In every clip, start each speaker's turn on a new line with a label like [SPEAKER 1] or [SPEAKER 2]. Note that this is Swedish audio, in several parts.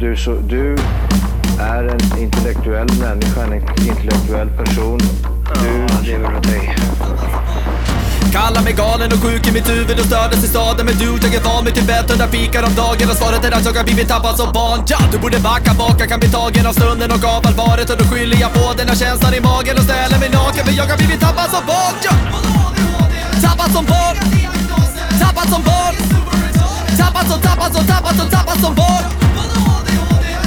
[SPEAKER 1] du, så, du är en intellektuell människa, en intellektuell person. Du lever åt dig.
[SPEAKER 2] Kallar mig galen och sjuk i mitt huvud och stördes i staden Men du, jag är van vid Tibet, hundra fikar om dagen Och svaret är att jag har blivit tappad som barn ja! Du borde backa bak, jag kan bli tagen av stunden och av allvaret Och då skyller jag på den här känslan i magen och ställer mig naken För jag har blivit tappad som barn ja! Tappad som barn Tappad som barn Tappad som, tappad som, tappad som, tappad som barn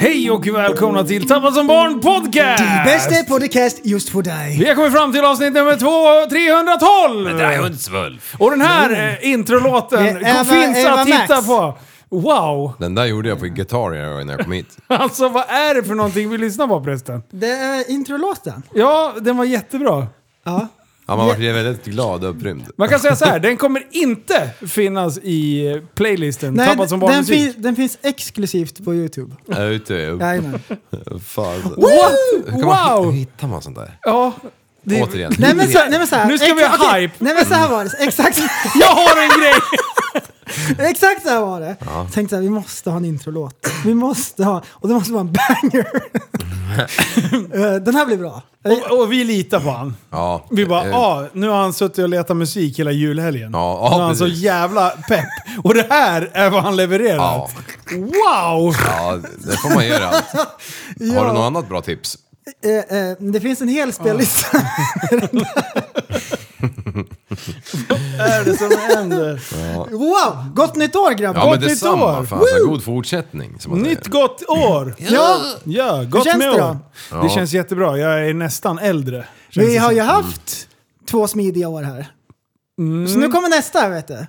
[SPEAKER 3] Hej och välkomna till Tappad som barn podcast!
[SPEAKER 4] Bästa podcast just för dig.
[SPEAKER 3] Vi har kommit fram till avsnitt nummer två- 312!
[SPEAKER 5] Hundsvulf.
[SPEAKER 3] Och den här eh, introlåten
[SPEAKER 4] Mm. Det
[SPEAKER 3] kom-
[SPEAKER 4] är
[SPEAKER 3] finns
[SPEAKER 4] Eva-
[SPEAKER 3] att
[SPEAKER 4] Eva
[SPEAKER 3] hitta
[SPEAKER 4] Max.
[SPEAKER 3] på. Wow!
[SPEAKER 5] Den där gjorde jag på gitarr när jag kom hit.
[SPEAKER 3] Alltså vad är det för någonting vi lyssnar på prästen?
[SPEAKER 4] Det är introlåten.
[SPEAKER 3] Ja, den var jättebra.
[SPEAKER 4] Ja.
[SPEAKER 5] Ja, man vart väldigt glad och upprymd.
[SPEAKER 3] Man kan säga så här, den kommer inte finnas i eh, playlisten
[SPEAKER 4] Nej,
[SPEAKER 3] Tappad som barn
[SPEAKER 4] den,
[SPEAKER 3] musik.
[SPEAKER 4] fin, den finns exklusivt på YouTube.
[SPEAKER 5] Jag är ute.
[SPEAKER 4] Jajamän.
[SPEAKER 5] Fan.
[SPEAKER 3] What?
[SPEAKER 5] Kan man, hur
[SPEAKER 3] Wow!
[SPEAKER 5] hittar man sånt där?
[SPEAKER 3] Ja, det,
[SPEAKER 5] Återigen.
[SPEAKER 4] Nej men, så, nej, men så här,
[SPEAKER 3] Nu ska vi ha
[SPEAKER 4] okej.
[SPEAKER 3] hype.
[SPEAKER 4] Nej men så här var det. Exakt,
[SPEAKER 3] jag har en grej!
[SPEAKER 4] exakt så här var det. Tänkte så här, vi måste ha en introlåt. Vi måste ha, och det måste vara en banger. Eh, den här blir bra.
[SPEAKER 3] Och, och vi litar på han.
[SPEAKER 5] Ja.
[SPEAKER 3] Vi bara,
[SPEAKER 5] Eh,
[SPEAKER 3] ja, ah, nu har han suttit och letat musik hela julhelgen.
[SPEAKER 5] Ja, ja,
[SPEAKER 3] nu har han så
[SPEAKER 5] precis.
[SPEAKER 3] jävla pepp. Och det här är vad han levererar.
[SPEAKER 5] Ja.
[SPEAKER 3] Wow!
[SPEAKER 5] Ja, det får man göra. Har du något annat bra tips?
[SPEAKER 4] Eh, eh, det finns en hel spellista.
[SPEAKER 3] Vad är det som händer?
[SPEAKER 4] Wow! Gott nytt år grabbar!
[SPEAKER 5] Ja, men
[SPEAKER 3] nytt år!
[SPEAKER 5] detsamma. Fan, så god fortsättning. Som man säger.
[SPEAKER 3] Nytt gott år!
[SPEAKER 4] Ja,
[SPEAKER 3] Ja, gott
[SPEAKER 4] känns
[SPEAKER 3] med
[SPEAKER 4] det
[SPEAKER 3] år. Det känns jättebra. Jag är nästan äldre. Känns
[SPEAKER 4] vi
[SPEAKER 3] det
[SPEAKER 4] har
[SPEAKER 3] som.
[SPEAKER 4] ju haft två smidiga år här. Så nu kommer nästa vet du.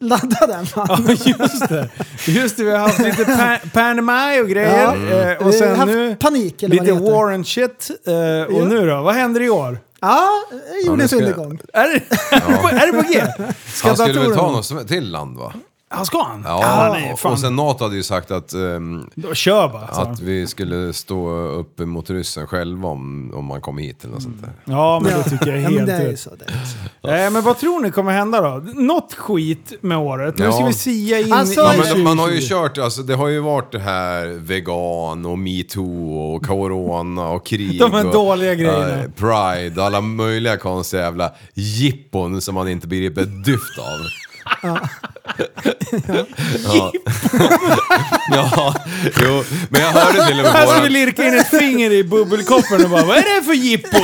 [SPEAKER 4] Ladda den man.
[SPEAKER 3] Ja, Just det. Just det, vi har haft lite pa- Panamai och
[SPEAKER 4] Ja.
[SPEAKER 3] grejer. Eh, och
[SPEAKER 4] Vi har
[SPEAKER 3] sen
[SPEAKER 4] haft
[SPEAKER 3] nu
[SPEAKER 4] panik eller vad
[SPEAKER 3] lite
[SPEAKER 4] det heter.
[SPEAKER 3] war and shit. Eh, och nu då? Vad händer i år?
[SPEAKER 4] Ja,
[SPEAKER 5] nu
[SPEAKER 4] jordens
[SPEAKER 5] ska jag-
[SPEAKER 4] undergång.
[SPEAKER 3] Är det, är det, på, är det på G? Ska
[SPEAKER 5] Han skulle väl
[SPEAKER 3] datorerna-
[SPEAKER 5] ta något till land va?
[SPEAKER 3] Ja, ska han?
[SPEAKER 5] Ja,
[SPEAKER 3] nej,
[SPEAKER 5] och-
[SPEAKER 3] fan.
[SPEAKER 5] och sen NATO hade ju sagt att, ehm,
[SPEAKER 3] Då Kör bara. sa han.
[SPEAKER 5] att vi skulle stå upp mot ryssen själva om, om man kom hit eller något sånt där.
[SPEAKER 3] Ja, men det tycker jag är
[SPEAKER 4] ja, men
[SPEAKER 3] helt
[SPEAKER 4] det är ju
[SPEAKER 3] rätt.
[SPEAKER 4] så. Det är ju så.
[SPEAKER 3] Eh, men vad tror ni kommer hända då? Något skit med året. Nu ska
[SPEAKER 5] Ja.
[SPEAKER 3] vi sia in
[SPEAKER 4] Alltså,
[SPEAKER 3] i
[SPEAKER 5] Ja, men
[SPEAKER 3] 2020.
[SPEAKER 5] man har ju kört, alltså, det har ju varit det här vegan och metoo och corona och krig.
[SPEAKER 3] De här
[SPEAKER 5] och,
[SPEAKER 3] dåliga grejerna.
[SPEAKER 5] eh, Pride, alla möjliga konstiga jävla jippon som man inte begriper ett dyft av. Ja. ja, jo, men jag hörde till och med
[SPEAKER 3] Här ska vi
[SPEAKER 5] våran,
[SPEAKER 3] lirka in ett finger i bubbelkoppen och bara Vad är det för jippo?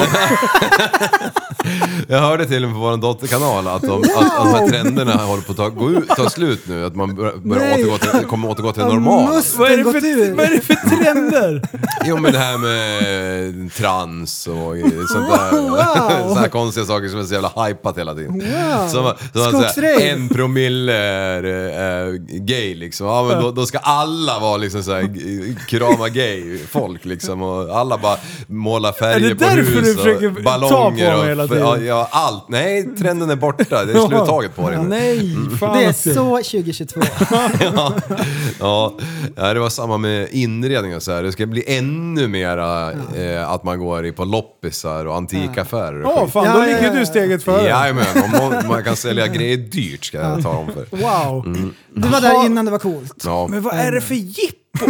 [SPEAKER 5] jag hörde till och med på våran dotterkanal att de, att, att de här trenderna håller på att ta, gå ut, ta slut nu. Att man bör- börjar
[SPEAKER 4] Nej.
[SPEAKER 5] återgå till, kommer återgå till normalt.
[SPEAKER 4] Musten
[SPEAKER 3] Vad är det
[SPEAKER 4] gått
[SPEAKER 3] för,
[SPEAKER 4] ur.
[SPEAKER 3] vad är det för trender?
[SPEAKER 5] Jo men det här med trans och sånt där.
[SPEAKER 4] Wow.
[SPEAKER 5] Såna här konstiga saker som är så jävla hypat hela tiden.
[SPEAKER 4] Wow.
[SPEAKER 5] Som, som att
[SPEAKER 4] Skogsröj.
[SPEAKER 5] säga, en promille är eh, gay liksom. Ja, men då, då ska alla vara liksom så här, g- krama gay folk liksom. Och alla bara måla
[SPEAKER 3] Är
[SPEAKER 5] färger
[SPEAKER 3] det
[SPEAKER 5] på
[SPEAKER 3] därför du
[SPEAKER 5] hus
[SPEAKER 3] försöker
[SPEAKER 5] och
[SPEAKER 3] ta
[SPEAKER 5] ballonger
[SPEAKER 3] på mig
[SPEAKER 5] och
[SPEAKER 3] hela
[SPEAKER 5] f-
[SPEAKER 3] tiden?
[SPEAKER 5] ja, ja, allt. Nej, trenden är borta. Det är sluttaget på det nu.
[SPEAKER 3] Nej, fan
[SPEAKER 4] Det är
[SPEAKER 3] alltså.
[SPEAKER 4] så 2022.
[SPEAKER 5] Ja, ja, det var samma med inredning och så här. Det ska bli ännu mera eh, att man går i på loppisar och antikaffärer. och
[SPEAKER 3] Ja,
[SPEAKER 5] skit.
[SPEAKER 3] fan
[SPEAKER 4] Ja,
[SPEAKER 3] då
[SPEAKER 4] ja,
[SPEAKER 3] ligger
[SPEAKER 4] ja.
[SPEAKER 3] du steget före.
[SPEAKER 5] Jajamän, om någon, man kan sälja grejer dyrt ska jag ta dem för.
[SPEAKER 3] Wow.
[SPEAKER 5] Mm.
[SPEAKER 4] Du var där innan det var coolt.
[SPEAKER 5] Ja,
[SPEAKER 3] Men vad är det för jippon?
[SPEAKER 5] ja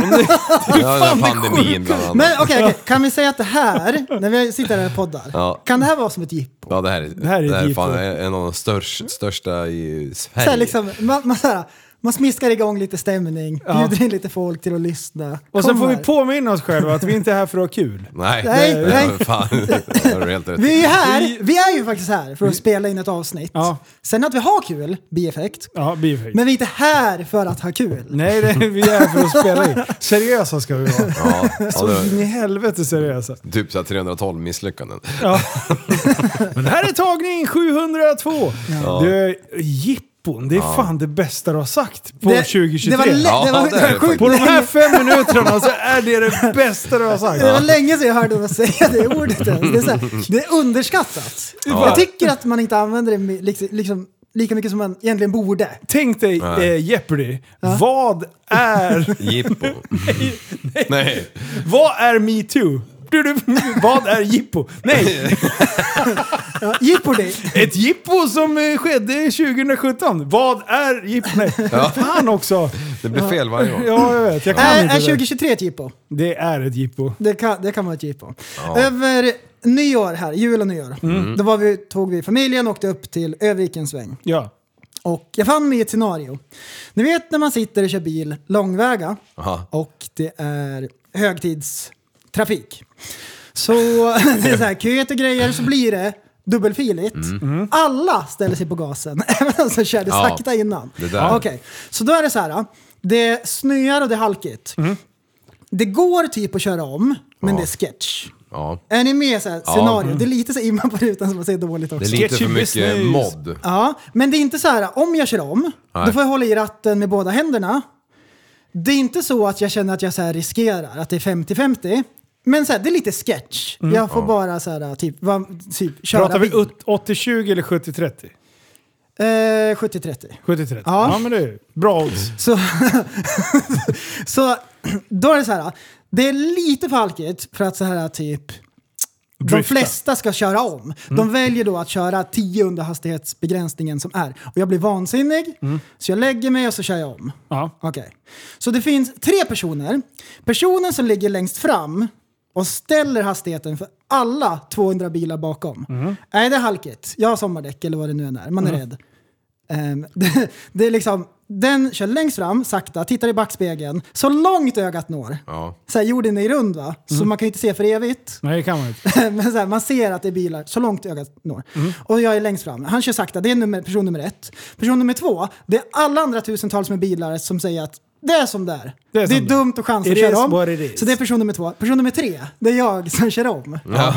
[SPEAKER 5] den här pandemin bland annat.
[SPEAKER 4] Men okej, okej, kan vi säga att det här, när vi sitter här och poddar,
[SPEAKER 5] Ja.
[SPEAKER 4] kan det här vara som ett jippo?
[SPEAKER 5] Ja, det här är, det
[SPEAKER 3] här är
[SPEAKER 5] här är
[SPEAKER 3] dyrt.
[SPEAKER 5] fan en av de största, största i
[SPEAKER 4] Så här,
[SPEAKER 5] Sverige.
[SPEAKER 4] liksom, man, man, så här, Man smiskar igång lite stämning,
[SPEAKER 3] Ja.
[SPEAKER 4] bjuder in lite folk till att lyssna.
[SPEAKER 3] Och sen
[SPEAKER 4] Kom
[SPEAKER 3] får vi
[SPEAKER 4] här.
[SPEAKER 3] påminna oss själva att vi inte är här för att ha kul.
[SPEAKER 5] Nej,
[SPEAKER 4] Nej,
[SPEAKER 5] det-
[SPEAKER 4] nej.
[SPEAKER 5] Fan, det har du helt rätt
[SPEAKER 4] Vi är
[SPEAKER 5] i.
[SPEAKER 4] ju här, vi är ju faktiskt här för att spela in ett avsnitt.
[SPEAKER 3] Ja.
[SPEAKER 4] Sen att vi har kul, bieffekt.
[SPEAKER 3] Ja, bieffekt.
[SPEAKER 4] Men vi är inte här för att ha kul.
[SPEAKER 3] Nej, det, vi är för att spela in. Seriösa ska vi vara.
[SPEAKER 5] Ja, ja,
[SPEAKER 3] Så
[SPEAKER 5] det
[SPEAKER 3] in i helvete seriösa.
[SPEAKER 5] var typ så här 312 misslyckanden.
[SPEAKER 3] Ja. Men det här är tagning 702. Du, jippon, det är fan det bästa du har sagt på
[SPEAKER 4] det,
[SPEAKER 3] 2023.
[SPEAKER 4] Det var, lä-
[SPEAKER 5] Ja,
[SPEAKER 4] det var,
[SPEAKER 5] det är det
[SPEAKER 4] sjukt
[SPEAKER 3] på de här
[SPEAKER 4] länge,
[SPEAKER 3] fem minuterna så är det det bästa du har sagt.
[SPEAKER 4] det var länge sedan jag hörde honom säga det ordet ens. Det är, så här, det är underskattat.
[SPEAKER 5] Ja.
[SPEAKER 4] Jag tycker att man inte använder det med- liksom, liksom, lika mycket som man egentligen borde.
[SPEAKER 3] Tänk dig
[SPEAKER 5] Nej.
[SPEAKER 3] eh, Jeopardy. Vad är...
[SPEAKER 5] Jippo. Nej.
[SPEAKER 3] Vad är metoo? Du, du, vad är jippo? Nej,
[SPEAKER 4] Ja, Jippo dig.
[SPEAKER 3] ett jippo som eh, skedde 2017. Vad är jippo? Nej, fan också.
[SPEAKER 5] Det blir fel varje gång.
[SPEAKER 3] Ja, jag vet. Jag kan
[SPEAKER 4] Är,
[SPEAKER 3] inte
[SPEAKER 4] är
[SPEAKER 3] det.
[SPEAKER 4] 2023 ett jippo?
[SPEAKER 3] Det är ett jippo.
[SPEAKER 4] Det kan, det kan vara ett jippo. Över nyår här, jul och nyår, då var vi, tog vi familjen och åkte upp till Övik en sväng.
[SPEAKER 3] Ja.
[SPEAKER 4] Och jag fann mig i ett scenario. Ni vet när man sitter och kör bil långväga
[SPEAKER 5] Aha.
[SPEAKER 4] och det är högtidstrafik. Så det är så här köet och grejer så blir det dubbelfiligt. Alla ställer sig på gasen, även de som körde
[SPEAKER 5] Mm. Ja,
[SPEAKER 4] sakta innan.
[SPEAKER 5] det där.
[SPEAKER 4] Okej, Så då är det så här, det snöar och det är halkigt. Det går typ att köra om, men
[SPEAKER 5] Ja.
[SPEAKER 4] det är sketch.
[SPEAKER 5] Ja.
[SPEAKER 4] Är ni med i så här
[SPEAKER 5] Ja.
[SPEAKER 4] scenario? Det är lite så här imman på rutan som man säger dåligt också.
[SPEAKER 5] Det är lite för
[SPEAKER 3] Sketchy
[SPEAKER 5] mycket
[SPEAKER 3] business.
[SPEAKER 5] mod.
[SPEAKER 4] Ja, men det är inte så här, om jag kör om,
[SPEAKER 5] Nej.
[SPEAKER 4] då får jag hålla i ratten med båda händerna. Det är inte så att jag känner att jag så här riskerar, att det är 50-50. Men så här, det är lite sketch. Jag får bara så här, typ, va, typ köra
[SPEAKER 3] Mm. Pratar vi
[SPEAKER 4] bil.
[SPEAKER 3] ut- 80-20 eller 70-30?
[SPEAKER 4] Eh, 70-30.
[SPEAKER 3] 70-30. Ja.
[SPEAKER 4] Ja.
[SPEAKER 3] men det är bra odds.
[SPEAKER 4] Så, så då är det så här, det är lite för halkigt för att så här typ de
[SPEAKER 3] Drifta.
[SPEAKER 4] flesta ska köra om. De väljer då att köra 10 under hastighetsbegränsningen som är. Och jag blir vansinnig, så jag lägger mig och så kör jag om.
[SPEAKER 3] Ja.
[SPEAKER 4] Okej. Så det finns tre personer. Personen som ligger längst fram och ställer hastigheten för alla 200 bilar bakom. Nej, det är halkigt. Jag har sommardäck eller vad det nu än är. Man är rädd. Ehm, det, det är liksom, den kör längst fram, sakta, tittar i backspegeln, så långt ögat når.
[SPEAKER 5] Ja.
[SPEAKER 4] Så här, jorden är rund va? Så man kan ju inte se för evigt.
[SPEAKER 3] Nej, det kan man inte.
[SPEAKER 4] Men så här, man ser att det är bilar så långt ögat når.
[SPEAKER 3] Mm.
[SPEAKER 4] Och jag är längst fram. Han kör sakta. Det är nummer, person nummer ett. Person nummer två, det är alla andra tusentals med bilar som säger att det är som där.
[SPEAKER 3] Det
[SPEAKER 4] Det
[SPEAKER 3] är
[SPEAKER 4] är,
[SPEAKER 3] som det är.
[SPEAKER 4] dumt att chansa
[SPEAKER 3] It
[SPEAKER 4] att
[SPEAKER 3] is
[SPEAKER 4] köra om.
[SPEAKER 3] what it is. Mm.
[SPEAKER 4] Så det är person nummer två. Person nummer tre, det är jag som kör om.
[SPEAKER 5] Ja.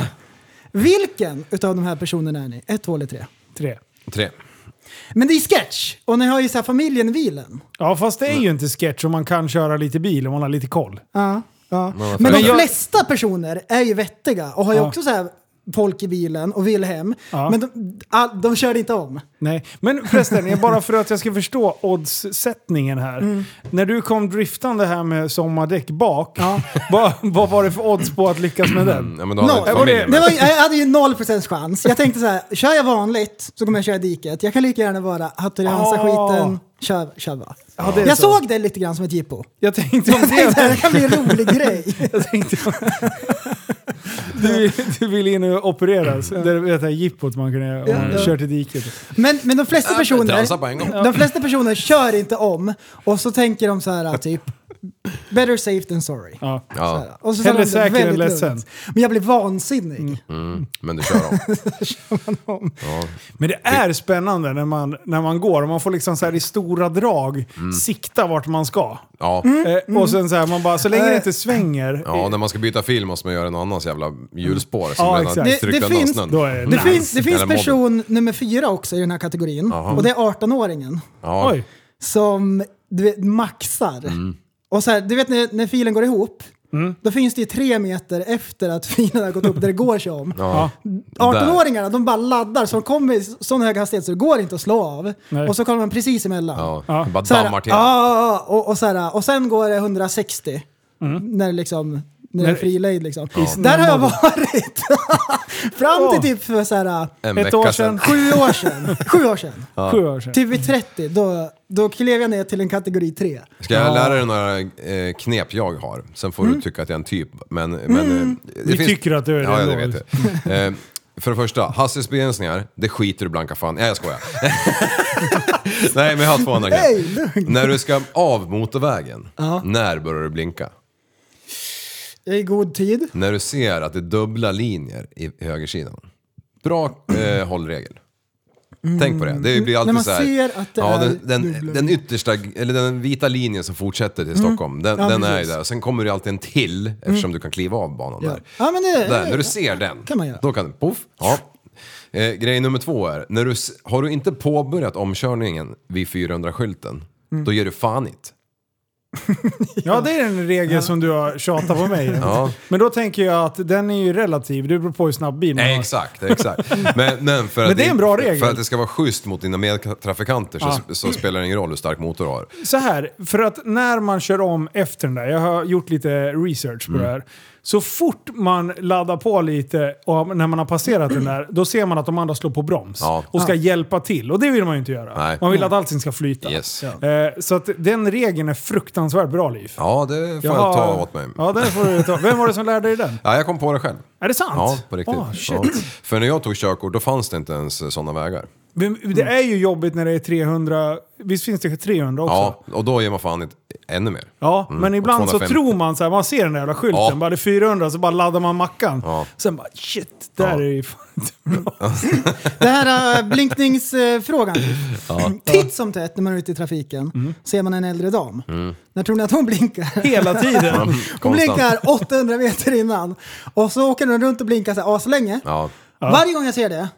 [SPEAKER 4] Vilken utav de här personerna är ni? Ett, två eller tre?
[SPEAKER 3] Tre.
[SPEAKER 5] Tre.
[SPEAKER 4] Men det är sketch! Och ni har ju så här familjen i bilen.
[SPEAKER 3] Ja, fast det är ju inte sketch om man kan köra lite bil om man har lite koll.
[SPEAKER 4] Ja, ja.
[SPEAKER 5] varför?
[SPEAKER 4] Men de
[SPEAKER 5] Men jag-
[SPEAKER 4] flesta personer är ju vettiga och har ju
[SPEAKER 3] Ja.
[SPEAKER 4] också så här folk i bilen och vill hem.
[SPEAKER 3] Ja.
[SPEAKER 4] Men de, all, de körde inte om.
[SPEAKER 3] Nej, men förresten, jag- bara för att jag ska förstå oddssättningen här.
[SPEAKER 4] Mm.
[SPEAKER 3] När du kom driftande här med sommardäck bak, vad, vad var det för odds på att lyckas med den?
[SPEAKER 5] Ja, men då har
[SPEAKER 4] No.
[SPEAKER 5] no, inte
[SPEAKER 4] Det var
[SPEAKER 5] familjen
[SPEAKER 4] Det
[SPEAKER 5] med.
[SPEAKER 4] var, jag hade ju noll procents chans. Jag tänkte så här, kör jag vanligt så kommer jag köra i diket. Jag kan lika gärna vara Hattorihansa-skiten, kör, kör bara.
[SPEAKER 3] Ah. Ja, det är
[SPEAKER 4] jag
[SPEAKER 3] så.
[SPEAKER 4] såg det lite grann som ett jippo.
[SPEAKER 3] Jag tänkte om
[SPEAKER 4] Jag tänkte det här
[SPEAKER 3] det...
[SPEAKER 4] kan bli en rolig grej.
[SPEAKER 3] Jag tänkte du, du ville in och operera, så det vet jag, jippot man kunde göra om man
[SPEAKER 4] Ja.
[SPEAKER 3] kört i diket.
[SPEAKER 4] Men, men de flesta
[SPEAKER 5] transa på en gång.
[SPEAKER 4] personer, de flesta personer kör inte om och så tänker de så här typ, better safe than sorry.
[SPEAKER 3] Ja.
[SPEAKER 4] Så
[SPEAKER 5] Ja,
[SPEAKER 4] här. Och så tar
[SPEAKER 3] Hellre
[SPEAKER 4] de det
[SPEAKER 3] säker än
[SPEAKER 4] väldigt
[SPEAKER 3] ledsen.
[SPEAKER 4] lugnt. Men jag blev vansinnig.
[SPEAKER 5] Mm. men du kör om.
[SPEAKER 3] Men det är spännande när man, när man går och man får liksom så här i stora drag sikta vart man ska.
[SPEAKER 5] Ja.
[SPEAKER 3] Eh, och sen så här, man bara, så länge det inte svänger, eh,
[SPEAKER 5] ja, när man ska byta film måste man göra en annans jävla hjulspår som
[SPEAKER 3] Mm. Ja,
[SPEAKER 5] redan
[SPEAKER 3] exakt.
[SPEAKER 5] tryckt
[SPEAKER 4] Det- det
[SPEAKER 5] undan
[SPEAKER 4] finns-
[SPEAKER 5] snön.
[SPEAKER 3] då är det
[SPEAKER 4] Det
[SPEAKER 3] nice.
[SPEAKER 4] finns, det finns
[SPEAKER 5] Eller modden.
[SPEAKER 4] person nummer fyra också i den här kategorin
[SPEAKER 5] Jaha.
[SPEAKER 4] och det är 18-åringen.
[SPEAKER 5] Ja.
[SPEAKER 3] Oj.
[SPEAKER 4] som du vet, maxar.
[SPEAKER 5] Mm.
[SPEAKER 4] Och så här, du vet när, när filen går ihop, då finns det ju tre meter efter att filen har gått upp där det går sig om.
[SPEAKER 5] Ja.
[SPEAKER 4] 18-åringarna de bara laddar så de kommer i sån hög hastighet så det går inte att slå av.
[SPEAKER 3] Nej.
[SPEAKER 4] Och så kommer man precis emellan.
[SPEAKER 5] Ja.
[SPEAKER 3] Ja.
[SPEAKER 5] Bara
[SPEAKER 4] Så här,
[SPEAKER 5] dammar till.
[SPEAKER 4] ja, ja, ja, och, och, så här, och sen går det 160. När det liksom... När det är
[SPEAKER 3] När-
[SPEAKER 4] frilejd liksom. Där har jag varit! Fram
[SPEAKER 3] Åh.
[SPEAKER 4] till typ för så här,
[SPEAKER 5] En
[SPEAKER 3] Ett
[SPEAKER 5] vecka
[SPEAKER 3] år
[SPEAKER 5] sedan.
[SPEAKER 4] sju år sedan. Sju år sedan.
[SPEAKER 3] Sju år sedan.
[SPEAKER 4] Typ vid 30, då, då klev jag ner till en kategori 3.
[SPEAKER 5] Ska jag lära dig några eh, knep jag har? Sen får du tycka att jag är en typ. Men, men, eh, det
[SPEAKER 3] Mm. Vi tycker att du är det
[SPEAKER 5] Ja, ja, det
[SPEAKER 3] ändå.
[SPEAKER 5] vet jag. Eh, För det första, hastighetsbegränsningar, det skiter du blanka fan Nej, jag skojar. Nej, men jag har två andra
[SPEAKER 4] Nej,
[SPEAKER 5] grejer. När du ska av motorvägen, när börjar du blinka?
[SPEAKER 4] I god tid.
[SPEAKER 5] När du ser att det är dubbla linjer i högersidan. Bra eh, hållregel. Tänk på det. Det blir alltid
[SPEAKER 4] Mm. När man
[SPEAKER 5] så här,
[SPEAKER 4] ser att det
[SPEAKER 5] ja,
[SPEAKER 4] är
[SPEAKER 5] den, den,
[SPEAKER 4] dubbla- Mm.
[SPEAKER 5] den yttersta, eller den vita linjen som fortsätter till Stockholm, den,
[SPEAKER 4] Ja,
[SPEAKER 5] den är ju
[SPEAKER 4] precis. Mm.
[SPEAKER 5] där. Sen kommer det alltid en till eftersom du kan kliva av banan
[SPEAKER 4] Ja.
[SPEAKER 5] där.
[SPEAKER 4] Ja, men det,
[SPEAKER 5] Där, när du
[SPEAKER 4] det,
[SPEAKER 5] ser den,
[SPEAKER 4] kan man göra.
[SPEAKER 5] då kan du poff. Ja. Eh, grej nummer två är, när du, s- har du inte påbörjat omkörningen vid 400-skylten,
[SPEAKER 4] Mm.
[SPEAKER 5] då ger du fan it.
[SPEAKER 3] Ja, det är en regel som du har tjatat på mig.
[SPEAKER 5] Ja.
[SPEAKER 3] Men då tänker jag att den är ju relativ. Det beror på hur snabb bil man
[SPEAKER 5] Nej,
[SPEAKER 3] har.
[SPEAKER 5] exakt, exakt. Men, men, för, att
[SPEAKER 3] det är en bra regel.
[SPEAKER 5] för att det ska vara schysst mot dina medtrafikanter så, så spelar det ingen roll hur stark motor du har.
[SPEAKER 3] Så här, för att när man kör om efter den där, jag har gjort lite research
[SPEAKER 5] Mm.
[SPEAKER 3] på det här. Så fort man laddar på lite och när man har passerat den där, då ser man att de andra slår på broms
[SPEAKER 5] Ja.
[SPEAKER 3] och ska hjälpa till. Och det vill man ju inte göra.
[SPEAKER 5] Nej.
[SPEAKER 3] Man vill att allting ska flyta.
[SPEAKER 5] Yes. Ja.
[SPEAKER 3] Eh, så att den regeln är fruktansvärt bra, Liv.
[SPEAKER 5] Ja, det får jag,
[SPEAKER 3] har-
[SPEAKER 5] ta åt mig. Ja.
[SPEAKER 3] Ja, den får du ta. Vem var det som lärde dig den?
[SPEAKER 5] jag kom på det själv.
[SPEAKER 3] Är det sant?
[SPEAKER 5] Ja, på riktigt.
[SPEAKER 3] Ah, shit.
[SPEAKER 5] ja. För när jag tog körkort, då fanns det inte ens sådana vägar.
[SPEAKER 3] Men Det
[SPEAKER 5] Mm.
[SPEAKER 3] är ju jobbigt när det är 300. Visst finns det 300 också?
[SPEAKER 5] Ja, och då ger man fan it ännu mer. Mm,
[SPEAKER 3] Ja, men
[SPEAKER 5] och
[SPEAKER 3] ibland så
[SPEAKER 5] 250.
[SPEAKER 3] tror man så här, man ser den där jävla skylten,
[SPEAKER 5] Ja.
[SPEAKER 3] bara det är 400 så bara laddar man mackan.
[SPEAKER 5] Ja.
[SPEAKER 3] Sen bara shit, där
[SPEAKER 5] Ja.
[SPEAKER 3] är ju fan inte bra.
[SPEAKER 4] det här äh, blinkningsfrågan. Titt som tätt när man är ute i trafiken ser man en äldre dam. När tror ni att hon blinkar?
[SPEAKER 3] Hela tiden.
[SPEAKER 4] Hon
[SPEAKER 5] Mm. Konstant.
[SPEAKER 4] blinkar 800 meter innan. Och så åker hon runt och blinkar så här aslänge.
[SPEAKER 5] Ja.
[SPEAKER 4] Varje gång jag ser det,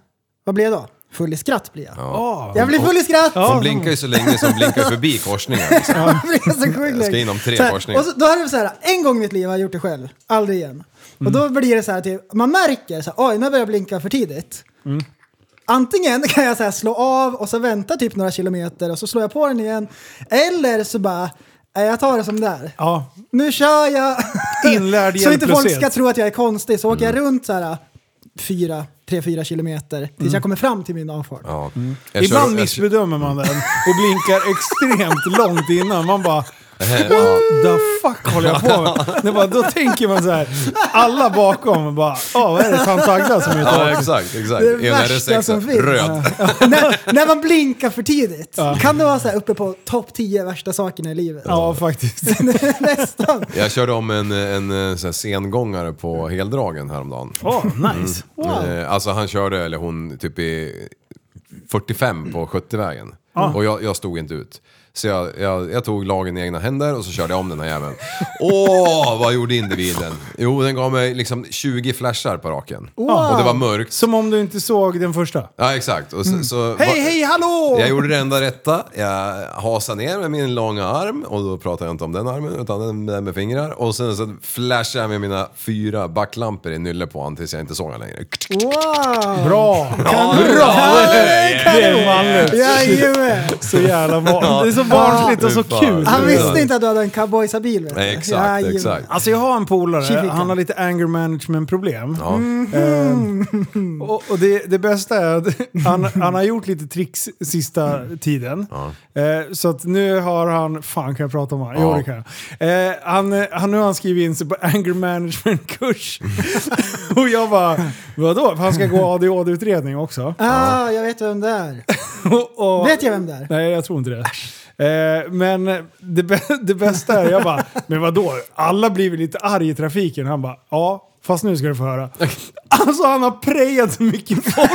[SPEAKER 4] vad blir jag då? Full i skratt blir jag.
[SPEAKER 3] Ja.
[SPEAKER 4] Jag blir full i skratt!
[SPEAKER 5] Hon blinkar ju så länge som blinkar förbi korsningen. Liksom.
[SPEAKER 4] Jag blir så sjukt
[SPEAKER 5] Jag ska
[SPEAKER 4] länge.
[SPEAKER 5] in om tre
[SPEAKER 4] Så här,
[SPEAKER 5] korsningar.
[SPEAKER 4] Och så, då är det så här, en gång i mitt liv har jag gjort det själv, aldrig igen. Och då blir det så här, typ, man märker så här, oj, nu börjar jag blinka för tidigt.
[SPEAKER 3] Mm.
[SPEAKER 4] Antingen kan jag så här, slå av och så vänta typ några kilometer och så slår jag på den igen. Eller så bara, nej, jag tar det som det är.
[SPEAKER 3] Ja.
[SPEAKER 4] Nu kör jag!
[SPEAKER 3] Inlärd
[SPEAKER 4] så inte folk
[SPEAKER 3] hjälplöshet. Mm.
[SPEAKER 4] ska tro att jag är konstig. Så åker jag runt så här, fyra, tre, fyra kilometer tills
[SPEAKER 3] Mm.
[SPEAKER 4] jag kommer fram till min avfart.
[SPEAKER 5] Ja. Jag kör-
[SPEAKER 3] Ibland
[SPEAKER 5] jag-
[SPEAKER 3] missbedömer man den och blinkar extremt långt innan. Man bara What the fuck håller jag på med? Det bara, då tänker man så här, alla bakom bara, ja vad är det tant Agda som är ute och
[SPEAKER 5] Ja,
[SPEAKER 3] åker?"
[SPEAKER 5] exakt. exakt.
[SPEAKER 4] Det är
[SPEAKER 5] En
[SPEAKER 4] det värsta
[SPEAKER 5] R6,
[SPEAKER 4] som finns.
[SPEAKER 5] Röd.
[SPEAKER 4] Ja. när, när man blinkar för tidigt. Kan det vara så här uppe på topp 10 värsta sakerna i livet?
[SPEAKER 3] Ja faktiskt.
[SPEAKER 4] Nästan.
[SPEAKER 5] Jag körde om en, en, eh, sån här sengångare på heldragen häromdagen.
[SPEAKER 3] Åh, nice.
[SPEAKER 4] Wow.
[SPEAKER 5] Eh, Alltså han körde, eller hon, typ i 45 på 70-vägen.
[SPEAKER 3] Ah.
[SPEAKER 5] Och jag, jag stod inte ut. Så jag, jag, jag tog lagen i egna händer och så körde jag om den här jäveln. Åh, vad gjorde individen? Jo, den gav mig liksom 20 flashar på raken. Och det var mörkt.
[SPEAKER 3] Som om du inte såg den första.
[SPEAKER 5] Ja, exakt. Och så, så,
[SPEAKER 3] Hej, hej, hallå!
[SPEAKER 5] Jag gjorde det enda rätta. Jag hasade ner med min långa arm och då pratar jag inte om den armen utan den där med fingrar. Och sen så flashade jag med mina fyra backlampor i nylle på honom tills jag inte såg honom längre.
[SPEAKER 4] Wow!
[SPEAKER 3] Bra! Det är manligt.
[SPEAKER 4] Jajamän!
[SPEAKER 3] Så jävla barn. Det är så barnsligt och så
[SPEAKER 5] Fy fan.
[SPEAKER 3] kul.
[SPEAKER 4] Han visste inte att du hade en cowboysabil. vet du.
[SPEAKER 5] Nej, exakt,
[SPEAKER 4] Jajamän.
[SPEAKER 5] exakt.
[SPEAKER 3] Alltså jag har en polare,
[SPEAKER 4] Tjifika.
[SPEAKER 3] han har lite anger management problem.
[SPEAKER 5] Ja.
[SPEAKER 3] Ehm, och och det, det bästa är att han, han har gjort lite tricks sista tiden. Eh, så att nu har han, fan kan jag prata om han? Jo
[SPEAKER 5] Ja.
[SPEAKER 3] det kan jag. Eh, han, eh, han, nu har han skrivit in sig på anger management kurs. och jag bara, vadå? För han ska gå ADHD-utredning också.
[SPEAKER 4] Ah, jag vet vem det är.
[SPEAKER 3] Och, och,
[SPEAKER 4] Vet jag vem det är?
[SPEAKER 3] Nej, jag tror inte det. Eh, men det, bä- det bästa är, jag bara, men vadå? Alla blir väl lite arg i trafiken? Han bara, ja, fast nu ska du få höra. Alltså han har prejat så mycket folk.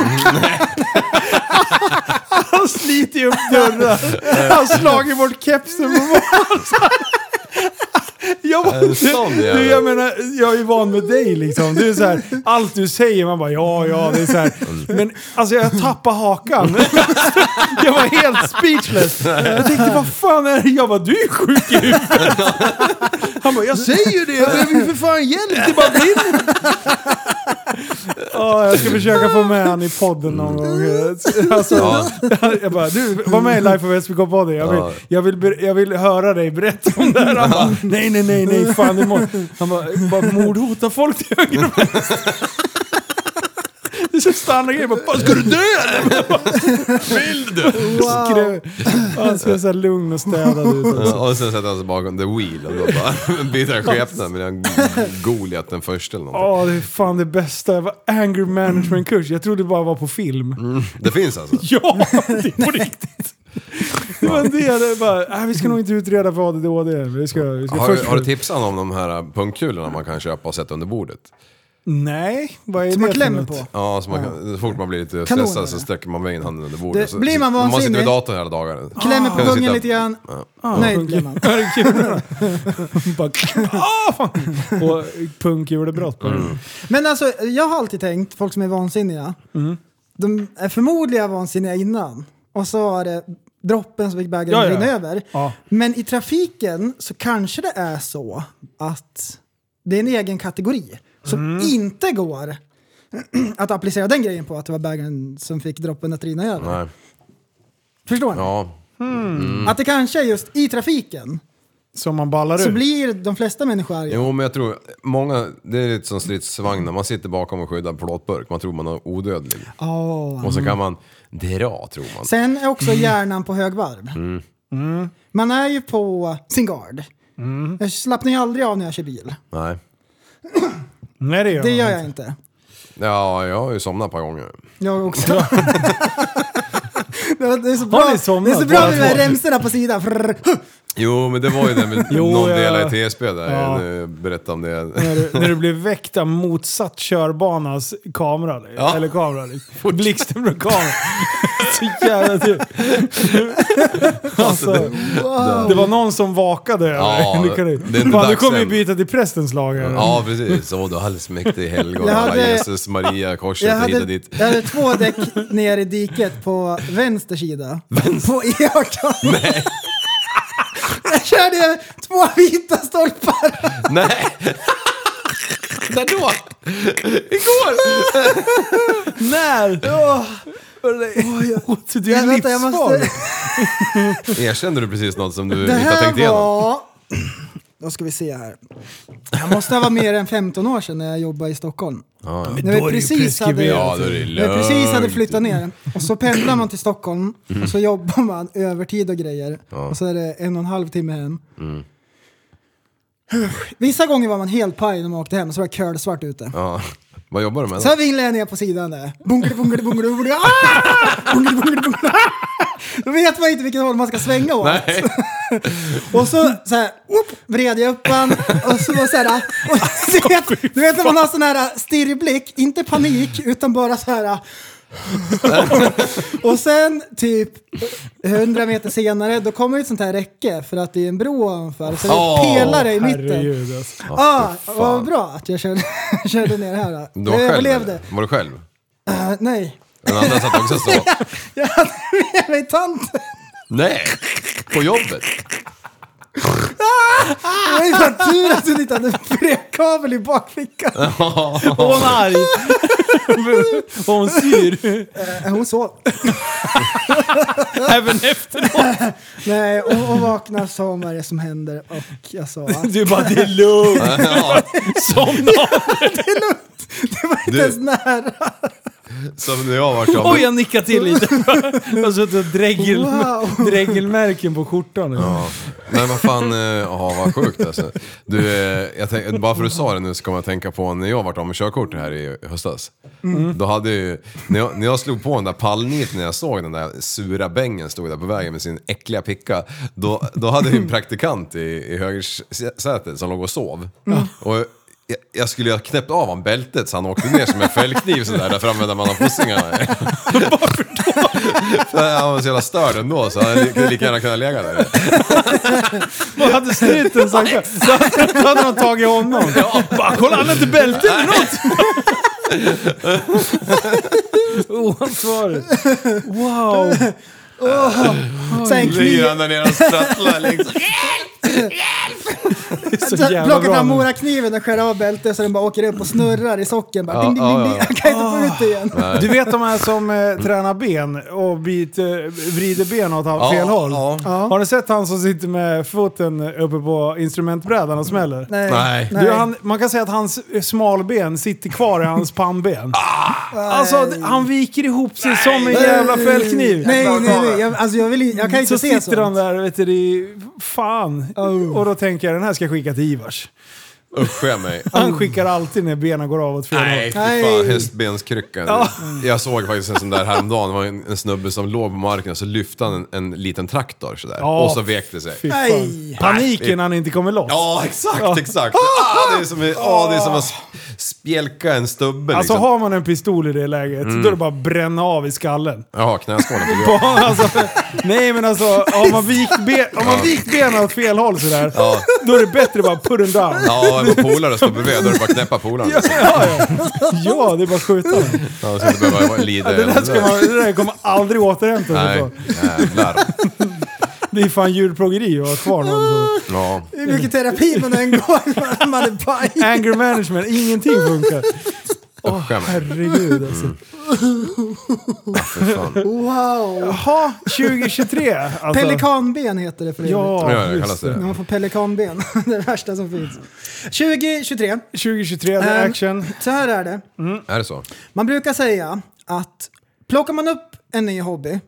[SPEAKER 3] han sliter ju upp dörrar. Han har slagit bort kepsen på folk. Jag, bara,
[SPEAKER 5] En sån
[SPEAKER 3] du,
[SPEAKER 5] jävel.
[SPEAKER 3] du, jag menar, jag är ju van med dig liksom. Du är så här, allt du säger, man bara ja, ja, det är så här. Men alltså jag tappar hakan. Jag var helt speechless. Jag tänkte, vad fan är det? Jag bara, du är sjuk i huvudet. Han bara, jag säger det. Jag behöver ju för fan hjälp. Det bara brinner. Ja, jag ska försöka få med han i podden någon gång. Alltså, Jag bara, du var med i Life of SPK-podden. Jag vill,
[SPEAKER 5] Ja.
[SPEAKER 3] jag, vill, ber- jag vill höra dig berätta om det här. Han bara, nej, nej, nej, nej, fan det är mord. Han bara, bara mordhotar folk till höger och vänster. Det är så standardgrej. Bara, "Fan, Ska du dö eller? Vill du? Han ser så här lugn och städad ut.
[SPEAKER 5] Ja, Och sen sätter han sig bakom the wheel och då bara byter han skepnad med den Goliat den första eller någonting.
[SPEAKER 3] Ja, det är fan det bästa. Jag var anger management-kurs. Jag trodde det bara var på film.
[SPEAKER 5] Det finns alltså?
[SPEAKER 3] Ja, det är på riktigt. Det var en del, det bara, nej, vi ska nog inte utreda för ADHD. Vi ska, vi ska
[SPEAKER 5] Har,
[SPEAKER 3] först...
[SPEAKER 5] du- har du tipsat om de här punkkulorna man kan köpa och sätta under bordet?
[SPEAKER 3] Nej, vad är
[SPEAKER 4] Som
[SPEAKER 3] det
[SPEAKER 4] man
[SPEAKER 3] för
[SPEAKER 4] klämmer
[SPEAKER 3] något?
[SPEAKER 4] på.
[SPEAKER 5] Ja, så man kan, så fort man blir lite
[SPEAKER 4] Kanoner,
[SPEAKER 5] stressad så
[SPEAKER 4] eller?
[SPEAKER 5] sträcker man vägen handen under bordet.
[SPEAKER 4] Det-
[SPEAKER 5] så,
[SPEAKER 4] blir man
[SPEAKER 5] Man sitter
[SPEAKER 4] vansinnig?
[SPEAKER 5] vid datorn hela dagarna.
[SPEAKER 4] Klämmer
[SPEAKER 5] Kan
[SPEAKER 4] på
[SPEAKER 5] du
[SPEAKER 4] pungen
[SPEAKER 5] sitta-
[SPEAKER 4] lite grann. Nöjd blir man.
[SPEAKER 3] Ja, det är kul. Bara, ah, fan. Och punkjulebrott. Mm.
[SPEAKER 4] Men alltså, jag har alltid tänkt, folk som är vansinniga,
[SPEAKER 3] Mm.
[SPEAKER 4] de är förmodligen vansinniga innan. Och så var det droppen som fick bägaren
[SPEAKER 3] Ja,
[SPEAKER 4] att
[SPEAKER 3] ja.
[SPEAKER 4] rinna över.
[SPEAKER 3] Ja.
[SPEAKER 4] Men i trafiken så kanske det är så att det är en egen kategori som
[SPEAKER 3] Mm.
[SPEAKER 4] inte går att applicera den grejen på att det var bägaren som fick droppen att rinna över.
[SPEAKER 5] Nej.
[SPEAKER 4] Förstår ni?
[SPEAKER 5] Ja.
[SPEAKER 4] Att det kanske är just i trafiken
[SPEAKER 3] Som man ballar
[SPEAKER 4] så
[SPEAKER 3] ur.
[SPEAKER 4] blir de flesta människor arga.
[SPEAKER 5] Jo, men jag tror många, det är lite som stridsvagnar. Man sitter bakom en skyddad plåtburk. Man tror man är odödlig.
[SPEAKER 4] Åh.
[SPEAKER 5] Och så kan man dra, tror man.
[SPEAKER 4] Mm. Sen är
[SPEAKER 3] Mm.
[SPEAKER 4] också hjärnan på högvarv. Man är ju på sin gard.
[SPEAKER 3] Mm.
[SPEAKER 4] Jag slappnar ju aldrig av när jag kör bil.
[SPEAKER 5] Nej.
[SPEAKER 3] Nej, det gör,
[SPEAKER 4] Det gör
[SPEAKER 3] man
[SPEAKER 4] jag
[SPEAKER 3] inte.
[SPEAKER 4] inte.
[SPEAKER 5] Ja, jag har ju somnat ett par gånger.
[SPEAKER 4] Jag också. det är så bra,
[SPEAKER 3] Har ni somnat,
[SPEAKER 4] det är så bra
[SPEAKER 3] båda
[SPEAKER 4] med de här
[SPEAKER 3] två?
[SPEAKER 4] remsorna på sidan. Frrr.
[SPEAKER 5] Jo, men det var ju den med
[SPEAKER 3] Jo,
[SPEAKER 5] någon
[SPEAKER 3] ja.
[SPEAKER 5] del i TSB där.
[SPEAKER 3] Ja.
[SPEAKER 5] Nu berätta om det.
[SPEAKER 3] När du, när du blir väckt av motsatt körbanas kamera.
[SPEAKER 5] Ja.
[SPEAKER 3] Eller kamera. liksom. Blixten från kameran. Så jävla tur. Alltså, det var någon som vakade över
[SPEAKER 5] Ja,
[SPEAKER 3] dig. Nu kan du-
[SPEAKER 5] det är inte
[SPEAKER 3] Fan, Du
[SPEAKER 5] dags
[SPEAKER 3] kommer ju
[SPEAKER 5] än.
[SPEAKER 3] byta till prästens lag. här.
[SPEAKER 5] Ja, precis. Åh, du allsmäktige helgon,
[SPEAKER 4] Jag
[SPEAKER 5] alla
[SPEAKER 4] hade-
[SPEAKER 5] Jesus, Maria, korset,
[SPEAKER 4] Jag
[SPEAKER 5] hit och
[SPEAKER 4] hade,
[SPEAKER 5] dit.
[SPEAKER 4] jag hade två däck ner i diket på vänster sida. På E18. Jag körde två vita stolpar.
[SPEAKER 5] Nej! När då? Igår!
[SPEAKER 3] När? Åh, oh, du är
[SPEAKER 4] Jag, vänta, jag
[SPEAKER 3] livsfarlig.
[SPEAKER 4] måste...
[SPEAKER 5] Erkände du precis något som du
[SPEAKER 4] Det
[SPEAKER 5] inte har tänkt
[SPEAKER 4] här
[SPEAKER 5] igenom?
[SPEAKER 4] var... Då ska vi se här. Jag måste ha varit mer än 15 år sedan när jag jobbade i Stockholm. När
[SPEAKER 3] då är
[SPEAKER 4] vi
[SPEAKER 3] det ju
[SPEAKER 4] precis hade,
[SPEAKER 3] preskriberat.
[SPEAKER 5] Ja, då är det
[SPEAKER 4] när vi precis hade
[SPEAKER 5] lugnt. Mm.
[SPEAKER 4] flyttat ner. Och så pendlar man till Stockholm och så jobbar man övertid och grejer. Och så är det en och en halv timme hem.
[SPEAKER 5] Mm.
[SPEAKER 4] Vissa gånger var man helt paj när man åkte hem, så var det kölsvart ute.
[SPEAKER 5] Ja. Vad jobbar du med
[SPEAKER 4] Så
[SPEAKER 5] då?
[SPEAKER 4] här vinglar jag ner på sidan där. Bunkade, bunkade, bunkade, bunkade. Ah! Bunkade, bunkade, bunkade. Då vet man inte vilket håll man ska svänga åt.
[SPEAKER 5] Nej.
[SPEAKER 4] Och så, så här, upp, vred jag upp han och så var så här, och, du, vet, du vet när man har sån här stirrblick, inte panik utan bara så här. och sen typ 100 meter senare då kommer ett sånt här räcke för att det är en bro ovanför. Så det är
[SPEAKER 5] Åh,
[SPEAKER 4] pelare i mitten.
[SPEAKER 3] Herregud alltså.
[SPEAKER 4] Ja,
[SPEAKER 5] fy fan.
[SPEAKER 4] vad bra att jag körde, körde ner här. Då.
[SPEAKER 5] Du
[SPEAKER 4] jag
[SPEAKER 5] var själv?
[SPEAKER 4] överlevde.
[SPEAKER 5] eller? Var du själv?
[SPEAKER 4] Eh, nej,
[SPEAKER 5] Den andra satt också så.
[SPEAKER 4] jag hade med mig tanten.
[SPEAKER 5] Nej! På jobbet?
[SPEAKER 4] Det var ju fan tur att hon inte hade en brevkabel i bakfickan.
[SPEAKER 3] Var hon arg? Var hon sur?
[SPEAKER 4] Eh, Hon sov.
[SPEAKER 3] Även efteråt?
[SPEAKER 4] Nej, och, och vaknar sa vad det som händer och jag sa att
[SPEAKER 3] Du bara, det är lugnt.
[SPEAKER 5] Ja.
[SPEAKER 3] Somna
[SPEAKER 4] det var inte
[SPEAKER 5] Du-
[SPEAKER 4] ens nära.
[SPEAKER 5] Som när jag var jobbet.
[SPEAKER 3] Oj, jag nickade till lite. Jag har suttit och dregel,
[SPEAKER 4] Wow.
[SPEAKER 3] dregelmärken på skjortan.
[SPEAKER 5] Ja. Men vad fan, eh, ja vad sjukt alltså. Du, eh, jag tänk, bara för att du sa det nu så kom jag att tänka på när jag vart av med körkortet här i höstas. Då hade ju, när jag, när jag slog på den där pallniten när jag såg den där sura bängen stod där på vägen med sin äckliga picka. Då, då hade vi en praktikant i, i högersätet som låg och sov. Och jag, jag skulle ju ha knäppt av honom bältet så han åkte ner som en fällkniv sådär där framme där man har fossingarna. För Han var så jävla störd ändå så han hade lika gärna kunnat ligga där.
[SPEAKER 3] Vad hade struten sagt? Då hade- Då hade de tagit honom. Bara, kolla han har inte bälte eller något! Oansvarigt. Wow.
[SPEAKER 4] Så en kniv,
[SPEAKER 5] Ligger han där nere och sprattlar liksom.
[SPEAKER 3] Så jävla
[SPEAKER 4] Plockar
[SPEAKER 3] bra.
[SPEAKER 4] fram morakniven och skär av bältet så den bara åker upp och snurrar i socken. Bara,
[SPEAKER 5] Ja,
[SPEAKER 4] ding, ding,
[SPEAKER 5] ja,
[SPEAKER 4] ding,
[SPEAKER 5] ja,
[SPEAKER 4] ding.
[SPEAKER 5] ja.
[SPEAKER 4] Jag kan inte få ut det igen.
[SPEAKER 3] Du vet de här som eh, tränar ben och bit, eh, vrider ben åt
[SPEAKER 5] Ja,
[SPEAKER 3] fel håll?
[SPEAKER 5] ja.
[SPEAKER 3] Har ni sett han som sitter med foten uppe på instrumentbrädan och smäller?
[SPEAKER 4] Nej.
[SPEAKER 5] Nej.
[SPEAKER 3] Du, han, man kan säga att hans smalben sitter kvar i hans pannben.
[SPEAKER 5] Ah.
[SPEAKER 3] Alltså, han viker ihop sig som en jävla fällkniv.
[SPEAKER 4] Nej, nej, nej. Jag, alltså, jag, vill, i- jag kan inte
[SPEAKER 3] Så
[SPEAKER 4] se
[SPEAKER 3] sitter han
[SPEAKER 4] sånt. Oh.
[SPEAKER 3] där vet du, i, fan. Och då tänker jag den här ska jag skicka till Ivars.
[SPEAKER 5] Usch jag mig.
[SPEAKER 4] Oh.
[SPEAKER 3] Han skickar alltid när benen går av åt fel håll.
[SPEAKER 5] Nej, fy fan. Hästbenskryckan. Jag såg faktiskt en sån där häromdagen. Det var en, en snubbe som låg på marken och så lyfte han en, en liten traktor sådär.
[SPEAKER 3] Ja.
[SPEAKER 5] Och så vek det sig.
[SPEAKER 3] Fy fan.
[SPEAKER 4] Nej.
[SPEAKER 3] Paniken när han inte kommer loss.
[SPEAKER 5] Ja, exakt, exakt. Ah, det, är som, ah, det är som att spjälka en stubbe
[SPEAKER 3] Alltså
[SPEAKER 5] liksom. Mm.
[SPEAKER 3] har man en pistol i det läget, då är det bara att bränna av i skallen.
[SPEAKER 5] Ja, knäskålen på
[SPEAKER 3] Bara, alltså, nej men alltså, har man vikt, ben, har man vikt benen åt fel håll sådär, då är det bättre att bara put them down. Ja,
[SPEAKER 5] Ja, är man polare står bredvid då är det bara att knäppa polaren. liksom.
[SPEAKER 3] ja. ja det är bara att skjuta.
[SPEAKER 5] Ja, man ska inte behöva lida.
[SPEAKER 3] Det där, ska man, det där kommer aldrig återhämta sig
[SPEAKER 5] Nej,
[SPEAKER 3] från.
[SPEAKER 5] jävlar.
[SPEAKER 3] Det är fan djurplågeri att ha kvar någon.
[SPEAKER 5] Ja.
[SPEAKER 4] Hur mycket terapi man än går, man är paj.
[SPEAKER 3] Anger management, ingenting funkar.
[SPEAKER 5] Usch, jag mig.
[SPEAKER 3] Herregud alltså.
[SPEAKER 5] Fy fan.
[SPEAKER 4] Wow.
[SPEAKER 3] Jaha, 2023 alltså.
[SPEAKER 4] Alltså- Pelikanben heter det för övrigt.
[SPEAKER 5] Ja,
[SPEAKER 3] Ja,
[SPEAKER 5] det
[SPEAKER 3] just
[SPEAKER 5] kallas
[SPEAKER 3] det.
[SPEAKER 5] det.
[SPEAKER 4] När man får pelikanben. det är det värsta som finns. 2023.
[SPEAKER 3] 2023, det är
[SPEAKER 4] Ehm,
[SPEAKER 3] action.
[SPEAKER 4] Så här är det.
[SPEAKER 5] Är det så?
[SPEAKER 4] Man brukar säga att plockar man upp en ny hobby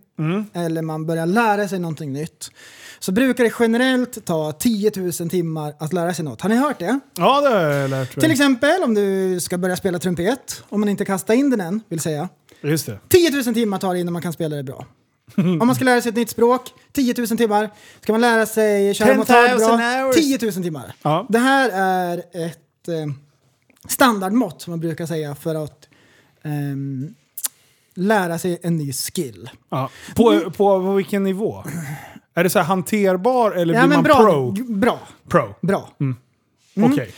[SPEAKER 4] eller man börjar lära sig någonting nytt så brukar det generellt ta 10 000 timmar att lära sig något. Har ni hört det?
[SPEAKER 3] Ja, det har jag lärt
[SPEAKER 4] Till
[SPEAKER 3] mig.
[SPEAKER 4] exempel om du ska börja spela trumpet, om man inte kastar in den än vill säga.
[SPEAKER 3] Just det.
[SPEAKER 4] 10 000 timmar tar det innan man kan spela det bra. Om man ska lära sig ett nytt språk, 10 000 timmar. Ska man lära sig köra
[SPEAKER 3] 10 000
[SPEAKER 4] motard bra,
[SPEAKER 3] hours.
[SPEAKER 4] 10 000 timmar.
[SPEAKER 3] Ja.
[SPEAKER 4] Det här är ett eh, standardmått som man brukar säga för att ehm, lära sig en ny skill.
[SPEAKER 3] Ja. På, på, på vilken nivå? Är det så här hanterbar eller blir man
[SPEAKER 4] bra,
[SPEAKER 3] pro? Mm.
[SPEAKER 4] g- bra,
[SPEAKER 3] Pro.
[SPEAKER 4] bra.
[SPEAKER 3] Okej.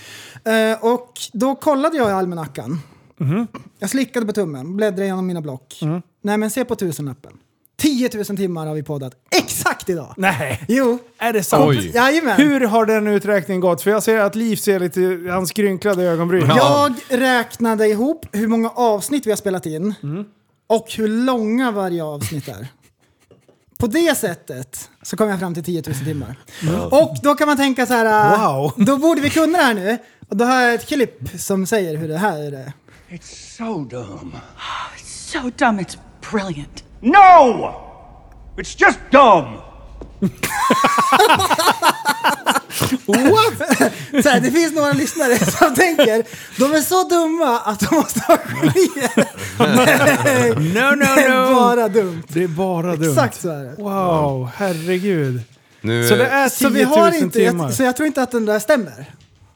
[SPEAKER 4] Eh, och då kollade jag i almanackan.
[SPEAKER 3] Mm-hmm.
[SPEAKER 4] Jag slickade på tummen, bläddrade igenom mina block.
[SPEAKER 3] Mm.
[SPEAKER 4] Nej men se på tusenlappen. 10 000 timmar har vi poddat exakt idag.
[SPEAKER 3] Nej.
[SPEAKER 4] Jo.
[SPEAKER 3] Är det sant?
[SPEAKER 5] Oj.
[SPEAKER 4] Jajamän.
[SPEAKER 3] Hur har den uträkningen gått? För jag ser att Liv ser lite, han skrynklade ögonbryn.
[SPEAKER 4] Jag räknade ihop hur många avsnitt vi har spelat in
[SPEAKER 3] Mm.
[SPEAKER 4] och hur långa varje avsnitt är. På det sättet så kom jag fram till 10 000 timmar. Mm. Och då kan man tänka så här, äh,
[SPEAKER 3] Mm. Wow.
[SPEAKER 4] då borde vi kunna det här nu. Och då har jag ett klipp som säger hur det här är.
[SPEAKER 6] So dumb, it's brilliant.
[SPEAKER 7] No! It's just dumb!
[SPEAKER 4] What? Så här, det finns några lyssnare som tänker, de är så dumma att de måste ha genier. Nej,
[SPEAKER 3] No, no,
[SPEAKER 4] det är
[SPEAKER 3] no.
[SPEAKER 4] bara dumt.
[SPEAKER 3] Det är bara dumt.
[SPEAKER 4] Exakt så är det.
[SPEAKER 3] Wow, herregud.
[SPEAKER 5] Nu,
[SPEAKER 3] Så det är 10 000
[SPEAKER 4] Så, vi har inte,
[SPEAKER 3] timmar?
[SPEAKER 4] jag, så jag tror inte att den där stämmer.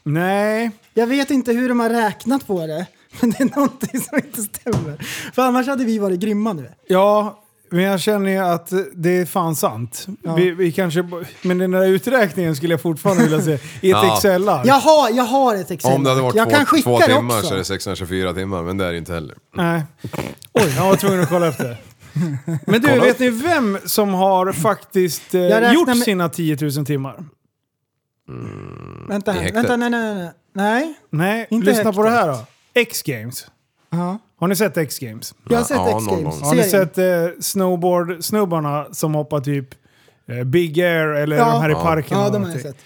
[SPEAKER 3] Nej.
[SPEAKER 4] Jag vet inte hur de har räknat på det, men det är någonting som inte stämmer. För annars hade vi varit grymma nu.
[SPEAKER 3] Ja, men jag känner ju att det är fan sant. Vi, vi kanske, men den där uträkningen skulle jag fortfarande vilja se i ett
[SPEAKER 5] Ja.
[SPEAKER 3] Excel-ark.
[SPEAKER 4] Jag har, jag har ett Excel.
[SPEAKER 5] Om det hade varit
[SPEAKER 4] jag kan
[SPEAKER 5] två,
[SPEAKER 4] skicka
[SPEAKER 5] två
[SPEAKER 4] det
[SPEAKER 5] timmar
[SPEAKER 4] också.
[SPEAKER 5] så är det 624 timmar, men det är det inte heller.
[SPEAKER 3] Nej. Oj, jag var tvungen att kolla efter. Men du,
[SPEAKER 5] Kolla
[SPEAKER 3] vet
[SPEAKER 5] upp.
[SPEAKER 3] ni vem som har faktiskt eh,
[SPEAKER 4] räknar
[SPEAKER 3] gjort
[SPEAKER 4] med-
[SPEAKER 3] sina 10 000 timmar?
[SPEAKER 4] Vänta,
[SPEAKER 5] I
[SPEAKER 4] här.
[SPEAKER 5] häktet.
[SPEAKER 4] vänta, nej, nej, nej. Nej,
[SPEAKER 3] Nej,
[SPEAKER 4] Inte
[SPEAKER 3] lyssna på det
[SPEAKER 4] häktet.
[SPEAKER 3] här då. X-Games.
[SPEAKER 4] Ja.
[SPEAKER 3] Har ni sett X-Games?
[SPEAKER 4] jag har sett
[SPEAKER 5] Ja, någon gång.
[SPEAKER 4] X-Games.
[SPEAKER 3] Har ni sett eh, snowboard-snubbarna som hoppar typ eh, Big Air eller
[SPEAKER 4] Ja.
[SPEAKER 3] de här i parken?
[SPEAKER 4] Ja,
[SPEAKER 3] och
[SPEAKER 4] de har jag
[SPEAKER 3] någonting?
[SPEAKER 4] sett.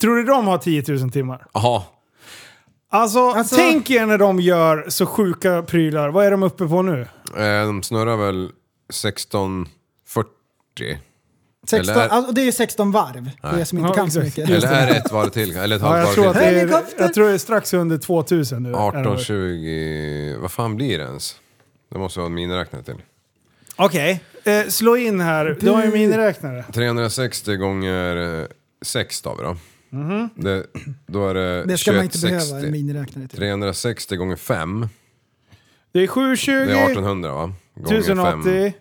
[SPEAKER 3] Tror du de har 10 000 timmar?
[SPEAKER 5] Jaha.
[SPEAKER 3] Alltså,
[SPEAKER 4] Alltså-
[SPEAKER 3] tänk er när de gör så sjuka prylar. Vad är de uppe på nu?
[SPEAKER 5] Eh, de snurrar väl 1640?
[SPEAKER 4] 16,
[SPEAKER 5] Eller-
[SPEAKER 4] alltså, det är ju 16 varv, det är som inte
[SPEAKER 3] Ja,
[SPEAKER 4] kan så
[SPEAKER 3] exakt.
[SPEAKER 4] mycket.
[SPEAKER 5] Eller är det ett varv till? Eller ett
[SPEAKER 3] Ja, jag,
[SPEAKER 5] halvt
[SPEAKER 3] tror
[SPEAKER 5] varv
[SPEAKER 3] att det
[SPEAKER 5] till?
[SPEAKER 3] är,
[SPEAKER 4] Helikopter!
[SPEAKER 3] jag tror det är strax under 2000 nu.
[SPEAKER 5] 18, 20... Vad fan blir det ens? Det måste vara en miniräknare till.
[SPEAKER 3] Okej, eh, slå in här. Du har ju miniräknare.
[SPEAKER 5] 360 gånger 6 då, då. Det, då är det
[SPEAKER 4] Mhm. Det ska man inte
[SPEAKER 5] 2160.
[SPEAKER 4] behöva en miniräknare typ. till.
[SPEAKER 5] 360 gånger 5,
[SPEAKER 3] Det är
[SPEAKER 5] det är
[SPEAKER 3] 720,
[SPEAKER 5] 1800 va? Gånger 5.
[SPEAKER 3] 1080...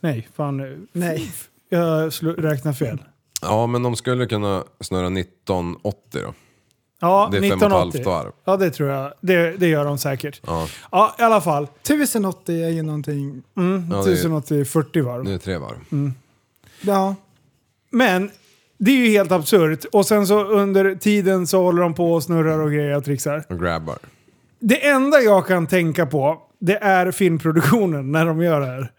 [SPEAKER 3] Nej, fan.
[SPEAKER 4] Nej.
[SPEAKER 3] Jag slå- räknar fel.
[SPEAKER 5] Ja, men de skulle kunna snurra 1980 då.
[SPEAKER 3] Ja,
[SPEAKER 5] Det är fem och ett
[SPEAKER 3] 1980.
[SPEAKER 5] halvt varv.
[SPEAKER 3] Ja, det tror jag. Det, det gör de säkert. Ja. i alla fall.
[SPEAKER 4] 1080 är ju någonting...
[SPEAKER 5] Ja, det, är,
[SPEAKER 3] 1080, 40 varv.
[SPEAKER 5] det är tre varv.
[SPEAKER 4] Ja.
[SPEAKER 3] Men Det är ju helt absurt. Och sen så under tiden så håller de på och snurrar och grejer och trixar.
[SPEAKER 5] Och grabbar.
[SPEAKER 3] Det enda jag kan tänka på, det är filmproduktionen när de gör det här.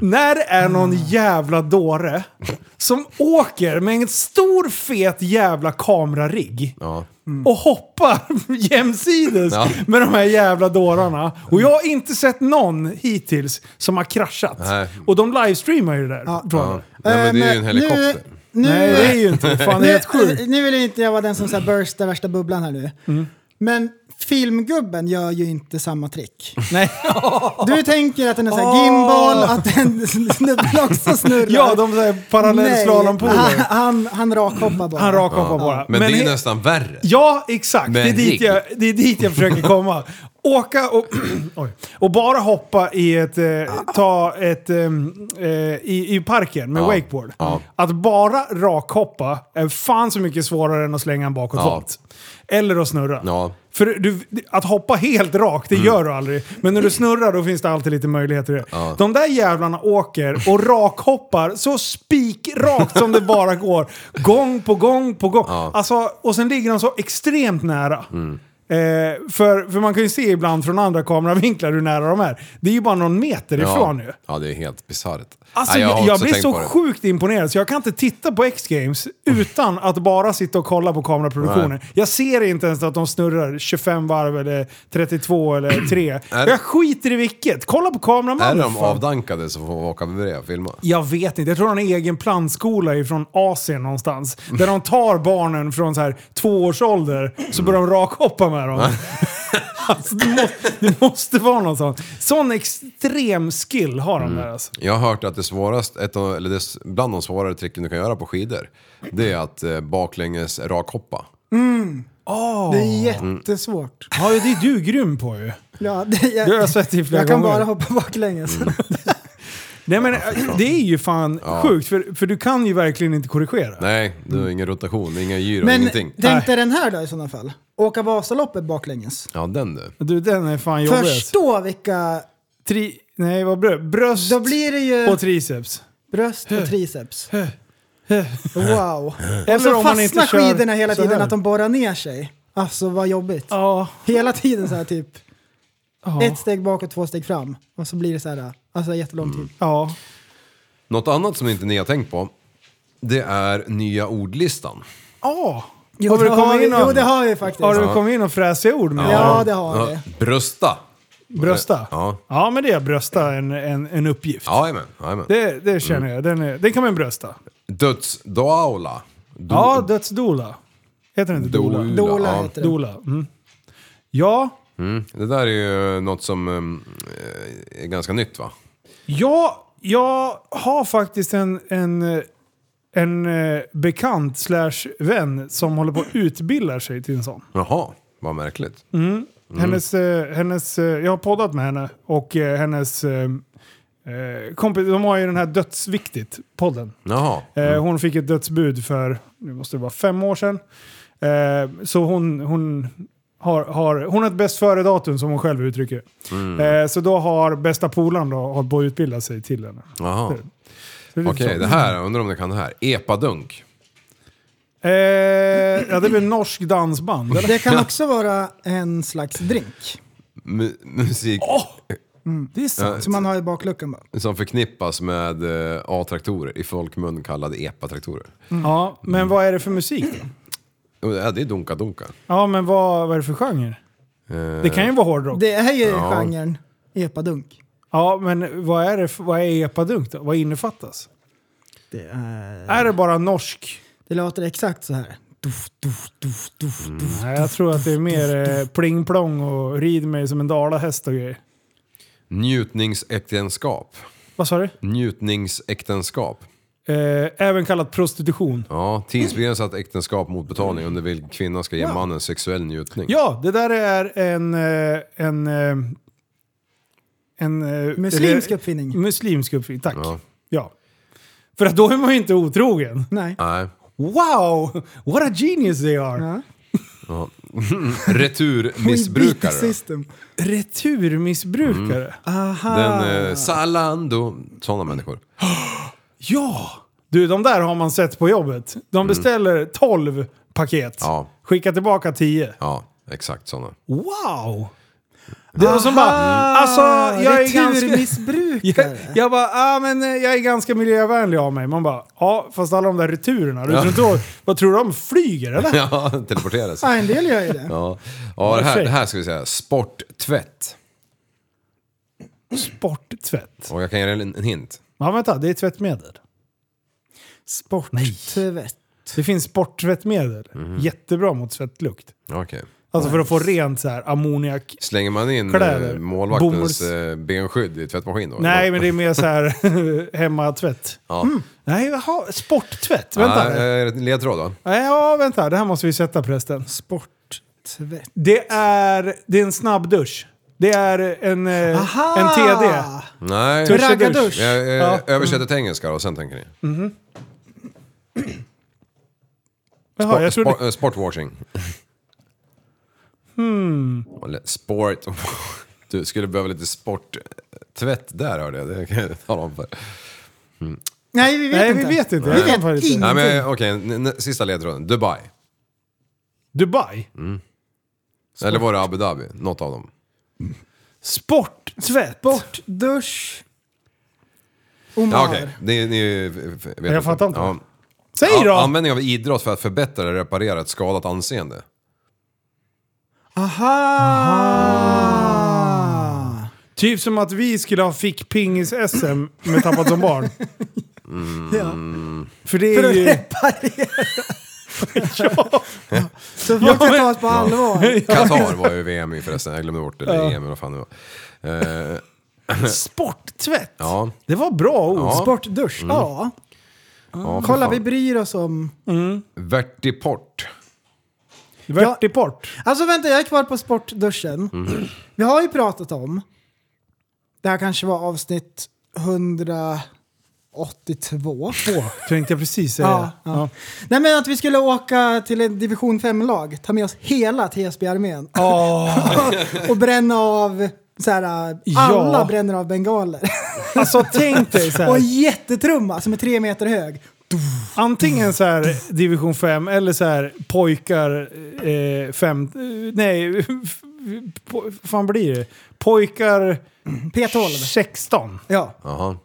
[SPEAKER 3] När det är någon jävla dåre som åker med en stor fet jävla kamerarigg
[SPEAKER 5] Ja.
[SPEAKER 3] och hoppar jämsides
[SPEAKER 5] Ja.
[SPEAKER 3] med de här jävla dårarna. Och jag har inte sett någon hittills som har kraschat.
[SPEAKER 5] Nej.
[SPEAKER 3] Och de livestreamar ju det där. tror jag.
[SPEAKER 5] ja. Nej, men det är ju en
[SPEAKER 4] Eh,
[SPEAKER 5] helikopter.
[SPEAKER 4] Nu, nu,
[SPEAKER 3] Nej, det är ju inte. Fan, det är helt sjukt. Mm.
[SPEAKER 4] nu, nu vill inte jag vara den som så här burstar värsta bubblan här nu. Men filmgubben gör ju inte samma trick.
[SPEAKER 3] Nej.
[SPEAKER 4] Du tänker att den är så här gimbal, att den snubben också snurrar.
[SPEAKER 3] Ja, de där
[SPEAKER 4] Nej,
[SPEAKER 3] parallellslalompolare.
[SPEAKER 4] Han, han rakhoppar bara.
[SPEAKER 3] Han rakhoppar bara.
[SPEAKER 5] Ja. Men, det är
[SPEAKER 3] he-
[SPEAKER 5] ju nästan värre.
[SPEAKER 3] Ja, exakt. Det
[SPEAKER 5] Med
[SPEAKER 3] är,
[SPEAKER 5] en
[SPEAKER 3] dit
[SPEAKER 5] rigg.
[SPEAKER 3] jag, det är dit jag försöker komma. Åka och, oj, och bara hoppa i ett... Eh, ta ett... Eh, eh, i, I parken med
[SPEAKER 5] Ja.
[SPEAKER 3] wakeboard.
[SPEAKER 5] Ja.
[SPEAKER 3] Att bara rakhoppa är fan så mycket svårare än att slänga en bakåtvolt. Eller att snurra.
[SPEAKER 5] Ja. Mm.
[SPEAKER 3] För du, att hoppa helt rakt, det gör du aldrig. Men när du snurrar då finns det alltid lite möjligheter i det. De där jävlarna åker och rakhoppar så spikrakt som det bara går. Gång på gång på gång. Alltså, och sen ligger de så extremt nära.
[SPEAKER 5] Mm.
[SPEAKER 3] Eh, för, för man kan ju se ibland från andra kameravinklar hur nära de är. Det är ju bara någon meter ifrån nu.
[SPEAKER 5] Ja, det är helt bisarrt.
[SPEAKER 3] Alltså,
[SPEAKER 5] Nej, har
[SPEAKER 3] jag, jag
[SPEAKER 5] också
[SPEAKER 3] blir
[SPEAKER 5] tänkt
[SPEAKER 3] så
[SPEAKER 5] på det.
[SPEAKER 3] sjukt imponerad så jag kan inte titta på X-Games utan att bara sitta och kolla på kameraproduktionen.
[SPEAKER 5] Nej.
[SPEAKER 3] Jag ser inte ens att de snurrar 25 varv eller 32 eller 3. jag skiter i vilket. Kolla på
[SPEAKER 5] Är
[SPEAKER 3] kameramannen.
[SPEAKER 5] de
[SPEAKER 3] fan.
[SPEAKER 5] avdankade så får man åka bredvid och filma.
[SPEAKER 3] Jag vet inte. Jag tror de har en egen plantskola ifrån Asien någonstans. Där de tar barnen från så här två års ålder så börjar de rakhoppa med dem. alltså, det, måste, det måste vara någon sån. Sån extrem skill har de där alltså.
[SPEAKER 5] Jag har hört att det svåraste, ett av, eller det, s- bland de svårare tricken du kan göra på skidor, det är att eh, baklänges rakhoppa.
[SPEAKER 4] Det är
[SPEAKER 5] Mm.
[SPEAKER 4] jättesvårt.
[SPEAKER 3] Ja, det är du grym på ju.
[SPEAKER 4] Ja, det, jag,
[SPEAKER 3] Det har jag sett i flera
[SPEAKER 4] jag kan
[SPEAKER 3] gånger.
[SPEAKER 4] bara hoppa baklänges.
[SPEAKER 3] Nej men äh, det är ju fan sjukt, för, för du kan ju verkligen inte korrigera.
[SPEAKER 5] Nej, det är ingen rotation, inga gyro,
[SPEAKER 4] Men
[SPEAKER 5] ingenting.
[SPEAKER 4] tänk dig den här då i sådana fall. Åka Vasaloppet baklänges.
[SPEAKER 5] Ja, den du.
[SPEAKER 3] Du den är fan jobbig. alltså.
[SPEAKER 4] Förstå vilka...
[SPEAKER 3] Tri- nej vad brö- bröst
[SPEAKER 4] Då blir det ju
[SPEAKER 3] och triceps.
[SPEAKER 4] bröst och triceps. Wow. Och
[SPEAKER 3] Eller
[SPEAKER 4] så
[SPEAKER 3] om man inte
[SPEAKER 4] fastnar
[SPEAKER 3] kör
[SPEAKER 4] skidorna Alltså, hela
[SPEAKER 3] så här.
[SPEAKER 4] tiden, att de borrar ner sig. Alltså vad jobbigt.
[SPEAKER 3] Ja.
[SPEAKER 4] Hela tiden så här typ
[SPEAKER 3] Ja.
[SPEAKER 4] ett steg bakåt, två steg fram. Och så blir det så här, alltså jättelång
[SPEAKER 3] Mm.
[SPEAKER 4] tid.
[SPEAKER 3] ja.
[SPEAKER 5] Något annat som inte ni har tänkt på, det är nya ordlistan.
[SPEAKER 3] ja.
[SPEAKER 4] Jo,
[SPEAKER 3] har du
[SPEAKER 4] det har,
[SPEAKER 3] kommit
[SPEAKER 4] vi,
[SPEAKER 3] in
[SPEAKER 4] jo,
[SPEAKER 3] och,
[SPEAKER 4] det har vi faktiskt.
[SPEAKER 3] har du kommit in och fräsiga ord med?
[SPEAKER 4] Ja, det har vi.
[SPEAKER 5] Ja, Brösta.
[SPEAKER 3] Brösta?
[SPEAKER 5] Ja.
[SPEAKER 3] ja, men det är brösta en, en, en uppgift.
[SPEAKER 5] Ja, Mm. jajamän, jajamän.
[SPEAKER 3] Det, det känner jag. Den, är, den kan man brösta.
[SPEAKER 5] Dödsdoula. Do-
[SPEAKER 3] Ja, dödsdola. Heter den inte dola?
[SPEAKER 5] doula,
[SPEAKER 4] Dola
[SPEAKER 5] ja.
[SPEAKER 4] heter det.
[SPEAKER 3] Dola. Mm. Ja,
[SPEAKER 5] Mm. Det där är ju något som eh, är ganska nytt va?
[SPEAKER 3] Ja, jag har faktiskt en, en, eh, en eh, bekant slash vän som håller på att utbilda sig till en sån.
[SPEAKER 5] Jaha, vad märkligt.
[SPEAKER 3] Mm.
[SPEAKER 5] Mm.
[SPEAKER 3] Hennes, eh, hennes, eh, jag har poddat med henne och eh, hennes eh, eh, kompis, de har ju den här Dödsviktigt-podden.
[SPEAKER 5] Jaha.
[SPEAKER 3] Eh, hon fick ett dödsbud för, nu måste det vara fem år sedan. Eh, så hon, hon, har, har, hon har ett bäst före-datum som hon själv uttrycker
[SPEAKER 5] Mm.
[SPEAKER 3] eh, Så då har bästa polaren då hållit på att utbilda sig till henne.
[SPEAKER 5] Jaha.
[SPEAKER 3] Så är lite
[SPEAKER 5] Okej,
[SPEAKER 3] Eh, så.
[SPEAKER 5] det här, undrar om du kan det här. Epadunk.
[SPEAKER 3] Eh, ja, det blir norsk dansband. Eller?
[SPEAKER 4] Det kan också vara en slags drink.
[SPEAKER 5] Mu- musik
[SPEAKER 3] Det är sant.
[SPEAKER 4] Som man har i bakluckan bara.
[SPEAKER 5] som förknippas med eh, A-traktorer, i folkmun kallade epatraktorer.
[SPEAKER 3] Ja, men vad är det för musik då?
[SPEAKER 5] Och, Ja, det är dunka-dunka.
[SPEAKER 3] Ja, men vad, vad är det för genre? Det kan ju vara hårdrock.
[SPEAKER 4] Det är ju genren epadunk.
[SPEAKER 3] Ja, men vad är, det för, vad är epadunk då? Vad innefattas?
[SPEAKER 4] Det, är...
[SPEAKER 3] Är det bara norsk?
[SPEAKER 4] det låter exakt så här.
[SPEAKER 3] Nej, jag tror att det är mer eh, pling-plong och rid mig som en dalahäst och grejer.
[SPEAKER 5] Njutningsäktenskap.
[SPEAKER 3] Vad sa du?
[SPEAKER 5] Njutningsäktenskap.
[SPEAKER 3] Eh, även kallat prostitution.
[SPEAKER 5] Ja, tidsbegränsat äktenskap mot betalning under vilken kvinnan ska ge mannen sexuell njutning.
[SPEAKER 3] Ja, det där är en... eh, en eh, en, eh,
[SPEAKER 4] Muslimsk
[SPEAKER 3] eller-
[SPEAKER 4] uppfinning.
[SPEAKER 3] Muslimsk uppfinning, tack.
[SPEAKER 5] Ja.
[SPEAKER 3] ja. För att då är man ju inte otrogen.
[SPEAKER 4] Nej.
[SPEAKER 5] Nej.
[SPEAKER 3] Wow! What a genius they are!
[SPEAKER 4] Ja.
[SPEAKER 5] Ja.
[SPEAKER 4] We beat the
[SPEAKER 5] Returmissbrukare.
[SPEAKER 4] system. Mm.
[SPEAKER 3] Returmissbrukare. Ah.
[SPEAKER 5] Den eh, Zalando. Sådana människor.
[SPEAKER 3] Ja! Du, de där har man sett på jobbet. De beställer 12 paket.
[SPEAKER 5] Ja.
[SPEAKER 3] Skickar tillbaka 10.
[SPEAKER 5] Ja, exakt sådana.
[SPEAKER 3] Wow! Det var som bara, alltså jag är ganska... Jag,
[SPEAKER 4] Returmissbrukare.
[SPEAKER 3] jag bara, ah, men eh, jag är ganska miljövänlig av mig. Man bara, ja fast alla de där returerna, du tror inte, vad- vad tror du de flyger eller?
[SPEAKER 5] Ja, teleporteras.
[SPEAKER 3] Ah.
[SPEAKER 4] Ja, en del gör ju det.
[SPEAKER 5] Ja, ja det, här,
[SPEAKER 3] Perfekt.
[SPEAKER 5] det här ska vi säga. Sporttvätt.
[SPEAKER 3] Sporttvätt.
[SPEAKER 5] Och jag kan ge dig en, en hint.
[SPEAKER 3] Ja vänta, det är tvättmedel.
[SPEAKER 4] Sporttvätt.
[SPEAKER 3] Det finns sporttvättmedel. Jättebra mot svettlukt.
[SPEAKER 5] Okej.
[SPEAKER 3] Alltså för att få rent så här ammoniak.
[SPEAKER 5] Slänger man in
[SPEAKER 3] Kläder.
[SPEAKER 5] eh, målvaktens
[SPEAKER 3] Bomulls.
[SPEAKER 5] eh, benskydd i tvättmaskin då?
[SPEAKER 3] Nej
[SPEAKER 5] Eller?
[SPEAKER 3] men det är mer så här hemmatvätt. Mm.
[SPEAKER 5] Ja.
[SPEAKER 3] Nej, jaha, sporttvätt. Vänta.
[SPEAKER 5] Nej, är det en ledtråd då?
[SPEAKER 3] Nej, ja, vänta. Det här måste vi sätta prästen.
[SPEAKER 4] Tvätt.
[SPEAKER 3] Det är, det är en snabbdusch. Det är en, eh,
[SPEAKER 4] Aha!
[SPEAKER 3] en TD.
[SPEAKER 5] Nej.
[SPEAKER 3] Dusch är
[SPEAKER 4] Raggardusch.
[SPEAKER 3] dusch.
[SPEAKER 5] Jag, jag
[SPEAKER 3] Ja.
[SPEAKER 5] översätter till engelska då, sen tänker ni.
[SPEAKER 3] Jaha, jag trodde...
[SPEAKER 5] Sport, eh, sportwashing. Hmm. Eller sport... Du skulle behöva lite sporttvätt där hörde jag. Det kan jag tala om för.
[SPEAKER 4] Nej, vi vet
[SPEAKER 3] Nej,
[SPEAKER 4] inte.
[SPEAKER 3] vi vet inte.
[SPEAKER 4] Vi
[SPEAKER 3] Jag
[SPEAKER 4] vet
[SPEAKER 3] kan fan inte.
[SPEAKER 4] ingenting.
[SPEAKER 5] Nej men okej, n- n- sista ledtråden. Dubai.
[SPEAKER 3] Dubai.
[SPEAKER 5] Eller var det Abu Dhabi? Något av dem.
[SPEAKER 3] Sporttvätt. Sport.
[SPEAKER 4] Dusch. Omar.
[SPEAKER 5] Ja, okej. Ni, ni f- vet
[SPEAKER 3] Jag fattar inte.
[SPEAKER 5] Ja.
[SPEAKER 3] Säg då!
[SPEAKER 5] Ja, användning av idrott för att förbättra eller reparera ett skadat anseende.
[SPEAKER 4] Aha!
[SPEAKER 3] Typ som att vi skulle ha fick pingis-SM med Tappat som barn. Mm. För det
[SPEAKER 4] För
[SPEAKER 3] är
[SPEAKER 4] att
[SPEAKER 3] ju...
[SPEAKER 4] reparera. Så folk kan ta oss på allvar.
[SPEAKER 5] Qatar var ju VM i förresten, jag glömde bort det. Eller EM eller vad fan det var. Eh,
[SPEAKER 3] Sporttvätt!
[SPEAKER 5] ja,
[SPEAKER 3] Det var bra ord.
[SPEAKER 5] Ja. Mm.
[SPEAKER 4] Sportdusch. Ja.
[SPEAKER 5] ja för
[SPEAKER 4] Kolla,
[SPEAKER 5] fan.
[SPEAKER 4] vi bryr oss om...
[SPEAKER 5] Vertiport.
[SPEAKER 3] Vertiport.
[SPEAKER 4] Alltså vänta, jag är kvar på sportduschen.
[SPEAKER 3] Mm.
[SPEAKER 4] Vi har ju pratat om, det här kanske var avsnitt 182.
[SPEAKER 3] Två, tänkte jag precis säga.
[SPEAKER 4] Ja, ja. Nej men att vi skulle åka till en division 5-lag, ta med oss hela TSB-armén och bränna av så här, alla
[SPEAKER 3] Ja.
[SPEAKER 4] bränner av bengaler.
[SPEAKER 3] Alltså tänk dig så
[SPEAKER 4] och en
[SPEAKER 3] här.
[SPEAKER 4] jättetrumma som är tre meter hög.
[SPEAKER 3] Antingen så här division 5 eller så här pojkar 5... nej, f- po- vad fan blir det? Pojkar
[SPEAKER 4] P12.
[SPEAKER 3] 16.
[SPEAKER 4] Ja.
[SPEAKER 5] Jaha.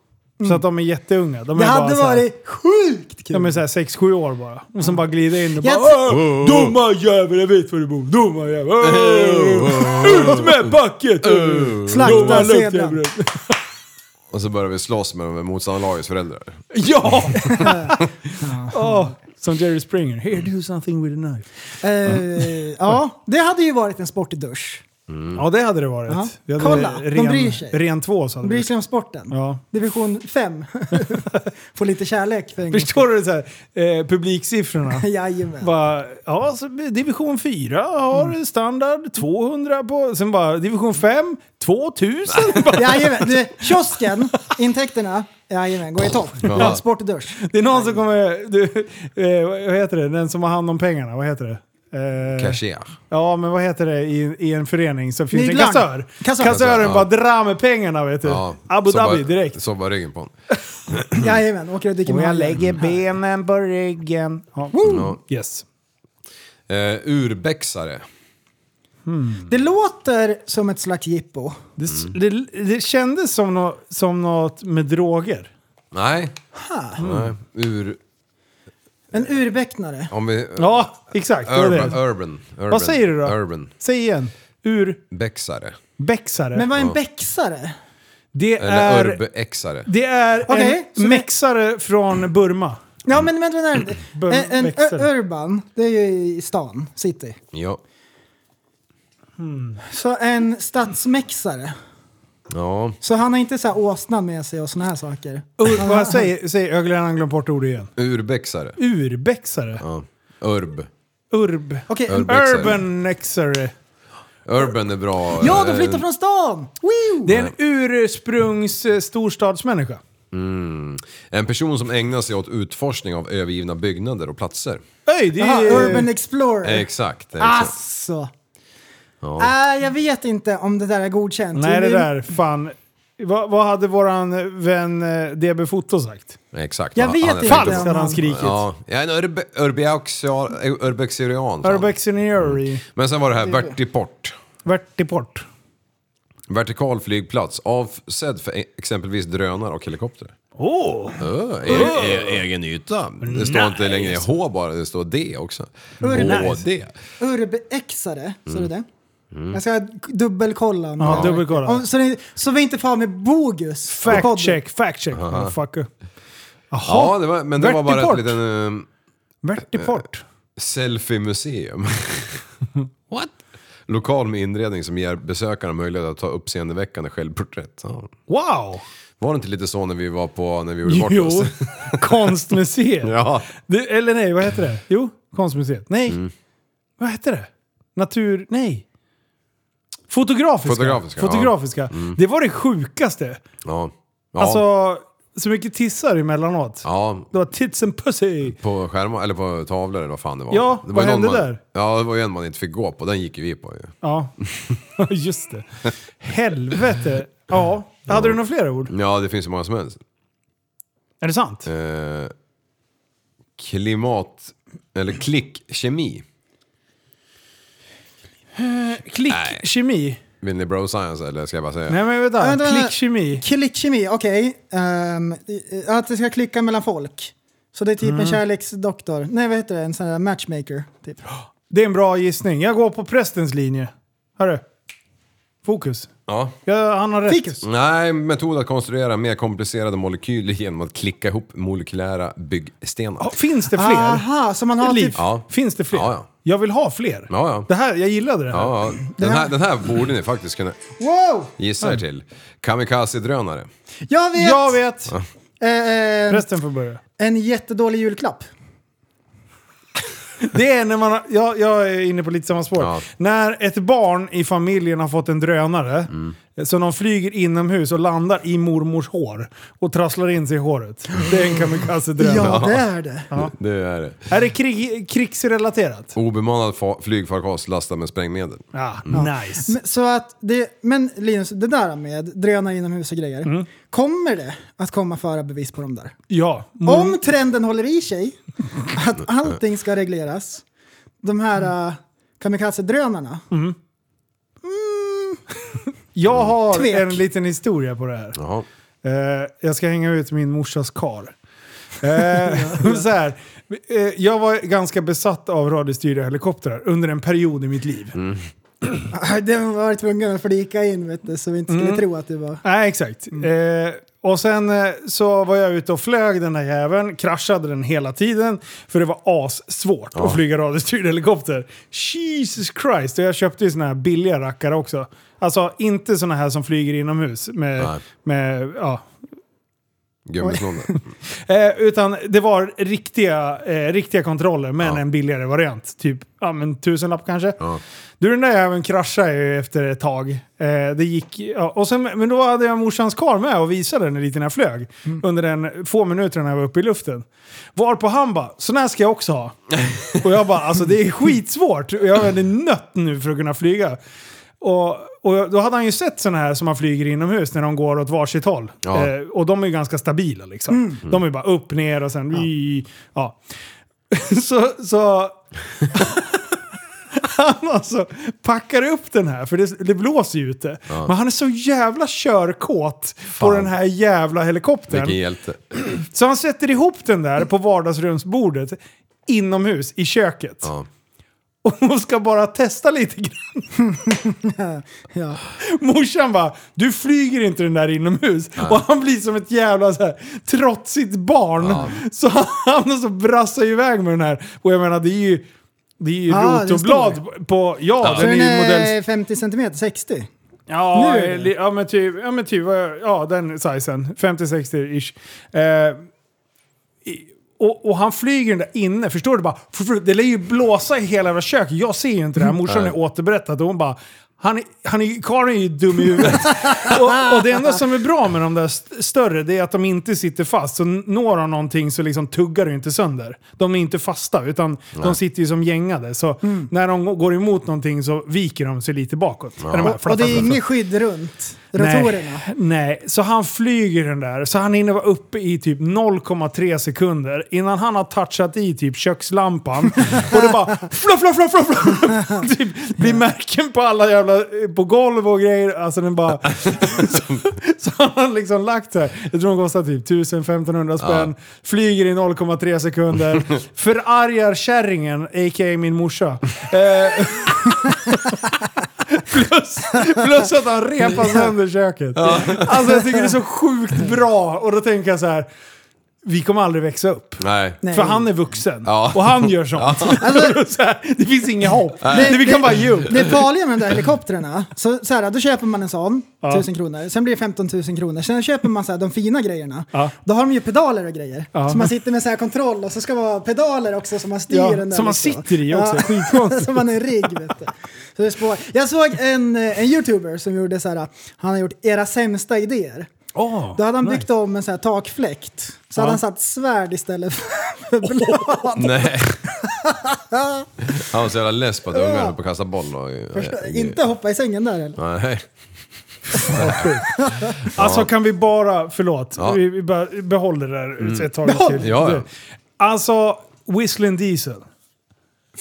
[SPEAKER 3] Så att de är jätteunga. De är
[SPEAKER 4] Mm. Det
[SPEAKER 3] bara
[SPEAKER 4] hade
[SPEAKER 3] så här,
[SPEAKER 4] varit sjukt kul.
[SPEAKER 3] De är såhär 6-7 år bara. Och sen bara glider in och bara
[SPEAKER 4] Jag
[SPEAKER 3] "Åh, Dumma jävel, jag vet var du bor. Dumma jävel. Åh, Ut med packet!
[SPEAKER 4] Slakta
[SPEAKER 3] Dumma lukt,
[SPEAKER 4] zebran.
[SPEAKER 3] jävel."
[SPEAKER 5] Och så började vi slåss med motståndarlagets föräldrar.
[SPEAKER 3] Eh. Ja! Åh, som Jerry Springer. Here, do something with a knife.
[SPEAKER 4] Eh, ja, det hade ju varit en sportdusch.
[SPEAKER 3] Mm. Ja, det hade det varit.
[SPEAKER 4] Ja.
[SPEAKER 3] Vi hade
[SPEAKER 4] Kolla, de
[SPEAKER 3] ren,
[SPEAKER 4] bryr sig.
[SPEAKER 3] Ren tvås hade
[SPEAKER 4] De bryr
[SPEAKER 3] vi.
[SPEAKER 4] sig om sporten.
[SPEAKER 3] Ja.
[SPEAKER 4] Division 5. Får lite kärlek för en gångs
[SPEAKER 3] Förstår du så här, eh, publiksiffrorna?
[SPEAKER 4] skull. Jajamän.
[SPEAKER 3] Bara, ja, så division 4 har
[SPEAKER 4] Mm.
[SPEAKER 3] standard 200 på... Sen bara division 5, 2000. Bara,
[SPEAKER 4] Jajamän. Du, kiosken, intäkterna, jajamän, går i topp.
[SPEAKER 5] Ja.
[SPEAKER 4] Sportdusch.
[SPEAKER 3] det är någon som kommer... Du, eh, vad heter det? Den som har hand om pengarna, vad heter det? Eh,
[SPEAKER 5] Cashier.
[SPEAKER 3] Ja, men vad heter det i, i en förening så finns det en
[SPEAKER 4] Myglan.
[SPEAKER 3] kassör.
[SPEAKER 4] Kassör.
[SPEAKER 3] Kassören
[SPEAKER 5] Ja.
[SPEAKER 3] bara drar med pengarna vet du.
[SPEAKER 5] Ja,
[SPEAKER 3] Eh. Abu
[SPEAKER 5] så
[SPEAKER 3] Dhabi
[SPEAKER 5] bara-
[SPEAKER 3] direkt.
[SPEAKER 5] Så var ryggen på honom.
[SPEAKER 4] Jajamän, åker och dyker
[SPEAKER 3] Och
[SPEAKER 4] med
[SPEAKER 3] jag
[SPEAKER 4] handen.
[SPEAKER 3] lägger benen på ryggen. Ja. Yes.
[SPEAKER 5] Eh, urbexare.
[SPEAKER 4] Det låter som ett slags jippo.
[SPEAKER 3] Det, det, det kändes som, nå- som något med droger.
[SPEAKER 5] Nej. Nej. Ur...
[SPEAKER 4] En urbecknare.
[SPEAKER 5] Om vi...
[SPEAKER 3] Ja, exakt. det var
[SPEAKER 5] Urban,
[SPEAKER 3] det.
[SPEAKER 5] urban, urban.
[SPEAKER 3] Vad säger du då?
[SPEAKER 5] Urban.
[SPEAKER 3] Säg igen.
[SPEAKER 5] Bexare.
[SPEAKER 3] Urbexare.
[SPEAKER 4] Men vad är en bexare?
[SPEAKER 3] det
[SPEAKER 5] Eller
[SPEAKER 3] är,
[SPEAKER 5] urbexare.
[SPEAKER 3] det är
[SPEAKER 4] Okej, så
[SPEAKER 3] en
[SPEAKER 4] det-
[SPEAKER 3] mexare från Burma.
[SPEAKER 4] Ja men vänta, vänta. Eh,
[SPEAKER 3] Bum-
[SPEAKER 4] En, en
[SPEAKER 3] bexare.
[SPEAKER 4] ur- urban, det är ju i stan, city.
[SPEAKER 5] Ja.
[SPEAKER 4] Så en stadsmexare.
[SPEAKER 5] Ja.
[SPEAKER 4] Så han har inte så här åsnan med sig och såna här saker.
[SPEAKER 3] Ur, vad säger, säger, jag glömde glömt bort ordet igen.
[SPEAKER 5] Urbexare.
[SPEAKER 3] Urbexare.
[SPEAKER 5] Ja. Urb.
[SPEAKER 3] Urb.
[SPEAKER 4] Okej, en-
[SPEAKER 5] Urbexare.
[SPEAKER 3] Urbanexare.
[SPEAKER 5] Urban är bra.
[SPEAKER 4] Ja, de
[SPEAKER 5] eh,
[SPEAKER 4] flyttar från stan! Woo!
[SPEAKER 3] Det är en ursprungs eh, storstadsmänniska.
[SPEAKER 5] En person som ägnar sig åt utforskning av övergivna byggnader och platser.
[SPEAKER 3] Öj, det
[SPEAKER 4] Jaha,
[SPEAKER 3] är...
[SPEAKER 4] Urban Explorer.
[SPEAKER 5] Exakt. exakt.
[SPEAKER 4] Alltså. Äh, jag vet inte om det där är godkänt.
[SPEAKER 3] Nej, det
[SPEAKER 4] Vi-
[SPEAKER 3] där fan... Vad, vad hade våran vän eh, DB Foto sagt?
[SPEAKER 5] Exakt.
[SPEAKER 4] Jag
[SPEAKER 5] Han-
[SPEAKER 4] vet
[SPEAKER 5] han är-
[SPEAKER 4] inte.
[SPEAKER 3] Falskt
[SPEAKER 4] om
[SPEAKER 3] hade han
[SPEAKER 4] han-
[SPEAKER 3] skrikit.
[SPEAKER 5] Ja, ja, en urbe, urbexia- urbexirian. sa han.
[SPEAKER 3] Urbexinary.
[SPEAKER 5] Men sen var det här vertiport.
[SPEAKER 3] Vertiport.
[SPEAKER 5] Vertikal flygplats avsedd för e- exempelvis drönare och helikopter.
[SPEAKER 3] Åh!
[SPEAKER 5] Ö, e- e- egen yta. Det står inte längre H bara, det står D också. HD.
[SPEAKER 4] Urbexare, sa du det? Jag ska dubbelkolla. om
[SPEAKER 3] Ja,
[SPEAKER 4] det-
[SPEAKER 3] dubbelkolla.
[SPEAKER 4] om- Så, ni- så vi inte far med bogus. på podden.
[SPEAKER 3] Fact check, fact check. Motherfucker.
[SPEAKER 5] Ja, det var, men det var bara ett
[SPEAKER 3] Vertiport.
[SPEAKER 5] litet eh,
[SPEAKER 3] Vertiport.
[SPEAKER 5] selfie-museum. What? Lokal med inredning som ger besökarna möjlighet att ta uppseendeväckande självporträtt. Ja.
[SPEAKER 3] Wow!
[SPEAKER 5] Var det inte lite så när vi var på, när vi gjorde bort
[SPEAKER 3] Jo,
[SPEAKER 5] oss?
[SPEAKER 3] konstmuseet.
[SPEAKER 5] Ja.
[SPEAKER 3] Det, eller nej, vad heter det? Jo, konstmuseet. Nej.
[SPEAKER 5] Mm.
[SPEAKER 3] Vad heter det? Natur... Nej. Fotografiska.
[SPEAKER 5] Fotografiska, ja.
[SPEAKER 3] Fotografiska. Det var det sjukaste.
[SPEAKER 5] Ja. ja.
[SPEAKER 3] Alltså, så mycket tissar emellanåt.
[SPEAKER 5] ja.
[SPEAKER 3] Det var tits and pussy.
[SPEAKER 5] På skärmar, eller på tavlor eller vad fan det var.
[SPEAKER 3] Ja,
[SPEAKER 5] det var
[SPEAKER 3] vad
[SPEAKER 5] ju någon
[SPEAKER 3] hände
[SPEAKER 5] man,
[SPEAKER 3] där?
[SPEAKER 5] Ja, det var ju en man inte fick gå på. Den gick ju vi på ju.
[SPEAKER 3] Ja, just det. Helvete. Ja. Hade du några fler ord?
[SPEAKER 5] Ja, det finns ju många som helst.
[SPEAKER 3] Är det sant?
[SPEAKER 5] Mm. Eh, klimat... Eller klickkemi.
[SPEAKER 3] Klickkemi.
[SPEAKER 5] Vill ni bro science eller ska jag bara säga?
[SPEAKER 3] Nej men vänta.
[SPEAKER 4] Vänta, vänta.
[SPEAKER 3] Klickkemi.
[SPEAKER 4] Klickkemi, okej. Ehm, eh, att det ska klicka mellan folk. Så det är typ
[SPEAKER 3] Mm.
[SPEAKER 4] en kärleksdoktor. Nej, vad heter det? En sån där matchmaker. Typ.
[SPEAKER 3] Det är en bra gissning. Jag går på prästens linje. Hörru. Fokus.
[SPEAKER 5] Ja.
[SPEAKER 3] Ja, han har rätt.
[SPEAKER 4] Fikus.
[SPEAKER 5] Nej, metod att konstruera mer komplicerade molekyler genom att klicka ihop molekylära byggstenar.
[SPEAKER 3] Ja, finns det fler?
[SPEAKER 4] Aha, så man har
[SPEAKER 3] Liv,
[SPEAKER 4] typ...
[SPEAKER 5] Ja.
[SPEAKER 3] Finns det fler?
[SPEAKER 5] Ja, ja.
[SPEAKER 3] Jag vill ha fler.
[SPEAKER 5] Ja, ja.
[SPEAKER 3] Det här, jag gillade det här.
[SPEAKER 5] Ja, ja. Den, här, den här borde ni faktiskt kunna
[SPEAKER 4] Wow!
[SPEAKER 5] gissa er till. Kamikaze-drönare.
[SPEAKER 4] Jag vet!
[SPEAKER 3] Jag vet!
[SPEAKER 4] Eh, eh,
[SPEAKER 3] Resten får börja.
[SPEAKER 4] en jättedålig julklapp.
[SPEAKER 3] Det är när man har, jag, jag är inne på lite samma spår.
[SPEAKER 5] Ja.
[SPEAKER 3] När ett barn i familjen har fått en drönare,
[SPEAKER 5] Mm.
[SPEAKER 3] så de flyger inomhus och landar i mormors hår och trasslar in sig i håret. Det är en kamikaze-drönare.
[SPEAKER 4] Ja, det är det.
[SPEAKER 5] Det är det.
[SPEAKER 3] Är det krig, krigsrelaterat?
[SPEAKER 5] Obemannad fa- flygfarkost lastad med sprängmedel.
[SPEAKER 3] Ja,
[SPEAKER 4] Mm.
[SPEAKER 3] nice.
[SPEAKER 4] Men, så att det, men Linus, det där med drönare inomhus och grejer.
[SPEAKER 3] Mm.
[SPEAKER 4] Kommer det att komma föra bevis på dem där?
[SPEAKER 3] ja.
[SPEAKER 4] Om trenden håller i sig, att allting ska regleras, de här uh, kamikaze-drönarna,
[SPEAKER 3] Jag har
[SPEAKER 4] Tvek.
[SPEAKER 3] en liten historia på det här.
[SPEAKER 5] Jaha.
[SPEAKER 3] Eh, jag ska hänga ut min morsas kar. Eh, så här, eh, jag var ganska besatt av radiostyrda helikoptrar under en period i mitt liv.
[SPEAKER 4] Ah, Det var jag tvungen att flika in vet du, så vi inte skulle
[SPEAKER 3] Mm.
[SPEAKER 4] tro att det var...
[SPEAKER 3] Nej, exakt. Eh, och sen eh, så var jag ute och flög den där jäveln, kraschade den hela tiden. För det var assvårt att flyga radiostyrd helikopter. Jesus Christ! Och jag köpte ju såna här billiga rackare också. Alltså inte såna här som flyger inomhus med,
[SPEAKER 5] Nej.
[SPEAKER 3] med ja,
[SPEAKER 5] Gummisnoddar.
[SPEAKER 3] Eh, utan det var riktiga, eh, riktiga kontroller, men en billigare variant. Typ ja, men tusenlapp kanske. Du, den där jäveln kraschade ju efter ett tag. Eh, det gick, ja, och sen, men då hade jag morsans kar med och visade den lite när jag flög. Under den få minuterna jag var uppe i luften. Varpå han bara, sån här ska jag också ha. och jag bara, alltså det är skitsvårt. Och jag är nött nu för att kunna flyga. Och, och då hade han ju sett sådana här som man flyger inomhus när de går åt varsitt håll.
[SPEAKER 5] Ja.
[SPEAKER 3] Eh, och de är ju ganska stabila liksom. De är bara upp, ner och sen... Ja. Ja. så... så han alltså packar upp den här, för det, det blåser ju ute. Men han är så jävla körkåt på den här jävla helikoptern.
[SPEAKER 5] Vilken hjälte.
[SPEAKER 3] Så han sätter ihop den där på vardagsrumsbordet inomhus i köket.
[SPEAKER 5] Ja.
[SPEAKER 3] Och hon ska bara testa lite grann.
[SPEAKER 4] Ja.
[SPEAKER 3] Morsan bara, du flyger inte den där inomhus. Och han blir som ett jävla så här, trotsigt barn. Så han alltså brassar iväg med den här. Och jag menar, det är ju, det är ju
[SPEAKER 4] Ja,
[SPEAKER 3] rot
[SPEAKER 4] den
[SPEAKER 3] och
[SPEAKER 4] är
[SPEAKER 3] blad
[SPEAKER 4] stor.
[SPEAKER 3] på... Ja,
[SPEAKER 4] Så
[SPEAKER 3] den är
[SPEAKER 4] den
[SPEAKER 3] ju
[SPEAKER 4] är
[SPEAKER 3] modell...
[SPEAKER 4] 50 eh, centimeter, 60.
[SPEAKER 3] Ja,
[SPEAKER 4] nu är det.
[SPEAKER 3] li- ja, men typ, ja, men typ, vad jag- ja den sizen. 50-60-ish. Eh, i- och, och han flyger den där inne, förstår du? Bara, för- för- det lär ju blåsa i hela jävla köket. Jag ser ju inte det här. Morsan är återberättat och hon bara... Han, är- han är, karln är ju dum i huvudet. och, och det enda som är bra med de där st- större, det är att de inte sitter fast. Så n- når de någonting så liksom tuggar det inte sönder. De är inte fasta, utan de sitter ju som gängade. Så
[SPEAKER 4] Mm.
[SPEAKER 3] när de g- går emot någonting så viker de sig lite bakåt. Är de här
[SPEAKER 4] Och det
[SPEAKER 3] flappande-
[SPEAKER 4] är inget skydd runt rotorerna.
[SPEAKER 3] Nej, nej, så han flyger den där. Så han hinner vara uppe i typ 0,3 sekunder innan han har touchat i typ kökslampan. och det bara fluff, fluff, fluff, fluff, fluff. typ, blir märken på alla jävla... På golv och grejer. Alltså den bara... så, så han har liksom lagt så här. Jag tror den kostar typ 1000-1500 spänn. Flyger i 0,3 sekunder. Förargar kärringen, a.k.a. min morsa. Eh, Plus, plus att han repar sönder köket. Alltså jag tycker det är så sjukt bra. Och då tänker jag så här. Vi kommer aldrig växa upp.
[SPEAKER 5] Nej.
[SPEAKER 4] Nej.
[SPEAKER 3] För han är vuxen.
[SPEAKER 5] Ja.
[SPEAKER 3] Och han gör sånt. Alltså, så här, det finns inget hopp. Det, vi kan bara ge upp.
[SPEAKER 4] Det farliga med de där helikoptrarna, så, så här, då köper man en sån, 1000 kronor, sen blir det 15 000 kronor, sen köper man så här, de fina grejerna.
[SPEAKER 3] Ja.
[SPEAKER 4] Då har de ju pedaler och grejer.
[SPEAKER 3] Ja.
[SPEAKER 4] Så man sitter med så här kontroll och så ska det vara pedaler också som man styr
[SPEAKER 3] Ja,
[SPEAKER 4] den där.
[SPEAKER 3] som man
[SPEAKER 4] liksom.
[SPEAKER 3] sitter i också.
[SPEAKER 4] Ja.
[SPEAKER 3] Skitkonstigt.
[SPEAKER 4] som man är en rigg vet du. Så det är spår. Jag såg en, eh, en youtuber som gjorde så här, han har gjort era sämsta idéer.
[SPEAKER 3] Åh,
[SPEAKER 4] Då hade han
[SPEAKER 3] nice.
[SPEAKER 4] byggt om en så här takfläkt. Så hade han satt svärd istället för blad.
[SPEAKER 5] Nej. Han var så jävla less på att ungarna höll på att kasta boll och...
[SPEAKER 4] Inte hoppa i sängen där eller?
[SPEAKER 5] Nej.
[SPEAKER 3] Alltså kan vi bara, förlåt,
[SPEAKER 5] Ja. Mm.
[SPEAKER 3] vi, vi bara behåller det där ett tag till.
[SPEAKER 5] Ja, ja.
[SPEAKER 3] Alltså, Whistling Diesel.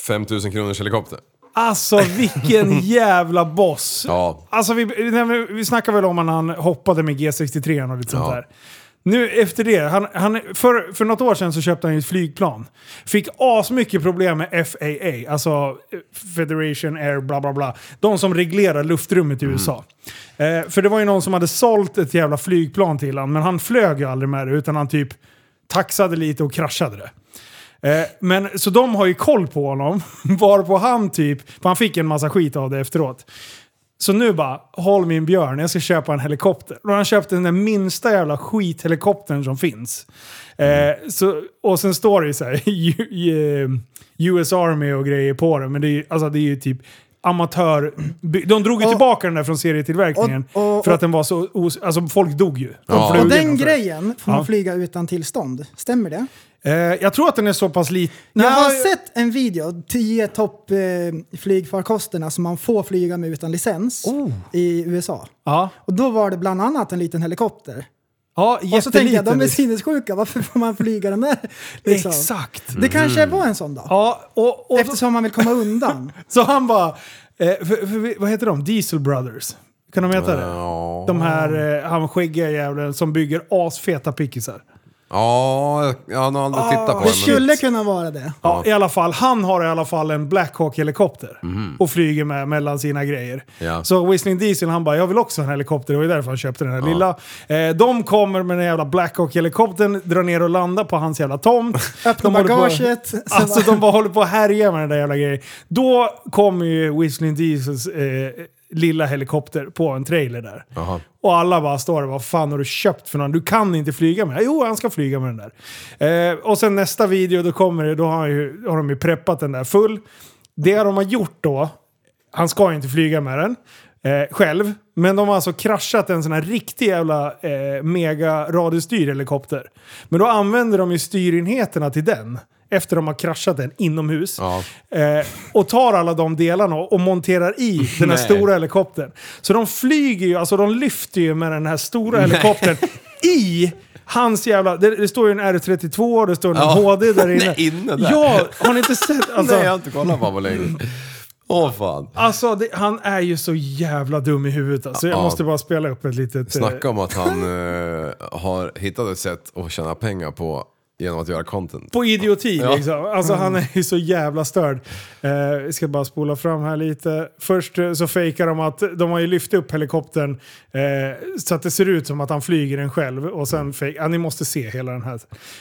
[SPEAKER 5] 5000 kronors helikopter.
[SPEAKER 3] Alltså vilken jävla boss.
[SPEAKER 5] Ja.
[SPEAKER 3] Alltså vi, nej, men vi snackade väl om när han hoppade med G63 och lite sånt
[SPEAKER 5] Ja.
[SPEAKER 3] där. Nu efter det, han, han, för, för något år sedan så köpte han ju ett flygplan. Fick asmycket problem med FAA, alltså Federation Air bla bla bla. De som reglerar luftrummet i USA. Eh, för det var ju någon som hade sålt ett jävla flygplan till han, men han flög ju aldrig med det utan han typ taxade lite och kraschade det. Eh, men, så de har ju koll på honom. Varpå han typ, för han fick en massa skit av det efteråt. Så nu bara, håll min björn, jag ska köpa en helikopter. Och han köpte den där minsta jävla skithelikoptern som finns.
[SPEAKER 4] Mm.
[SPEAKER 3] Eh, så, och sen står det ju så här, ju- ju- US Army och grejer på den. Men det är ju, alltså, det är ju typ amatör... De drog ju
[SPEAKER 4] Och-
[SPEAKER 3] tillbaka den där från serietillverkningen.
[SPEAKER 4] och- och-
[SPEAKER 3] för att den var så... Os, alltså folk dog ju. De
[SPEAKER 5] Ja.
[SPEAKER 3] flög
[SPEAKER 4] Och
[SPEAKER 3] genom
[SPEAKER 4] den
[SPEAKER 3] för-
[SPEAKER 4] grejen får man
[SPEAKER 3] Ja.
[SPEAKER 4] flyga utan tillstånd. Stämmer det?
[SPEAKER 3] Eh, jag tror att den är så pass liten...
[SPEAKER 4] Jag har sett en video, 10 topp eh, flygfarkosterna som man får flyga med utan licens
[SPEAKER 3] Oh.
[SPEAKER 4] i USA.
[SPEAKER 3] Ja.
[SPEAKER 4] Och då var det bland annat en liten helikopter.
[SPEAKER 3] Ja,
[SPEAKER 4] Och så tänkte jag, de är
[SPEAKER 3] liksom.
[SPEAKER 4] sinnessjuka, varför får man flyga den där? Liksom.
[SPEAKER 3] Exakt.
[SPEAKER 4] Det kanske
[SPEAKER 5] Mm.
[SPEAKER 4] var en sån då.
[SPEAKER 3] Ja, och, och
[SPEAKER 4] Eftersom man vill komma undan.
[SPEAKER 3] så han bara... Eh, för, för, vi- vad heter de? Diesel Brothers? Kan de heta det? De här, eh, han skäggiga jävlen som bygger asfeta pickisar.
[SPEAKER 5] Ja, jag har nog aldrig tittat på
[SPEAKER 4] Ah. Det
[SPEAKER 5] den. men-
[SPEAKER 4] skulle kunna vara det.
[SPEAKER 3] Ja, i alla fall. Han har i alla fall en Black Hawk-helikopter och flyger med mellan sina grejer.
[SPEAKER 5] Ja.
[SPEAKER 3] Så Whistling Diesel, han bara “Jag vill också ha en helikopter” det var ju därför han köpte den här lilla. Eh, de kommer med den jävla Black Hawk-helikoptern, drar ner och landar på hans jävla tomt.
[SPEAKER 4] Öppna
[SPEAKER 3] De håller på-
[SPEAKER 4] bagaget. sen
[SPEAKER 3] Alltså
[SPEAKER 4] bara-
[SPEAKER 3] de bara håller på att härja med den där jävla grejen. Då kommer ju Whistling Diesels eh, lilla helikopter på en trailer där.
[SPEAKER 5] Jaha.
[SPEAKER 3] Och alla bara står där, vad fan har du köpt för någon? Du kan inte flyga med den. Jo, han ska flyga med den där. Eh, och sen nästa video, då kommer det, då har, han ju, har de ju preppat den där full. Det de har gjort då, han ska ju inte flyga med den. Eh, själv. Men de har alltså kraschat en sån här riktig jävla eh, mega radiostyrd helikopter. Men då använder de ju styrenheterna till den. Efter de har kraschat den inomhus.
[SPEAKER 5] Ja.
[SPEAKER 3] Eh, och tar alla de delarna och monterar i den här
[SPEAKER 5] Nej.
[SPEAKER 3] stora helikoptern. Så de flyger ju, alltså de lyfter ju med den här stora helikoptern i hans jävla... Det, det står ju en R32, det står en
[SPEAKER 5] Ja.
[SPEAKER 3] HD där inne.
[SPEAKER 5] Nej, inne där.
[SPEAKER 3] Ja, har ni inte sett? Alltså,
[SPEAKER 5] Nej, jag har inte kollat på på länge. Åh fan.
[SPEAKER 3] Alltså, det, han är ju så jävla dum i huvudet. Alltså, jag
[SPEAKER 5] Ja.
[SPEAKER 3] måste bara spela upp ett litet... eh,
[SPEAKER 5] Snacka om att han eh, har hittat ett sätt att tjäna pengar på genom att göra content.
[SPEAKER 3] på idioti
[SPEAKER 5] Ja. Mm.
[SPEAKER 3] liksom. Alltså han är ju så jävla störd. Eh, jag ska bara spola fram här lite. Först eh, så fejkar de att de har ju lyft upp helikoptern eh, så att det ser ut som att han flyger den själv. Och
[SPEAKER 5] Mm.
[SPEAKER 3] sen fejk, ja, ni måste se hela den här.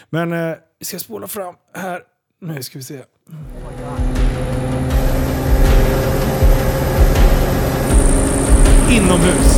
[SPEAKER 3] Men eh, vi ska spola fram här. Nu ska vi se. Inomhus.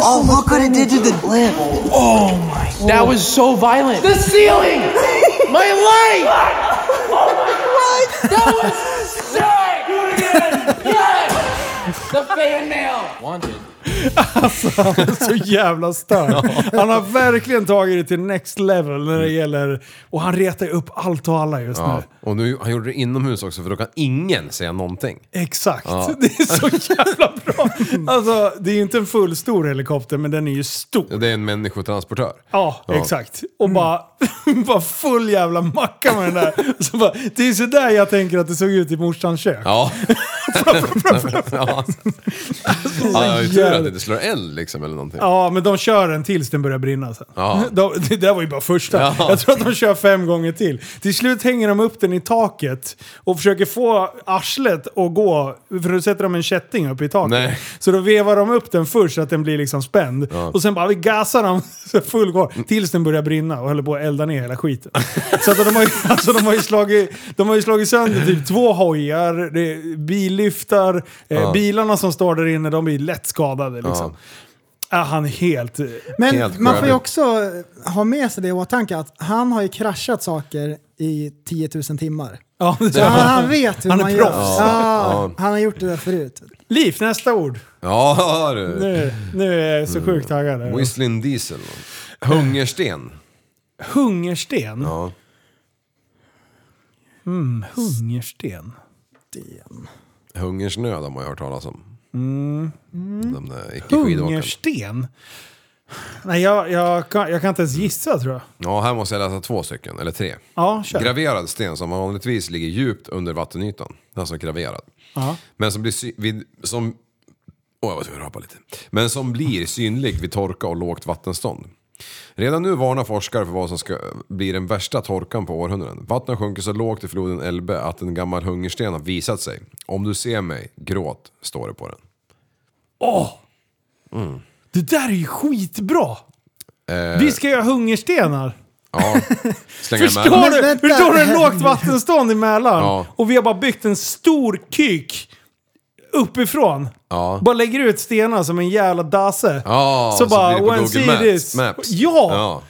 [SPEAKER 8] Oh, look what it did to the lip. Oh my. That was so violent. The ceiling! My light! Right? That was sick! Do it again! Yes! The fan mail! Wanted.
[SPEAKER 3] Så jävla störd. Han har verkligen tagit det till next level när det gäller... Och han retar ju upp allt och alla just
[SPEAKER 5] Ja.
[SPEAKER 3] nu.
[SPEAKER 5] Och nu, han gjorde det inomhus också för då kan ingen säga någonting.
[SPEAKER 3] Exakt. Det är så jävla bra. Alltså, det är ju inte en fullstor helikopter, men den är ju stor.
[SPEAKER 5] Det är en människotransportör.
[SPEAKER 3] Ja, exakt. Och bara, bara full jävla macka med den där. Så bara, det är sådär jag tänker att det såg ut i morsans kök.
[SPEAKER 5] Ja. ja. Ja, jag tror att det inte slår eld liksom eller någonting.
[SPEAKER 3] Ja, men de kör den tills den börjar brinna sen.
[SPEAKER 5] Ja.
[SPEAKER 3] De, det där var ju bara första.
[SPEAKER 5] Ja.
[SPEAKER 3] Jag tror att de kör fem gånger till. Till slut hänger de upp den i taket och försöker få arslet att gå, för då sätter de en kätting upp i taket.
[SPEAKER 5] Nej.
[SPEAKER 3] Så då vevar de upp den först så att den blir liksom spänd. Och sen bara vi gasar de så full gång tills den börjar brinna och håller på att elda ner hela skiten. så att de har ju, alltså, de har ju, slagit, de har ju slagit sönder typ två hojar, det är billyftar, eh, bilarna som står där inne de blir lätt skadade liksom är han helt...
[SPEAKER 4] Men
[SPEAKER 5] Helt
[SPEAKER 4] man får ju
[SPEAKER 5] sjukt.
[SPEAKER 4] också ha med sig det i åtanke att han har ju kraschat saker i 10 000 timmar.
[SPEAKER 3] Ja,
[SPEAKER 4] Så han, han vet hur
[SPEAKER 3] Han är
[SPEAKER 4] man gör.
[SPEAKER 3] proffs.
[SPEAKER 4] Ja, han har gjort det där förut.
[SPEAKER 3] Liv, nästa ord.
[SPEAKER 5] Ja du.
[SPEAKER 3] Nu, nu är jag så sjukt taggad.
[SPEAKER 5] Whistling Diesel. Hungersten.
[SPEAKER 3] Hungersten.
[SPEAKER 5] Ja.
[SPEAKER 3] Mm, hungersten.
[SPEAKER 5] Hungersnöd har man ju hört talas om.
[SPEAKER 3] Mm.
[SPEAKER 5] De där icke-skidåkarna.
[SPEAKER 3] Hungersten? Nej, jag, jag, kan, jag kan inte ens gissa tror jag.
[SPEAKER 5] Ja, här måste jag läsa två stycken, eller tre.
[SPEAKER 3] Ja, kör.
[SPEAKER 5] Graverad sten som vanligtvis ligger djupt under vattenytan. Alltså graverad.
[SPEAKER 3] Ja.
[SPEAKER 5] Men som blir, sy- vid, som, åh, jag var tvungen att rapa lite. Men som blir synlig vid torka och lågt vattenstånd. Redan nu varnar forskare för vad som ska bli den värsta torkan på århundraden. Vattnet sjunker så lågt i floden Elbe att en gammal hungersten har visat sig. Om du ser mig, gråt, står det på den.
[SPEAKER 3] Åh! Det där är ju skitbra! Vi ska göra hungerstenar.
[SPEAKER 5] Ja, slänga
[SPEAKER 3] Förstår du?
[SPEAKER 4] vänta.
[SPEAKER 3] Förstår du? Lågt vattenstånd i Mälaren.
[SPEAKER 5] Ja.
[SPEAKER 3] Och vi har bara byggt en stor kuk uppifrån.
[SPEAKER 5] Ja.
[SPEAKER 3] Bara lägger ut stenar som en jävla dasse.
[SPEAKER 5] Ja,
[SPEAKER 3] så,
[SPEAKER 5] så
[SPEAKER 3] bara,
[SPEAKER 5] blir det på
[SPEAKER 3] when
[SPEAKER 5] Google
[SPEAKER 3] see
[SPEAKER 5] Maps-
[SPEAKER 3] this.
[SPEAKER 5] Maps.
[SPEAKER 3] Ja!
[SPEAKER 5] Ja.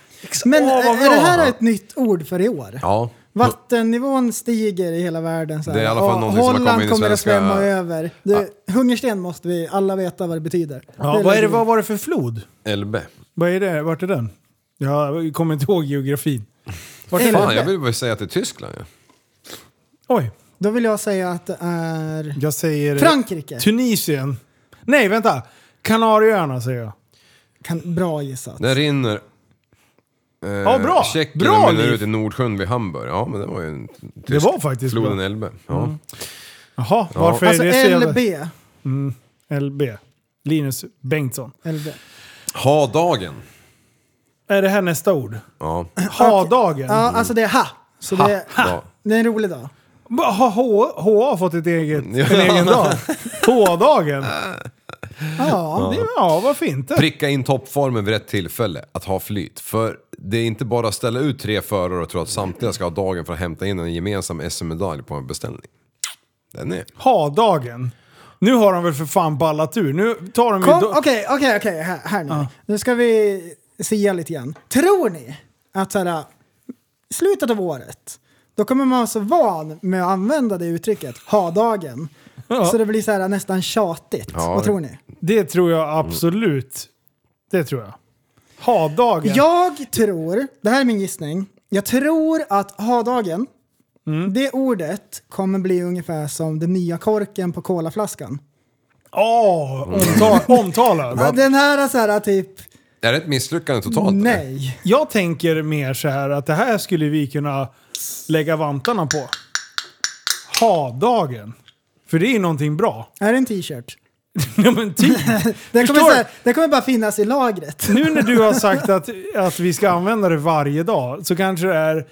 [SPEAKER 4] Men
[SPEAKER 3] Åh, vad
[SPEAKER 4] är
[SPEAKER 3] bra.
[SPEAKER 4] det här ett nytt ord för i år?
[SPEAKER 5] Ja.
[SPEAKER 4] Vattennivån stiger i hela världen. Så här.
[SPEAKER 5] Det är i alla fall
[SPEAKER 4] Ja,
[SPEAKER 5] någonting som har
[SPEAKER 4] Holland
[SPEAKER 5] kommit in i
[SPEAKER 4] kommer att
[SPEAKER 5] svenska-
[SPEAKER 4] svämma över. Du, Hungersten måste vi alla veta vad det betyder.
[SPEAKER 3] Ja, vad, är det, vad var det för flod?
[SPEAKER 5] Elbe.
[SPEAKER 3] Vad är det? Vart är den? Jag kommer inte ihåg geografin. Vart är
[SPEAKER 5] Fan,
[SPEAKER 3] den?
[SPEAKER 5] jag vill bara säga att det är Tyskland ja.
[SPEAKER 3] Oj,
[SPEAKER 4] Då vill jag säga att det är...
[SPEAKER 3] jag säger...
[SPEAKER 4] Frankrike.
[SPEAKER 3] Tunisien. Nej, vänta. Kanarieöarna säger jag.
[SPEAKER 4] Kan, bra gissat.
[SPEAKER 5] Den rinner... Eh,
[SPEAKER 3] Ja, bra.
[SPEAKER 5] Tjeckien
[SPEAKER 3] Bra,
[SPEAKER 5] och mynnar
[SPEAKER 3] Liv.
[SPEAKER 5] ut i Nordsjön vid Hamburg. Ja, men det var ju en tysk
[SPEAKER 3] Det var faktiskt
[SPEAKER 5] floden
[SPEAKER 3] bra. Mm.
[SPEAKER 5] Elbe. Ja.
[SPEAKER 3] Jaha, varför
[SPEAKER 4] Alltså
[SPEAKER 3] är det så jävla-
[SPEAKER 4] LB.
[SPEAKER 3] LB. Linus Bengtsson.
[SPEAKER 4] LB.
[SPEAKER 5] Ha dagen.
[SPEAKER 3] Är det här nästa ord?
[SPEAKER 5] Ja.
[SPEAKER 3] Ha-dagen?
[SPEAKER 4] Ja, alltså det är ha. Så det är,
[SPEAKER 5] Ha.
[SPEAKER 4] det är en rolig dag.
[SPEAKER 3] Ba- Har H- HA fått ett eget,
[SPEAKER 5] Ja.
[SPEAKER 3] en egen dag? H-dagen?
[SPEAKER 4] Ja.
[SPEAKER 3] Det- Ja, varför inte?
[SPEAKER 5] Pricka in toppformen vid rätt tillfälle att ha flyt. För det är inte bara att ställa ut tre förare och tro att samtliga ska ha dagen för att hämta in en gemensam SM-medalj på en beställning. Den är...
[SPEAKER 3] Ha-dagen? Nu har de väl för fan ballat ur. Nu tar de ju...
[SPEAKER 4] Kom,
[SPEAKER 3] do-
[SPEAKER 4] Okej, okej, okej. Här, här nu. Nu ska vi sia lite grann. Tror ni att så här, slutet av året, då kommer man vara så van med att använda det uttrycket, ha-dagen. Så det blir så här, nästan tjatigt.
[SPEAKER 5] Ja.
[SPEAKER 4] Vad tror ni?
[SPEAKER 3] Det tror jag absolut. Det tror jag. Ha-dagen?
[SPEAKER 4] Jag tror, det här är min gissning, jag tror att ha-dagen,
[SPEAKER 3] Mm.
[SPEAKER 4] det ordet kommer bli ungefär som den nya korken på kolaflaskan.
[SPEAKER 3] Åh, omtal-
[SPEAKER 4] Mm.
[SPEAKER 3] omtalad.
[SPEAKER 4] Den här, så här typ,
[SPEAKER 5] Är det ett misslyckande totalt? eller?
[SPEAKER 4] nej.
[SPEAKER 3] Jag tänker mer så här att det här skulle vi kunna lägga vantarna på. Ha-dagen. För det är ju någonting bra.
[SPEAKER 4] Är det en t-shirt?
[SPEAKER 3] Ja men typ.
[SPEAKER 4] Den kommer,
[SPEAKER 3] Förstår
[SPEAKER 4] så
[SPEAKER 3] du?
[SPEAKER 4] här, den kommer bara finnas i lagret.
[SPEAKER 3] Nu när du har sagt att, att vi ska använda det varje dag så kanske det är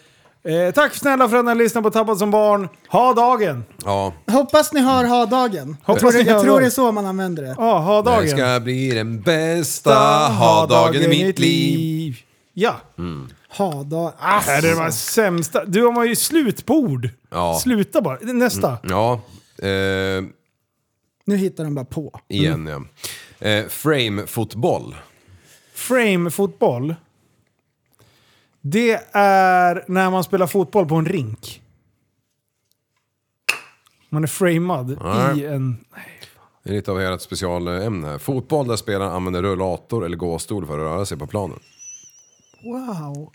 [SPEAKER 3] eh, Tack snälla för att ni har lyssnat på Tappad som barn. Ha dagen!
[SPEAKER 5] Ja.
[SPEAKER 4] Hoppas ni har ha-dagen. Jag
[SPEAKER 3] Hoppas
[SPEAKER 4] tror, det-
[SPEAKER 3] ni har
[SPEAKER 4] jag tror det är
[SPEAKER 3] dagen.
[SPEAKER 4] så man använder det.
[SPEAKER 3] Ja, ha
[SPEAKER 5] Det
[SPEAKER 3] dagen.
[SPEAKER 5] ska bli den bästa ha-dagen i mitt liv. Mm.
[SPEAKER 3] Ja.
[SPEAKER 4] Ha-dag...
[SPEAKER 3] Äh, det var sämsta. Du har ju slut på ord.
[SPEAKER 5] Ja. Mm.
[SPEAKER 3] Sluta bara. Nästa.
[SPEAKER 5] Ja, eh,
[SPEAKER 4] Nu hittar de bara på.
[SPEAKER 3] Mm.
[SPEAKER 5] igen ja. Eh, Frame-fotboll.
[SPEAKER 3] Frame-fotboll. Det är när man spelar fotboll på en rink. Man är framad
[SPEAKER 5] Nej.
[SPEAKER 3] i en...
[SPEAKER 5] Det är lite av ert specialämne här. Fotboll där spelaren använder rullator eller gåstol för att röra sig på planen.
[SPEAKER 3] Wow.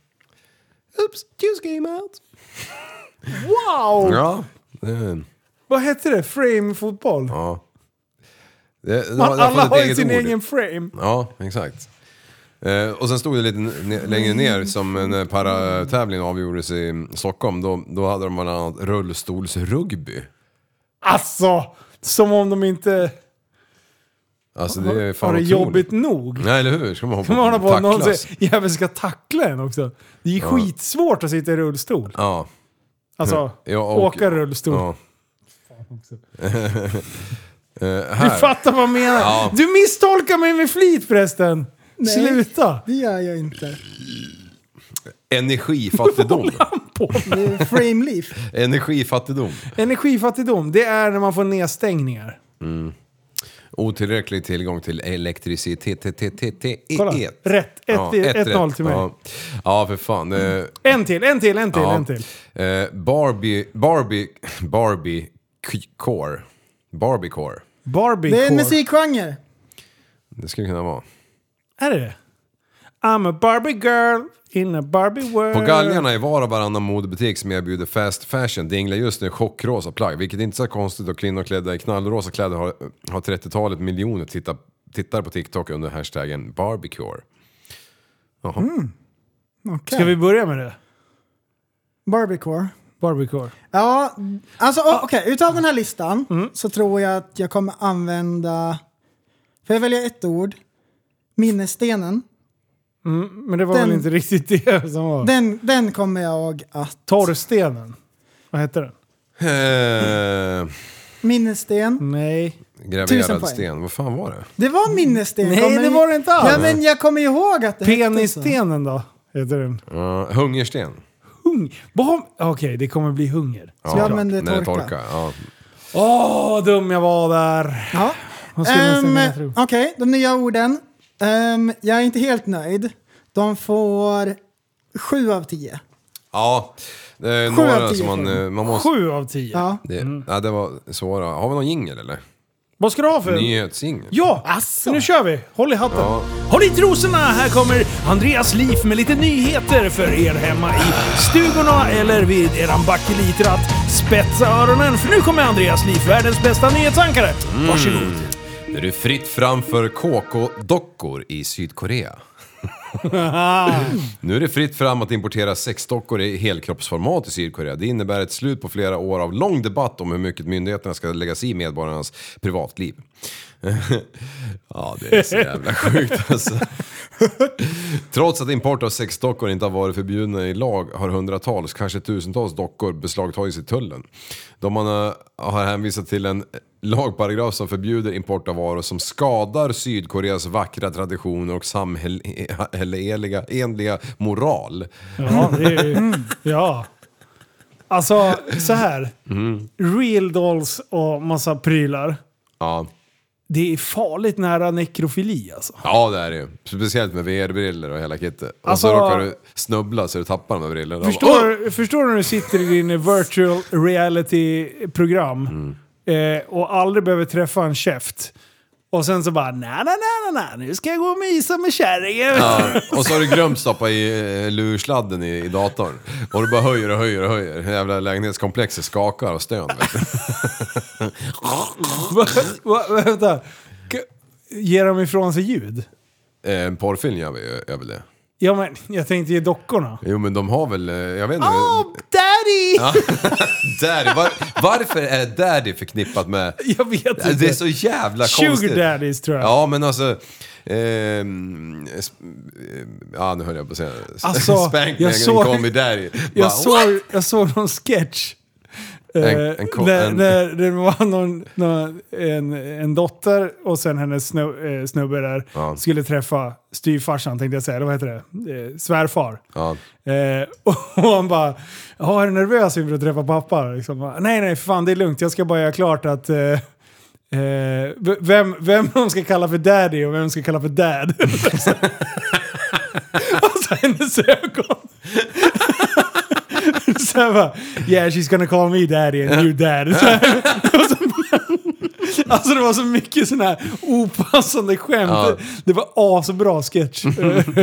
[SPEAKER 5] Oops, juice game out.
[SPEAKER 3] Wow!
[SPEAKER 5] Ja. Det,
[SPEAKER 3] Vad hette det? Frame-fotboll?
[SPEAKER 5] ja. Det, det
[SPEAKER 3] Man,
[SPEAKER 5] har- det har fått
[SPEAKER 3] alla
[SPEAKER 5] ett
[SPEAKER 3] har ju
[SPEAKER 5] eget
[SPEAKER 3] sin
[SPEAKER 5] ord.
[SPEAKER 3] egen frame.
[SPEAKER 5] Ja, exakt. Eh, och sen stod det lite ne- längre ner som när paratävlingen avgjordes i Stockholm. Då, då hade de bland annat rullstolsrugby.
[SPEAKER 3] Alltså! Som om de inte
[SPEAKER 5] Alltså det är fan
[SPEAKER 3] har det
[SPEAKER 5] otroligt.
[SPEAKER 3] jobbigt nog.
[SPEAKER 5] Nej eller hur? Ska man hoppa
[SPEAKER 3] Som man har på att någon
[SPEAKER 5] tacklas?
[SPEAKER 3] säger, jäveln ska tackla en också. Det är ju skitsvårt att sitta i rullstol.
[SPEAKER 5] Ja.
[SPEAKER 3] Alltså,
[SPEAKER 5] Ja, och-
[SPEAKER 3] åka rullstol.
[SPEAKER 5] ja. Eh,
[SPEAKER 3] Du
[SPEAKER 5] här.
[SPEAKER 3] fattar vad jag menar.
[SPEAKER 5] Ja.
[SPEAKER 3] Du misstolkar mig med flit förresten. Sluta!
[SPEAKER 4] Det gör jag inte.
[SPEAKER 5] Energifattigdom.
[SPEAKER 4] Det är frame leaf.
[SPEAKER 5] Energifattigdom.
[SPEAKER 3] Energifattigdom, det är när man får nedstängningar.
[SPEAKER 5] Otillräcklig tillgång till elektricitet. T- t- t- t- e-
[SPEAKER 3] Kolla.
[SPEAKER 5] et.
[SPEAKER 3] Rätt.
[SPEAKER 5] Ja,
[SPEAKER 3] 1-0
[SPEAKER 5] ett rätt.
[SPEAKER 3] till mig.
[SPEAKER 5] Ja. ja, för fan. Eh,
[SPEAKER 3] En till, en till, en till,
[SPEAKER 5] Ja.
[SPEAKER 3] en till.
[SPEAKER 5] Eh, Barbie... Barbie... Barbie... k- Core. Barbie Core.
[SPEAKER 3] Barbie
[SPEAKER 4] Det är en
[SPEAKER 3] core.
[SPEAKER 4] musikgenre.
[SPEAKER 5] Det skulle kunna vara.
[SPEAKER 3] Är det det? I'm a Barbie girl in a Barbie world.
[SPEAKER 5] På galgarna i var och varannan modebutik som erbjuder fast fashion dinglar just nu chockrosa plagg. Vilket är inte så konstigt då kvinnor klädda i knallrosa kläder har, har 30-talet miljoner titta, tittar på TikTok under hashtaggen Barbiecore. Jaha.
[SPEAKER 4] Okej.
[SPEAKER 3] Ska vi börja med det?
[SPEAKER 4] Barbiecore.
[SPEAKER 3] Barbiecore.
[SPEAKER 4] Ja, alltså o- okej. Utav den här listan
[SPEAKER 3] Mm.
[SPEAKER 4] så tror jag att jag kommer använda... Får jag välja ett ord? Minnesstenen.
[SPEAKER 3] Men det var
[SPEAKER 4] Den-
[SPEAKER 3] väl inte riktigt det som var...
[SPEAKER 4] Den, den kommer jag att...
[SPEAKER 3] Torrstenen. Vad hette den?
[SPEAKER 5] Eh,
[SPEAKER 4] Minnessten.
[SPEAKER 3] Nej.
[SPEAKER 4] Tusen
[SPEAKER 5] graverad
[SPEAKER 4] poäng.
[SPEAKER 5] sten, vad fan var det?
[SPEAKER 4] Det var minnessten.
[SPEAKER 3] Nej,
[SPEAKER 4] kommer
[SPEAKER 3] det
[SPEAKER 4] ju-
[SPEAKER 3] var det inte alls.
[SPEAKER 4] Ja, men jag kommer ihåg att det hette så.
[SPEAKER 3] Penisstenen då? Heter den.
[SPEAKER 5] Eh, hungersten.
[SPEAKER 3] Hung... Vad- Okej, det kommer bli hunger.
[SPEAKER 4] Ja,
[SPEAKER 3] såklart.
[SPEAKER 4] men det
[SPEAKER 5] när det
[SPEAKER 4] torkar.
[SPEAKER 5] torkar. Ja.
[SPEAKER 3] Åh, vad dum jag var där.
[SPEAKER 4] Ja.
[SPEAKER 3] Vad skulle man kunna
[SPEAKER 4] Ehm,
[SPEAKER 3] tro?
[SPEAKER 4] Okej, de nya orden. Ehm, jag är inte helt nöjd. De får sju av tio.
[SPEAKER 5] ja. Det är
[SPEAKER 4] Sju
[SPEAKER 5] några
[SPEAKER 4] av tio
[SPEAKER 5] som man,
[SPEAKER 4] poäng.
[SPEAKER 5] eh, man måste...
[SPEAKER 3] Sju av tio.
[SPEAKER 4] Ja.
[SPEAKER 5] Det, ja, det var svåra. Har vi någon jingel eller?
[SPEAKER 3] Vad ska du ha för?
[SPEAKER 4] Mm.
[SPEAKER 5] Nyhetsjingel?
[SPEAKER 3] Ja, så nu kör vi. Håll i hatten. Håll i trosorna, här kommer Andreas Liv med lite nyheter för er hemma i stugorna eller vid eran bakelitratt. Spetsa öronen, för nu kommer Andreas Liv, världens bästa nyhetsankare. Varsågod.
[SPEAKER 5] Nu är det fritt fram för KK-dockor i Sydkorea. nu är det fritt fram att importera sexdockor i helkroppsformat i Sydkorea. Det innebär ett slut på flera år av lång debatt om hur mycket myndigheterna ska lägga sig i medborgarnas privatliv. ja, det är så jävla sjukt alltså. Trots att import av sexdockor inte har varit förbjudna i lag har hundratals, kanske tusentals dockor beslagtagits i tullen. De man eh, har hänvisat till en lagparagraf som förbjuder import av varor som skadar Sydkoreas vackra traditioner och samhälleliga enliga moral.
[SPEAKER 3] Ja, det är ju... Mm. Ja. Alltså, så här. Real dolls och massa prylar.
[SPEAKER 5] Ja,
[SPEAKER 3] Det är farligt nära nekrofili alltså.
[SPEAKER 5] ja det är det ju. Speciellt med VR-briller och hela kittet. Och så
[SPEAKER 3] Alltså-
[SPEAKER 5] råkar du snubbla så du tappar de där brillorna.
[SPEAKER 3] Förstår, förstår du när du sitter i din virtual reality-program
[SPEAKER 5] Mm.
[SPEAKER 3] eh, och aldrig behöver träffa en käft. Och sen så bara na na na na na nu ska jag gå och mysa med kärringen.
[SPEAKER 5] Ja, och så har du glömt stoppa i eh, lursladden i, i datorn. Och du bara höjer och höjer och höjer. Det Jävla lägenhetskomplexet skakar och stön. vet du.
[SPEAKER 3] Va, va, vänta. K- Ger de ifrån sig ljud?
[SPEAKER 5] Eh, En porrfilm gör vi ju- gör väl det?
[SPEAKER 3] Ja men jag tänkte ge dockorna.
[SPEAKER 5] Jo men de har väl, eh, jag vet inte.
[SPEAKER 3] Oh, daddy!
[SPEAKER 5] Daddy, var, varför är daddy förknippat med...
[SPEAKER 3] Jag vet inte.
[SPEAKER 5] Det är så jävla
[SPEAKER 3] Sugar
[SPEAKER 5] konstigt.
[SPEAKER 3] daddies, tror jag.
[SPEAKER 5] Ja men alltså... ehm, s- ehm, ja nu höll jag på att säga...
[SPEAKER 3] Alltså,
[SPEAKER 5] Spankningen
[SPEAKER 3] jag såg-
[SPEAKER 5] kom i daddy. Bara,
[SPEAKER 3] Jag, såg, jag såg någon sketch. Eh,
[SPEAKER 5] En- en ko-
[SPEAKER 3] där,
[SPEAKER 5] en-
[SPEAKER 3] där det var någon, någon, en, en dotter och sen hennes snu, eh, snubbe där
[SPEAKER 5] Ja.
[SPEAKER 3] skulle träffa styvfarsan tänkte jag säga, eller vad heter det? Eh, svärfar.
[SPEAKER 5] Ja.
[SPEAKER 3] Eh, och, och han bara, "Ja, är du nervös inför att träffa pappa? Liksom, bara, nej nej för fan det är lugnt, jag ska bara göra klart att eh, eh, v- vem, vem hon ska kalla för daddy och vem hon ska kalla för dad. alltså hennes ögon. så här bara, yeah she's gonna call me daddy and you dad. Så här. Och så Alltså det var så mycket sådana här opassande skämt.
[SPEAKER 5] Ja.
[SPEAKER 3] Det var asbra sketch.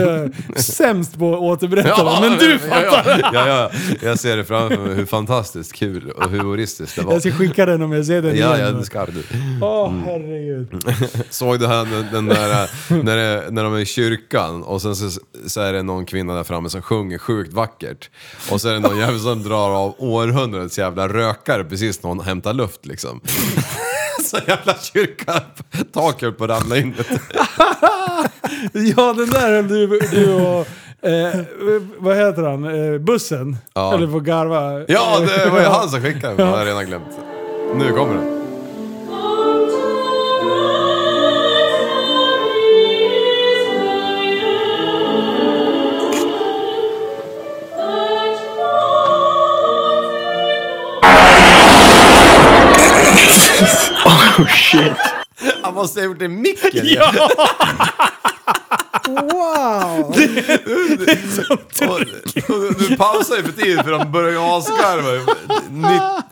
[SPEAKER 3] Sämst på att återberätta
[SPEAKER 5] Ja,
[SPEAKER 3] men du fattar.
[SPEAKER 5] Ja, ja, ja, ja. Jag ser det framför mig, hur fantastiskt kul och humoristiskt det var.
[SPEAKER 3] Jag ska skicka den om jag ser den
[SPEAKER 5] Ja, ja,
[SPEAKER 3] igen.
[SPEAKER 5] det ska Mm. du.
[SPEAKER 3] Åh herregud.
[SPEAKER 5] Såg du här den, den där, äh, när, det, när de är i kyrkan och sen så, så är det någon kvinna där framme som sjunger sjukt vackert. Och så är det någon jävel som drar av århundradets jävla rökare precis när hon hämtar luft liksom. så jävla kyrka, tak höll på att ramla in.
[SPEAKER 3] Ja den där höll du, du och... Eh, vad heter han? Eh, bussen?
[SPEAKER 5] Ja.
[SPEAKER 3] Eller på garva.
[SPEAKER 5] Ja, det var ju han som skickade den, men jag har redan glömt. Nu kommer den. Han måste ha gjort det i micken! Oh, Ja.
[SPEAKER 4] Wow!
[SPEAKER 5] Och, och du pausar ju för tidigt för de börjar ju asgarva. Ni-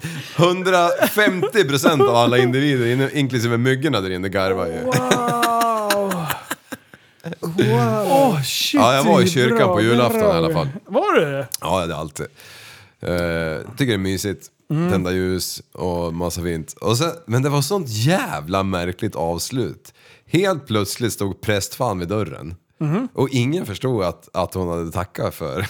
[SPEAKER 5] 150 procent av alla individer, in- inklusive myggorna där inne, garvar ju.
[SPEAKER 3] Åh shit,
[SPEAKER 5] Ja, jag var i
[SPEAKER 3] det är
[SPEAKER 5] kyrkan
[SPEAKER 3] bra,
[SPEAKER 5] på
[SPEAKER 3] det är
[SPEAKER 5] julafton
[SPEAKER 3] bra.
[SPEAKER 5] i alla fall.
[SPEAKER 3] Var du
[SPEAKER 5] Ja, det är alltid. Eh, tycker det är mysigt. Tända ljus och massa fint. Och sen, men det var sånt jävla märkligt avslut. Helt plötsligt stod prästfan vid dörren. Och ingen förstod att, att hon hade tackat för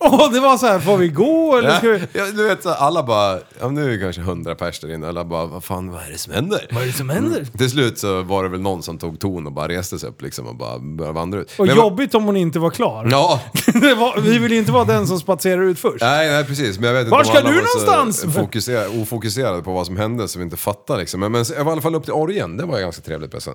[SPEAKER 3] Åh det var så här, får vi gå eller ska vi...
[SPEAKER 5] Ja, du vet, så alla bara, ja, nu är det kanske hundra pers där inne, alla bara, vad fan, vad är det som händer? Mm.
[SPEAKER 3] Vad är det som händer?
[SPEAKER 5] Till slut så var det väl någon som tog ton och bara reste sig upp liksom och bara började vandra ut.
[SPEAKER 3] Och
[SPEAKER 5] Men-
[SPEAKER 3] jobbigt om hon inte var klar.
[SPEAKER 5] Ja,
[SPEAKER 3] Det var, vi vill ju inte vara den som spatserar ut först.
[SPEAKER 5] nej, nej precis. Men jag vet inte
[SPEAKER 3] Var
[SPEAKER 5] om
[SPEAKER 3] ska
[SPEAKER 5] alla
[SPEAKER 3] du
[SPEAKER 5] var så
[SPEAKER 3] någonstans?
[SPEAKER 5] Fokuserade, ofokuserade på vad som hände så vi inte fattade liksom. Men, men jag var i alla fall upp till orgen, det var ju ganska trevligt pressen.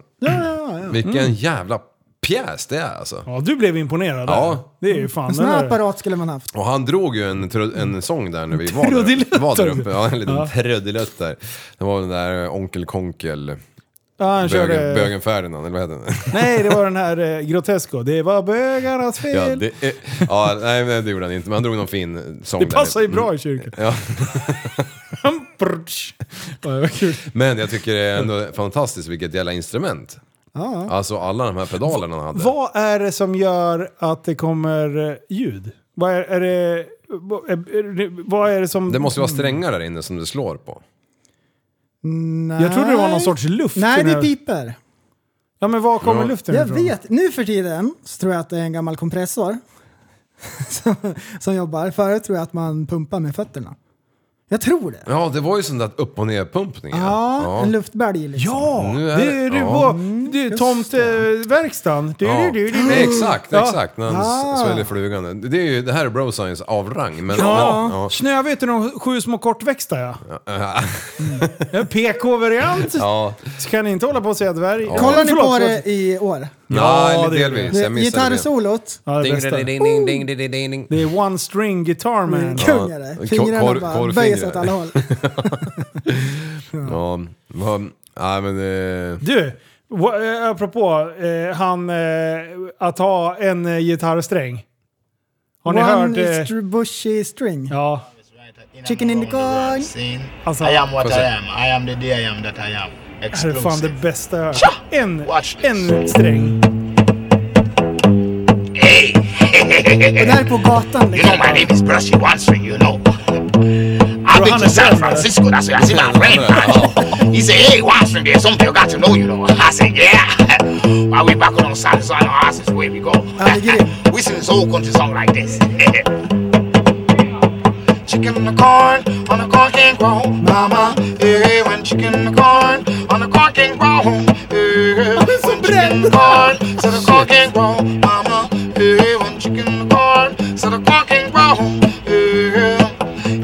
[SPEAKER 5] Vilken
[SPEAKER 3] Mm.
[SPEAKER 5] jävla pjäs det är alltså.
[SPEAKER 3] Ja, du blev imponerad.
[SPEAKER 5] Ja.
[SPEAKER 3] där. Det är ju fan...
[SPEAKER 4] En sån
[SPEAKER 3] den
[SPEAKER 4] här
[SPEAKER 3] där-
[SPEAKER 4] apparat skulle man haft.
[SPEAKER 5] Och han drog ju en, tru- en sång där när vi var
[SPEAKER 3] Trudelutt,
[SPEAKER 5] där, var där
[SPEAKER 3] alltså.
[SPEAKER 5] uppe. Ja, en liten trudelutt där. Det var den där Onkel Konkel...
[SPEAKER 3] Ja, han körde...
[SPEAKER 5] Bögen, bögen Ferdinand, eller vad heter den?
[SPEAKER 3] Nej, det var den här eh, Grotesco. Det var bögarnas fel.
[SPEAKER 5] ja,
[SPEAKER 3] det
[SPEAKER 5] det, är- ja, nej men det gjorde han inte, men han drog någon fin sång där.
[SPEAKER 3] passar ju bra i kyrkan.
[SPEAKER 5] Ja.
[SPEAKER 3] Brutsch. ja, det var kul.
[SPEAKER 5] Men jag tycker det är ändå fantastiskt vilket jävla instrument. Alltså alla de här pedalerna han hade.
[SPEAKER 3] Vad är det som gör att det kommer eh, ljud? Vad är, är det... vad är- är det- Vad är det som...
[SPEAKER 5] Det måste ju vara strängar där inne som du slår på.
[SPEAKER 4] Nej.
[SPEAKER 3] Jag trodde det var någon sorts luft. i
[SPEAKER 4] Nej,
[SPEAKER 3] den
[SPEAKER 4] det är
[SPEAKER 3] här-
[SPEAKER 4] piper.
[SPEAKER 3] Ja, men var kommer luften
[SPEAKER 4] Jag
[SPEAKER 3] ifrån?
[SPEAKER 4] vet. Nu för tiden så tror jag att det är en gammal kompressor som, som jobbar. Förut tror jag att man pumpar med fötterna. Jag tror det.
[SPEAKER 5] Ja, det var ju sån där upp och ner-pumpning.
[SPEAKER 4] Ja, en luftberg liksom.
[SPEAKER 3] Ja!
[SPEAKER 5] Nu är
[SPEAKER 3] det är
[SPEAKER 5] det-
[SPEAKER 3] du
[SPEAKER 5] ja.
[SPEAKER 3] på det är tomteverkstan. Du,
[SPEAKER 5] Ja.
[SPEAKER 3] du, du, du, du.
[SPEAKER 5] Exakt,
[SPEAKER 3] Ja.
[SPEAKER 5] exakt. När han
[SPEAKER 4] Ah.
[SPEAKER 5] s- sväljer flugan. Det, är ju, det här är bro science av rang. Men,
[SPEAKER 3] Ja,
[SPEAKER 5] men, ja.
[SPEAKER 3] Snövit är de sju små kortväxta ja. En PK-variant.
[SPEAKER 5] Ja.
[SPEAKER 3] Så kan ni inte hålla på och säga dvärg. Ja.
[SPEAKER 4] Kollar ni
[SPEAKER 3] förlåt,
[SPEAKER 4] på
[SPEAKER 3] förlåt.
[SPEAKER 4] det i år?
[SPEAKER 5] Ja,
[SPEAKER 3] det-
[SPEAKER 5] delvis. Jag missade det.
[SPEAKER 4] Gitarrsolot.
[SPEAKER 3] Ja, det,
[SPEAKER 5] Ding,
[SPEAKER 3] bästa.
[SPEAKER 5] ding, ding, ding, ding, ding, ding.
[SPEAKER 3] det är One String Guitar Man.
[SPEAKER 5] Ja.
[SPEAKER 4] Kung är det.
[SPEAKER 5] Kor-
[SPEAKER 4] Fingrarna
[SPEAKER 5] kor-
[SPEAKER 4] bara
[SPEAKER 5] korfingrar.
[SPEAKER 4] böjer sig åt alla håll.
[SPEAKER 5] Ja, vad- nej men eh, det...
[SPEAKER 3] Du, wa- eh, apropå eh, han, eh, att ha en eh, gitarrsträng. Har ni
[SPEAKER 4] One
[SPEAKER 3] hört? Eh,
[SPEAKER 4] str- bushy string.
[SPEAKER 3] ja,
[SPEAKER 4] Chicken in the corn.
[SPEAKER 3] alltså.
[SPEAKER 9] I am what
[SPEAKER 5] Pussy.
[SPEAKER 9] I am. I am the day I am that I am.
[SPEAKER 3] Det här är fan det
[SPEAKER 9] Exclusive.
[SPEAKER 3] bästa jag hört. En,
[SPEAKER 9] Watch this.
[SPEAKER 3] en sträng.
[SPEAKER 4] Och där på gatan
[SPEAKER 9] You know
[SPEAKER 4] liksom.
[SPEAKER 9] my name is Brushy Watson, you know. I've been to
[SPEAKER 3] Johannes
[SPEAKER 9] San
[SPEAKER 3] Römer.
[SPEAKER 9] Francisco, that's where I see my friend man. He said, hey Watson, there's something you got to know, you know. I said, yeah. While we back on San San asses where we go.
[SPEAKER 4] I get it.
[SPEAKER 9] we sing this whole country song like this. Chicken on the corn, on the corn can grow, mama. Hey, when chicken on the corn, on the corn can grow. Hey,
[SPEAKER 4] I'm so
[SPEAKER 9] when chicken on the
[SPEAKER 4] brave.
[SPEAKER 9] corn, so the corn can grow, mama. Hey, when chicken on the corn, so the corn can grow. Hey,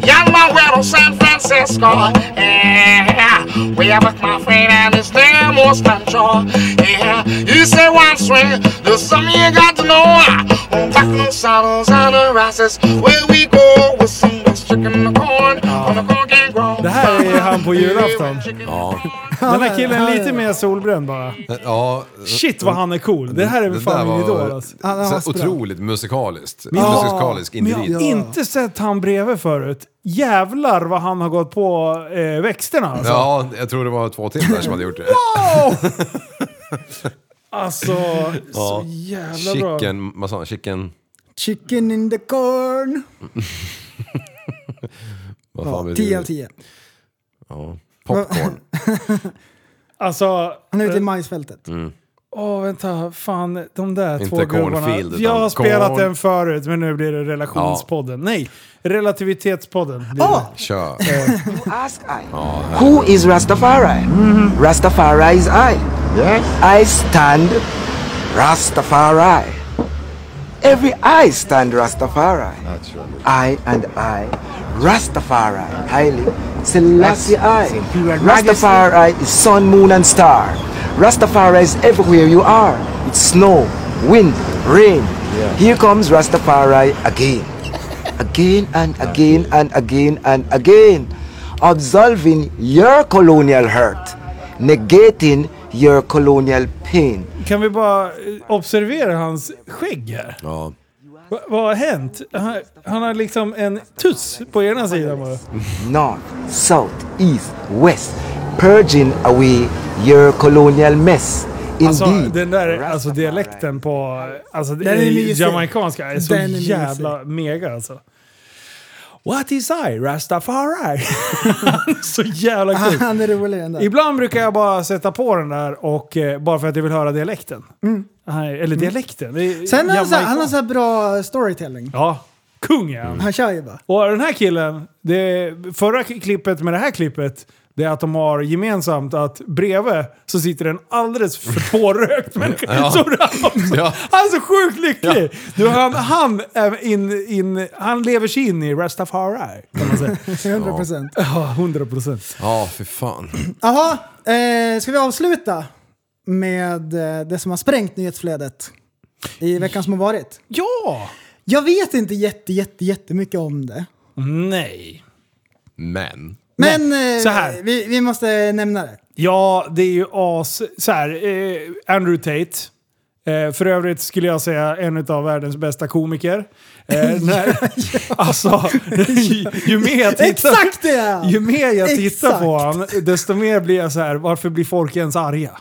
[SPEAKER 9] yellow widow, San Francisco. Yeah, we have a my friend and it's their most control. Yeah, you say one swing, there's something you got to know. Ah, On back on saddles and the races, where we go with some chicken on the corn, on the corn can grow.
[SPEAKER 3] Det här är han han på julafton?
[SPEAKER 5] Ja.
[SPEAKER 3] Den här killen är lite mer solbränd bara.
[SPEAKER 5] ja.
[SPEAKER 3] Shit vad han är cool. Det här är väl
[SPEAKER 5] Det där
[SPEAKER 3] fan min idol
[SPEAKER 5] var
[SPEAKER 3] alltså.
[SPEAKER 5] så otroligt musikaliskt. Musikalisk
[SPEAKER 3] Men jag har
[SPEAKER 5] individ.
[SPEAKER 3] inte sett han bredvid förut. Jävlar vad han har gått på eh, växterna alltså.
[SPEAKER 5] Ja, jag tror det var två till där som hade gjort det.
[SPEAKER 3] Wow! alltså, så
[SPEAKER 5] Ja.
[SPEAKER 3] jävla bra.
[SPEAKER 5] Chicken, vad sa han? Chicken...
[SPEAKER 4] Chicken in the corn.
[SPEAKER 5] Vad fan
[SPEAKER 4] Ja,
[SPEAKER 5] blir det?
[SPEAKER 4] 10 av 10.
[SPEAKER 5] Ja. Popcorn.
[SPEAKER 3] Alltså,
[SPEAKER 4] Han är ute i majsfältet.
[SPEAKER 5] Mm.
[SPEAKER 3] Åh, vänta. Fan, de där
[SPEAKER 5] Inte
[SPEAKER 3] två gubbarna.
[SPEAKER 5] cornfield, utan
[SPEAKER 3] Jag har spelat
[SPEAKER 5] corn.
[SPEAKER 3] den förut, men nu blir det relationspodden. Nej, relativitetspodden. blir
[SPEAKER 4] Åh!
[SPEAKER 3] det.
[SPEAKER 5] Kör.
[SPEAKER 10] Who is Rastafari? Rastafari is I. Yes. I stand Rastafari. Every I stand Rastafari. Naturally. I and I. Rastafari. Highly. Selassie I. Rastafari is sun, moon, and star. Rastafari is everywhere you are. It's snow, wind, rain. Here comes Rastafari again. Again and again and again and again absolving your colonial hurt, negating your colonial pain.
[SPEAKER 3] Kan vi bara eh, observera hans skägg här?
[SPEAKER 5] Ja.
[SPEAKER 3] Va, vad har hänt? Han, han har liksom en tuss på ena sidan bara.
[SPEAKER 10] North, south, east, west, purging away your colonial mess.
[SPEAKER 3] Alltså,
[SPEAKER 10] Indeed,
[SPEAKER 3] den där alltså, dialekten på alltså,
[SPEAKER 4] Den är mysig.
[SPEAKER 3] jamaicanska är så
[SPEAKER 4] Den är mysig.
[SPEAKER 3] jävla mega alltså. What is I? Rastafari? så jävla kul.
[SPEAKER 4] Han är rolig den där.
[SPEAKER 3] Ibland brukar jag bara sätta på den där och eh, bara för att jag vill höra dialekten. Nej, Eller dialekten. Det är
[SPEAKER 4] Mm. Sen har han, så här,
[SPEAKER 3] Jamaica.
[SPEAKER 4] han har så här bra storytelling.
[SPEAKER 3] Ja, kung är han.
[SPEAKER 4] Han kör ju bara.
[SPEAKER 3] Och den här killen, det förra klippet med det här klippet, det är att de har gemensamt att bredvid så sitter en alldeles för pårökt människa.
[SPEAKER 5] Ja.
[SPEAKER 3] Som Ramsson.
[SPEAKER 5] Ja.
[SPEAKER 3] Han är så sjukt lycklig! Du, han, han, är in, in, han lever sig in i Rastafari. kan man säga.
[SPEAKER 4] 100 procent.
[SPEAKER 3] Ja, 100 procent.
[SPEAKER 5] Ja, för fan.
[SPEAKER 4] Jaha, eh, ska vi avsluta med eh, det som har sprängt nyhetsflödet i veckan som har varit?
[SPEAKER 3] Ja!
[SPEAKER 4] Jag vet inte jätte, jätte, jättemycket om det.
[SPEAKER 3] Nej.
[SPEAKER 5] Men.
[SPEAKER 4] Men eh,
[SPEAKER 3] så här.
[SPEAKER 4] Vi, vi måste nämna det.
[SPEAKER 3] Ja, det är ju as... Så här, eh, Andrew Tate. Eh, för övrigt skulle jag säga en av världens bästa komiker. Eh, när, alltså, ju, ju mer jag tittar,
[SPEAKER 4] Exakt det är han!
[SPEAKER 3] ju mer jag tittar
[SPEAKER 4] Exakt.
[SPEAKER 3] på honom, desto mer blir jag så här, varför blir folk ens arga?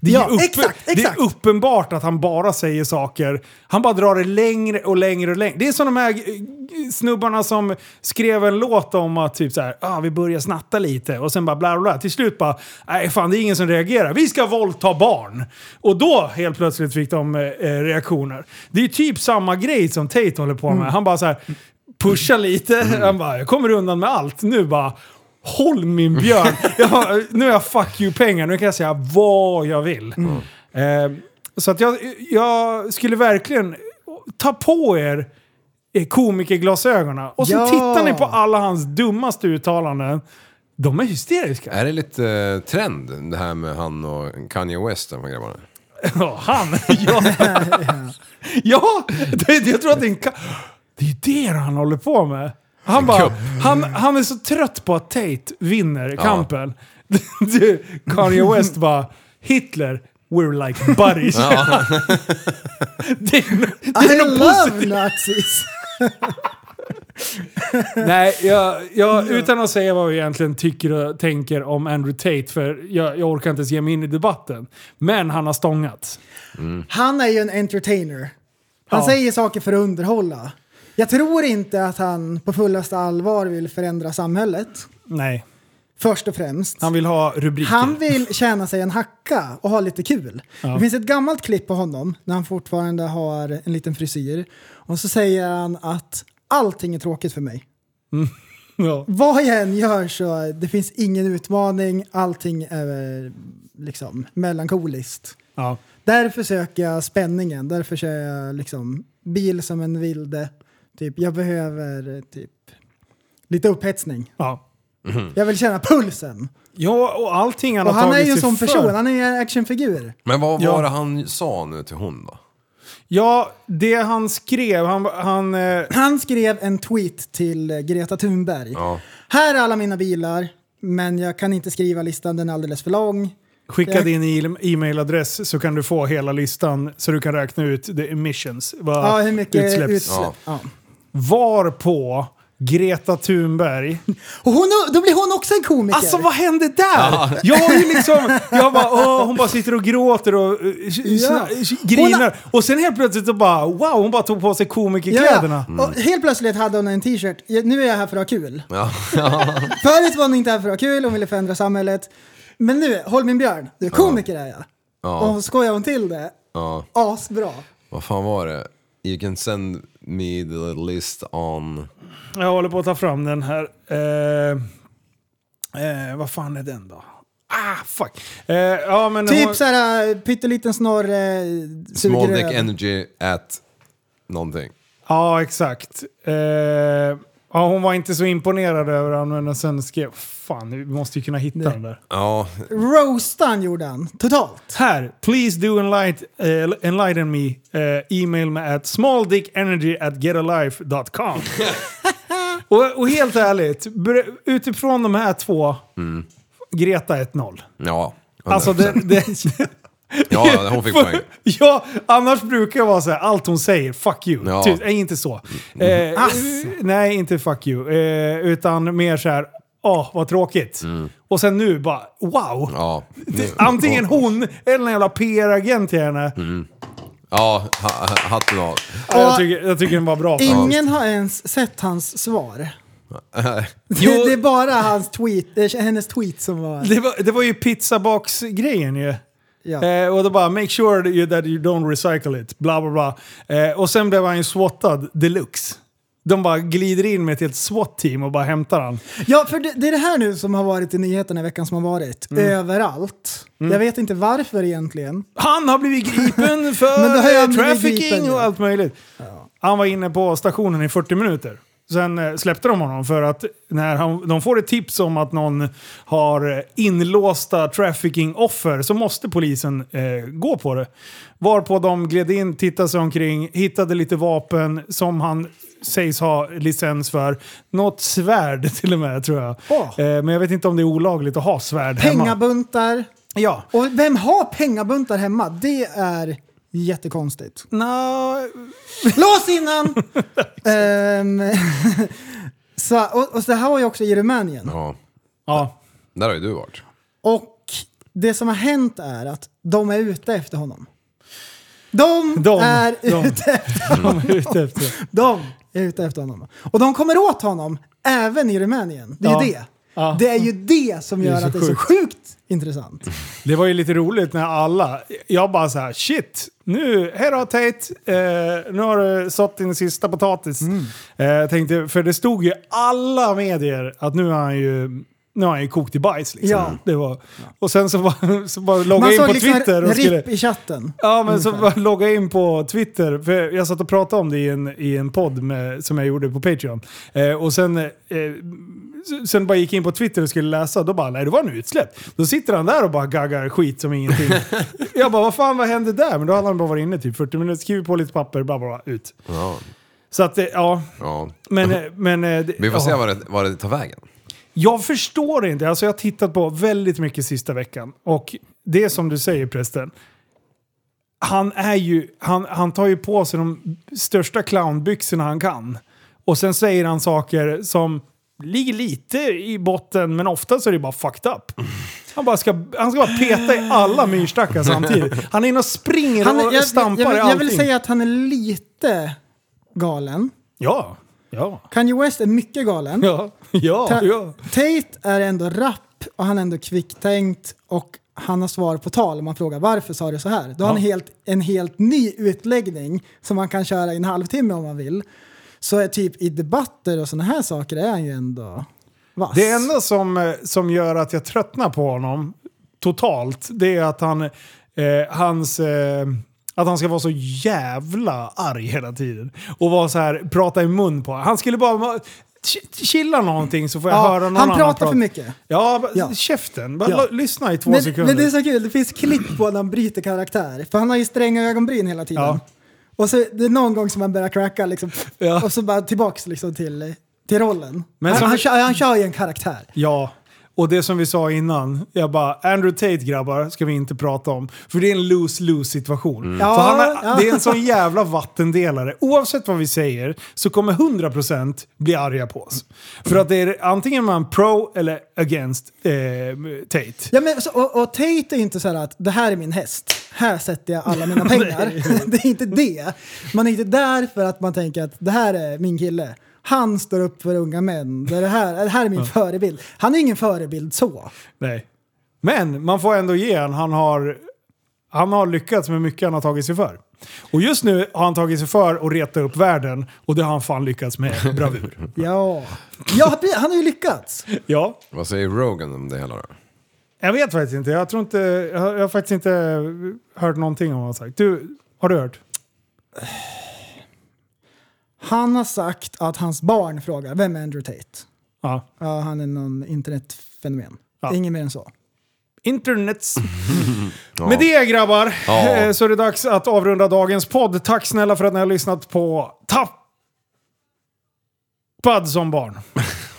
[SPEAKER 3] Det är,
[SPEAKER 4] Ja,
[SPEAKER 3] ju uppe-
[SPEAKER 4] exakt,
[SPEAKER 3] det
[SPEAKER 4] exakt.
[SPEAKER 3] är uppenbart att han bara säger saker. Han bara drar det längre och längre och längre. Det är som de här eh, snubbarna som skrev en låt om att typ så här, ah, vi börjar snatta lite och sen bara bla bla, bla. Till slut bara, nej fan det är ingen som reagerar. Vi ska våldta barn. Och då helt plötsligt fick de eh, eh, reaktioner. Det är typ samma grej som Tate håller på
[SPEAKER 4] Mm.
[SPEAKER 3] med. Han bara så här, pushar lite. Han bara, jag kommer undan med allt. Nu bara, Håll min björn! Jag har, nu har jag fuck you-pengar, nu kan jag säga vad jag vill. Eh, så att jag, jag skulle verkligen ta på er eh, komikerglasögonen och så
[SPEAKER 4] Ja.
[SPEAKER 3] tittar ni på alla hans dummaste uttalanden. De är hysteriska.
[SPEAKER 5] Är det lite eh, trend det här med han och Kanye West, de här grabbarna?
[SPEAKER 3] Ja, han! Ja, ja det, jag tror att det är en ka- Det är det han håller på med. Han, bara,
[SPEAKER 5] kupp.
[SPEAKER 3] han, han är så trött på att Tate vinner kampen. Du, Kanye West bara, Hitler, we're like buddies. det är, no- det
[SPEAKER 4] I
[SPEAKER 3] är något
[SPEAKER 4] love
[SPEAKER 3] positivt.
[SPEAKER 4] nazis!
[SPEAKER 3] Nej, jag, jag, utan att säga vad vi egentligen tycker och tänker om Andrew Tate, för jag, jag orkar inte ens ge mig in i debatten. Men han har stångats.
[SPEAKER 4] Han är ju en entertainer. Han
[SPEAKER 3] Ja.
[SPEAKER 4] säger saker för att underhålla. Jag tror inte att han på fullaste allvar vill förändra samhället.
[SPEAKER 3] Nej.
[SPEAKER 4] Först och främst.
[SPEAKER 3] Han vill ha rubriker.
[SPEAKER 4] Han vill tjäna sig en hacka och ha lite kul. Det finns ett gammalt klipp på honom när han fortfarande har en liten frisyr. Och så säger han att allting är tråkigt för mig.
[SPEAKER 3] Ja.
[SPEAKER 4] Vad jag än gör så det finns ingen utmaning, allting är eh, liksom melankoliskt.
[SPEAKER 3] Ja.
[SPEAKER 4] Därför söker jag spänningen, därför kör jag liksom bil som en vilde. Typ, jag behöver eh, typ lite upphetsning.
[SPEAKER 3] Ja.
[SPEAKER 4] Jag vill känna pulsen.
[SPEAKER 3] Ja, och allting han
[SPEAKER 4] Och
[SPEAKER 3] har
[SPEAKER 4] han är
[SPEAKER 3] tagit
[SPEAKER 4] ju en
[SPEAKER 3] sig
[SPEAKER 4] sån
[SPEAKER 3] för.
[SPEAKER 4] person, han är ju en actionfigur.
[SPEAKER 5] Men vad
[SPEAKER 3] Ja.
[SPEAKER 5] var det han sa nu till hon då?
[SPEAKER 3] Ja, det han skrev, han... han eh,
[SPEAKER 4] Han skrev en tweet till eh, Greta Thunberg.
[SPEAKER 5] Ja.
[SPEAKER 4] Här är alla mina bilar. Men jag kan inte skriva listan, den är alldeles för lång.
[SPEAKER 3] Skicka
[SPEAKER 4] Jag-
[SPEAKER 3] din e- e-mailadress så kan du få hela listan så du kan räkna ut the emissions. Vad
[SPEAKER 4] Ja, hur mycket utsläpp.
[SPEAKER 3] utsläpps.
[SPEAKER 4] Ja.
[SPEAKER 3] Var på Greta Thunberg.
[SPEAKER 4] Och hon, då blir hon också en komiker.
[SPEAKER 3] Alltså vad hände där? Jag har ju liksom, jag bara, åh, hon bara sitter och gråter och eh, sna- grinar.
[SPEAKER 4] Hon har-
[SPEAKER 3] Och sen helt plötsligt så bara, wow, hon bara tog på sig komikerkläderna.
[SPEAKER 4] Ja, Och helt plötsligt hade hon en t-shirt. Ja, Nu är jag här för att ha kul.
[SPEAKER 5] Ja.
[SPEAKER 4] Förut var hon inte här för att ha kul, hon ville förändra samhället. Men nu, håll min björn, du komiker är jag. Och
[SPEAKER 5] Ja.
[SPEAKER 4] så skojar hon till det.
[SPEAKER 5] ja.
[SPEAKER 4] Asbra.
[SPEAKER 5] Vad fan var det? You can send me the list on...
[SPEAKER 3] Jag håller på att ta fram den här. Eh, eh, vad fan är den då? Ah, fuck. Eh, ja, men
[SPEAKER 4] Typ
[SPEAKER 3] hon-
[SPEAKER 4] såhär äh, pytteliten snorre... äh,
[SPEAKER 5] Small
[SPEAKER 4] sugrör.
[SPEAKER 5] dick energy at någonting.
[SPEAKER 3] Ja, exakt. Eh, ja, hon var inte så imponerad över honom, men sen skrev... Fan, vi måste ju kunna hitta den där.
[SPEAKER 5] Ja,
[SPEAKER 4] Roastan gjorde han, totalt.
[SPEAKER 3] Här! Please do enlighten, eh, enlighten me. Eh, email mig at smalldickenergy at getalife.com. och, och helt ärligt, ber- utifrån de här två, Greta 1-0.
[SPEAKER 5] ja. 100%.
[SPEAKER 3] Alltså det, det,
[SPEAKER 5] Ja, hon fick poäng.
[SPEAKER 3] ja, annars brukar jag vara så här, allt hon säger, fuck you.
[SPEAKER 5] Ja. Mm.
[SPEAKER 3] Typ, nej, inte så. Eh, nej, inte fuck you. Eh, utan mer så här, åh, vad tråkigt. Och sen nu bara, wow.
[SPEAKER 5] Mm. Ja.
[SPEAKER 3] Det- Antingen hon eller en jävla PR-agent till henne.
[SPEAKER 5] Mm. Ja, ha, ha- hatten av.
[SPEAKER 3] Ja, Jag, tycker, jag tycker den var bra.
[SPEAKER 4] Ingen har ens sett hans svar.
[SPEAKER 3] Jo.
[SPEAKER 4] Det är bara hans tweet, eh, hennes tweet som var...
[SPEAKER 3] Det var, det var ju pizzabox-grejen ju.
[SPEAKER 4] Ja.
[SPEAKER 3] Eh, och då bara “Make sure that you, that you don't recycle it”, bla bla bla. Eh, och sen blev han ju swottad deluxe. De bara glider in med ett helt SWAT-team och bara hämtar han.
[SPEAKER 4] Ja, för det, det är det här nu som har varit i nyheterna i veckan som har varit.
[SPEAKER 3] Mm.
[SPEAKER 4] Överallt. Jag vet inte varför egentligen.
[SPEAKER 3] Han har blivit gripen för eh,
[SPEAKER 4] Men då har jag blivit
[SPEAKER 3] trafficking
[SPEAKER 4] gripen, ja.
[SPEAKER 3] och allt möjligt. Han var inne på stationen i 40 minuter. Sen eh, släppte de honom för att när han, de får ett tips om att någon har eh, inlåsta trafficking-offer så måste polisen eh, gå på det. Varpå de gled in, tittade sig omkring, hittade lite vapen som han sägs ha licens för. Något svärd till och med tror jag.
[SPEAKER 4] Åh.
[SPEAKER 3] Eh, men jag vet inte om det är olagligt att ha svärd hemma.
[SPEAKER 4] Pengabuntar.
[SPEAKER 3] Ja.
[SPEAKER 4] Och vem har pengabuntar hemma? Det är jättekonstigt.
[SPEAKER 3] Nå,
[SPEAKER 4] Lås in han! Ehm, så, och, och så här var ju också i Rumänien.
[SPEAKER 5] Ja.
[SPEAKER 3] Ja.
[SPEAKER 5] Där har ju du varit.
[SPEAKER 4] Och det som har hänt är att de är ute efter honom. De,
[SPEAKER 3] De,
[SPEAKER 4] är
[SPEAKER 3] de.
[SPEAKER 4] ute efter
[SPEAKER 3] De
[SPEAKER 4] honom.
[SPEAKER 3] är ute efter.
[SPEAKER 4] De är ute efter honom. Och de kommer åt honom även i Rumänien. Det är ju
[SPEAKER 3] Ja.
[SPEAKER 4] det.
[SPEAKER 3] Ja.
[SPEAKER 4] Det är ju det som
[SPEAKER 3] Det är
[SPEAKER 4] gör
[SPEAKER 3] så
[SPEAKER 4] att det är så
[SPEAKER 3] sjukt.
[SPEAKER 4] sjukt intressant.
[SPEAKER 3] Det var ju lite roligt när alla... Jag bara så här, shit! Nu, hej då Tate! Eh, nu har du sått din sista potatis.
[SPEAKER 4] Mm.
[SPEAKER 3] Eh, tänkte, för det stod ju i alla medier att nu har han ju... Nu har han ju kokt i bajs liksom.
[SPEAKER 4] Ja.
[SPEAKER 3] Det var, och sen så bara, så bara loggade jag
[SPEAKER 4] Man
[SPEAKER 3] in
[SPEAKER 4] såg
[SPEAKER 3] på
[SPEAKER 4] liksom
[SPEAKER 3] Twitter och
[SPEAKER 4] RIP
[SPEAKER 3] skulle...
[SPEAKER 4] i chatten.
[SPEAKER 3] Ja, men så
[SPEAKER 4] Ungefär.
[SPEAKER 3] bara logga in på Twitter. För jag satt och pratade om det i en, i en podd med, som jag gjorde på Patreon. Eh, och sen, eh, s- sen bara gick jag in på Twitter och skulle läsa. Då bara, nej det var en utsläpp. Då sitter han där och bara gaggar skit som ingenting. jag bara, vad fan vad hände där? Men då hade han bara varit inne typ 40 minuter, skrivit på lite papper, bla bla, bla ut.
[SPEAKER 5] Ja.
[SPEAKER 3] Så att, eh, ja.
[SPEAKER 5] ja.
[SPEAKER 3] Men, eh, men, eh, det-
[SPEAKER 5] Vi får
[SPEAKER 3] ja.
[SPEAKER 5] se vad det, vad det tar vägen.
[SPEAKER 3] Jag förstår inte. Alltså jag har tittat på väldigt mycket sista veckan. Och det är som du säger prästen. Han, är ju, han, han tar ju på sig de största clownbyxorna han kan. Och sen säger han saker som ligger lite i botten men ofta så är det bara fucked up. Han, bara ska, han ska bara peta i alla myrstackar samtidigt. Han är inne och springer
[SPEAKER 4] Han, jag,
[SPEAKER 3] och
[SPEAKER 4] jag,
[SPEAKER 3] stampar i
[SPEAKER 4] jag,
[SPEAKER 3] allting.
[SPEAKER 4] jag vill säga att han är lite galen.
[SPEAKER 3] Ja, ja,
[SPEAKER 4] Kanye West är mycket galen.
[SPEAKER 3] ja, ja,
[SPEAKER 4] Ta-
[SPEAKER 3] ja.
[SPEAKER 4] Tate är ändå rapp och han är ändå kvicktänkt och han har svar på tal om man frågar varför sa du så här. Då har han
[SPEAKER 3] Ja.
[SPEAKER 4] helt, en helt ny utläggning som man kan köra i en halvtimme om man vill. Så är typ i debatter och sådana här saker är han ju ändå vass.
[SPEAKER 3] Det enda som, eh, som gör att jag tröttnar på honom totalt, det är att han, eh, hans, eh, att han ska vara så jävla arg hela tiden. Och vara så här, prata i mun på Han skulle bara ma- ch- chilla någonting så får jag
[SPEAKER 4] Ja,
[SPEAKER 3] höra någon
[SPEAKER 4] han
[SPEAKER 3] annan
[SPEAKER 4] pratar
[SPEAKER 3] prata.
[SPEAKER 4] för mycket.
[SPEAKER 3] Ja, bara-
[SPEAKER 4] Ja.
[SPEAKER 3] käften. Bara
[SPEAKER 4] Ja.
[SPEAKER 3] lo- lyssna i två
[SPEAKER 4] men,
[SPEAKER 3] sekunder.
[SPEAKER 4] men det är så kul, det finns klipp på när han bryter karaktär. För han har ju stränga ögonbryn hela tiden.
[SPEAKER 3] Ja.
[SPEAKER 4] Och så det är någon gång som han börjar cracka liksom.
[SPEAKER 3] Ja.
[SPEAKER 4] Och så bara tillbaks liksom till, till rollen.
[SPEAKER 3] Men
[SPEAKER 4] han,
[SPEAKER 3] som-
[SPEAKER 4] han, kör, han kör ju en karaktär.
[SPEAKER 3] Ja. Och det som vi sa innan, jag bara Andrew Tate grabbar ska vi inte prata om. För det är en lose-lose situation.
[SPEAKER 4] Mm.
[SPEAKER 3] För han är,
[SPEAKER 4] Ja, ja.
[SPEAKER 3] Det är en sån jävla vattendelare. Oavsett vad vi säger så kommer 100% bli arga på oss. För att det är antingen man pro eller against eh, Tate.
[SPEAKER 4] Ja, men, så, och, och Tate är inte så här att det här är min häst, här sätter jag alla mina pengar. det är inte det. Man är inte där för att man tänker att det här är min kille. Han står upp för unga män. Det, är det, här, det här är min
[SPEAKER 3] Ja.
[SPEAKER 4] förebild. Han är ingen förebild så.
[SPEAKER 3] Nej. Men man får ändå ge han, han har, han har lyckats med mycket han har tagit sig för. Och just nu har han tagit sig för att reta upp världen och det har han fan lyckats med bravur.
[SPEAKER 4] Ja, ja han har ju lyckats.
[SPEAKER 3] Ja.
[SPEAKER 5] Vad säger Rogan om det hela då?
[SPEAKER 3] Jag vet faktiskt inte. Jag, tror inte, jag, har, jag har faktiskt inte hört någonting om vad han har sagt. Du, har du hört?
[SPEAKER 4] Han har sagt att hans barn frågar vem är Andrew Tate?
[SPEAKER 3] Ja.
[SPEAKER 4] ja han är någon internetfenomen. Inget mer än så.
[SPEAKER 3] Internets... Med det grabbar
[SPEAKER 4] Ja.
[SPEAKER 3] eh, så är det dags att avrunda dagens podd. Tack snälla för att ni har lyssnat på Tappad som barn.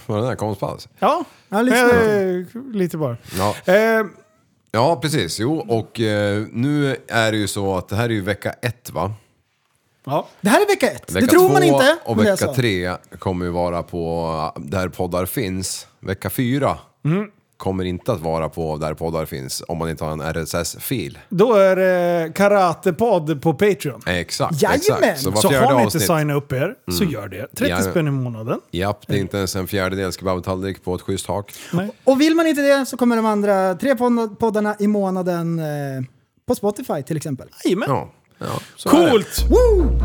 [SPEAKER 5] Var det den här konstpaus?
[SPEAKER 3] Ja,
[SPEAKER 5] lyssna.
[SPEAKER 3] eh, lite bara.
[SPEAKER 5] Ja.
[SPEAKER 4] Eh,
[SPEAKER 5] ja, precis. Jo, och eh, nu är det ju så att det här är ju vecka ett va?
[SPEAKER 3] Ja.
[SPEAKER 4] Det här är vecka ett.
[SPEAKER 5] Vecka
[SPEAKER 4] det tror man
[SPEAKER 5] två
[SPEAKER 4] inte.
[SPEAKER 5] och
[SPEAKER 4] men det är
[SPEAKER 5] vecka
[SPEAKER 4] så.
[SPEAKER 5] tre kommer ju vara på där poddar finns. Vecka fyra
[SPEAKER 4] Mm.
[SPEAKER 5] kommer inte att vara på där poddar finns om man inte har en RSS-fil.
[SPEAKER 3] Då är det karatepodd på Patreon.
[SPEAKER 5] Eh, Exakt,
[SPEAKER 3] Jajamän!
[SPEAKER 5] exakt.
[SPEAKER 3] Så,
[SPEAKER 5] var
[SPEAKER 3] så
[SPEAKER 5] fjärde
[SPEAKER 3] har ni inte
[SPEAKER 5] avsnitt.
[SPEAKER 3] signat upp er så
[SPEAKER 5] Mm.
[SPEAKER 3] gör det. 30
[SPEAKER 5] Jajamän.
[SPEAKER 3] spänn i månaden.
[SPEAKER 5] Japp, det är inte ens en fjärdedels kebabtallrik på ett schysst hak.
[SPEAKER 4] Och vill man inte det så kommer de andra tre podd- poddarna i månaden eh, på Spotify till exempel.
[SPEAKER 3] Jajamän.
[SPEAKER 5] Ja. Ja, så är det.
[SPEAKER 3] Coolt!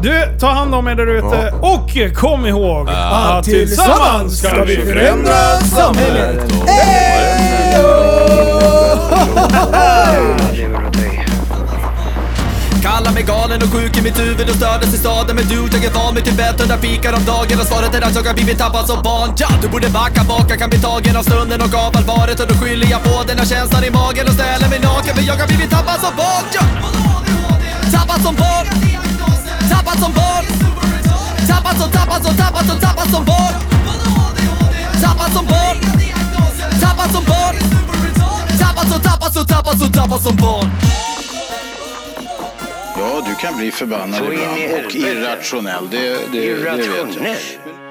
[SPEAKER 3] Du, ta hand om er där ute. Och kom ihåg
[SPEAKER 5] Ah,
[SPEAKER 3] att tillsammans ska vi förändra samhället.
[SPEAKER 2] Kallar mig galen och sjuk i mitt huvud och stördes i staden Men du, jag är van vid Tibet, hundra pikar om dagen Och svaret är att jag har blivit tappad som barn ja, Du borde backa bak, jag kan bli tagen av stunden och av allvaret Och då skyller jag på den här känslan i magen och ställer mig naken För jag har blivit tappad som barn ja. Tappad som barn Tappad som barn Tappad som, tappad som, tappad som, tappad som barn Tappad som barn Tappad som barn Tappad som, tappad som, tappad som, tappad som barn
[SPEAKER 11] Ja, du kan bli förbannad
[SPEAKER 2] Så in i
[SPEAKER 11] ibland och
[SPEAKER 2] helvete.
[SPEAKER 11] irrationell. Det, det, det vet jag.
[SPEAKER 2] Irrationell?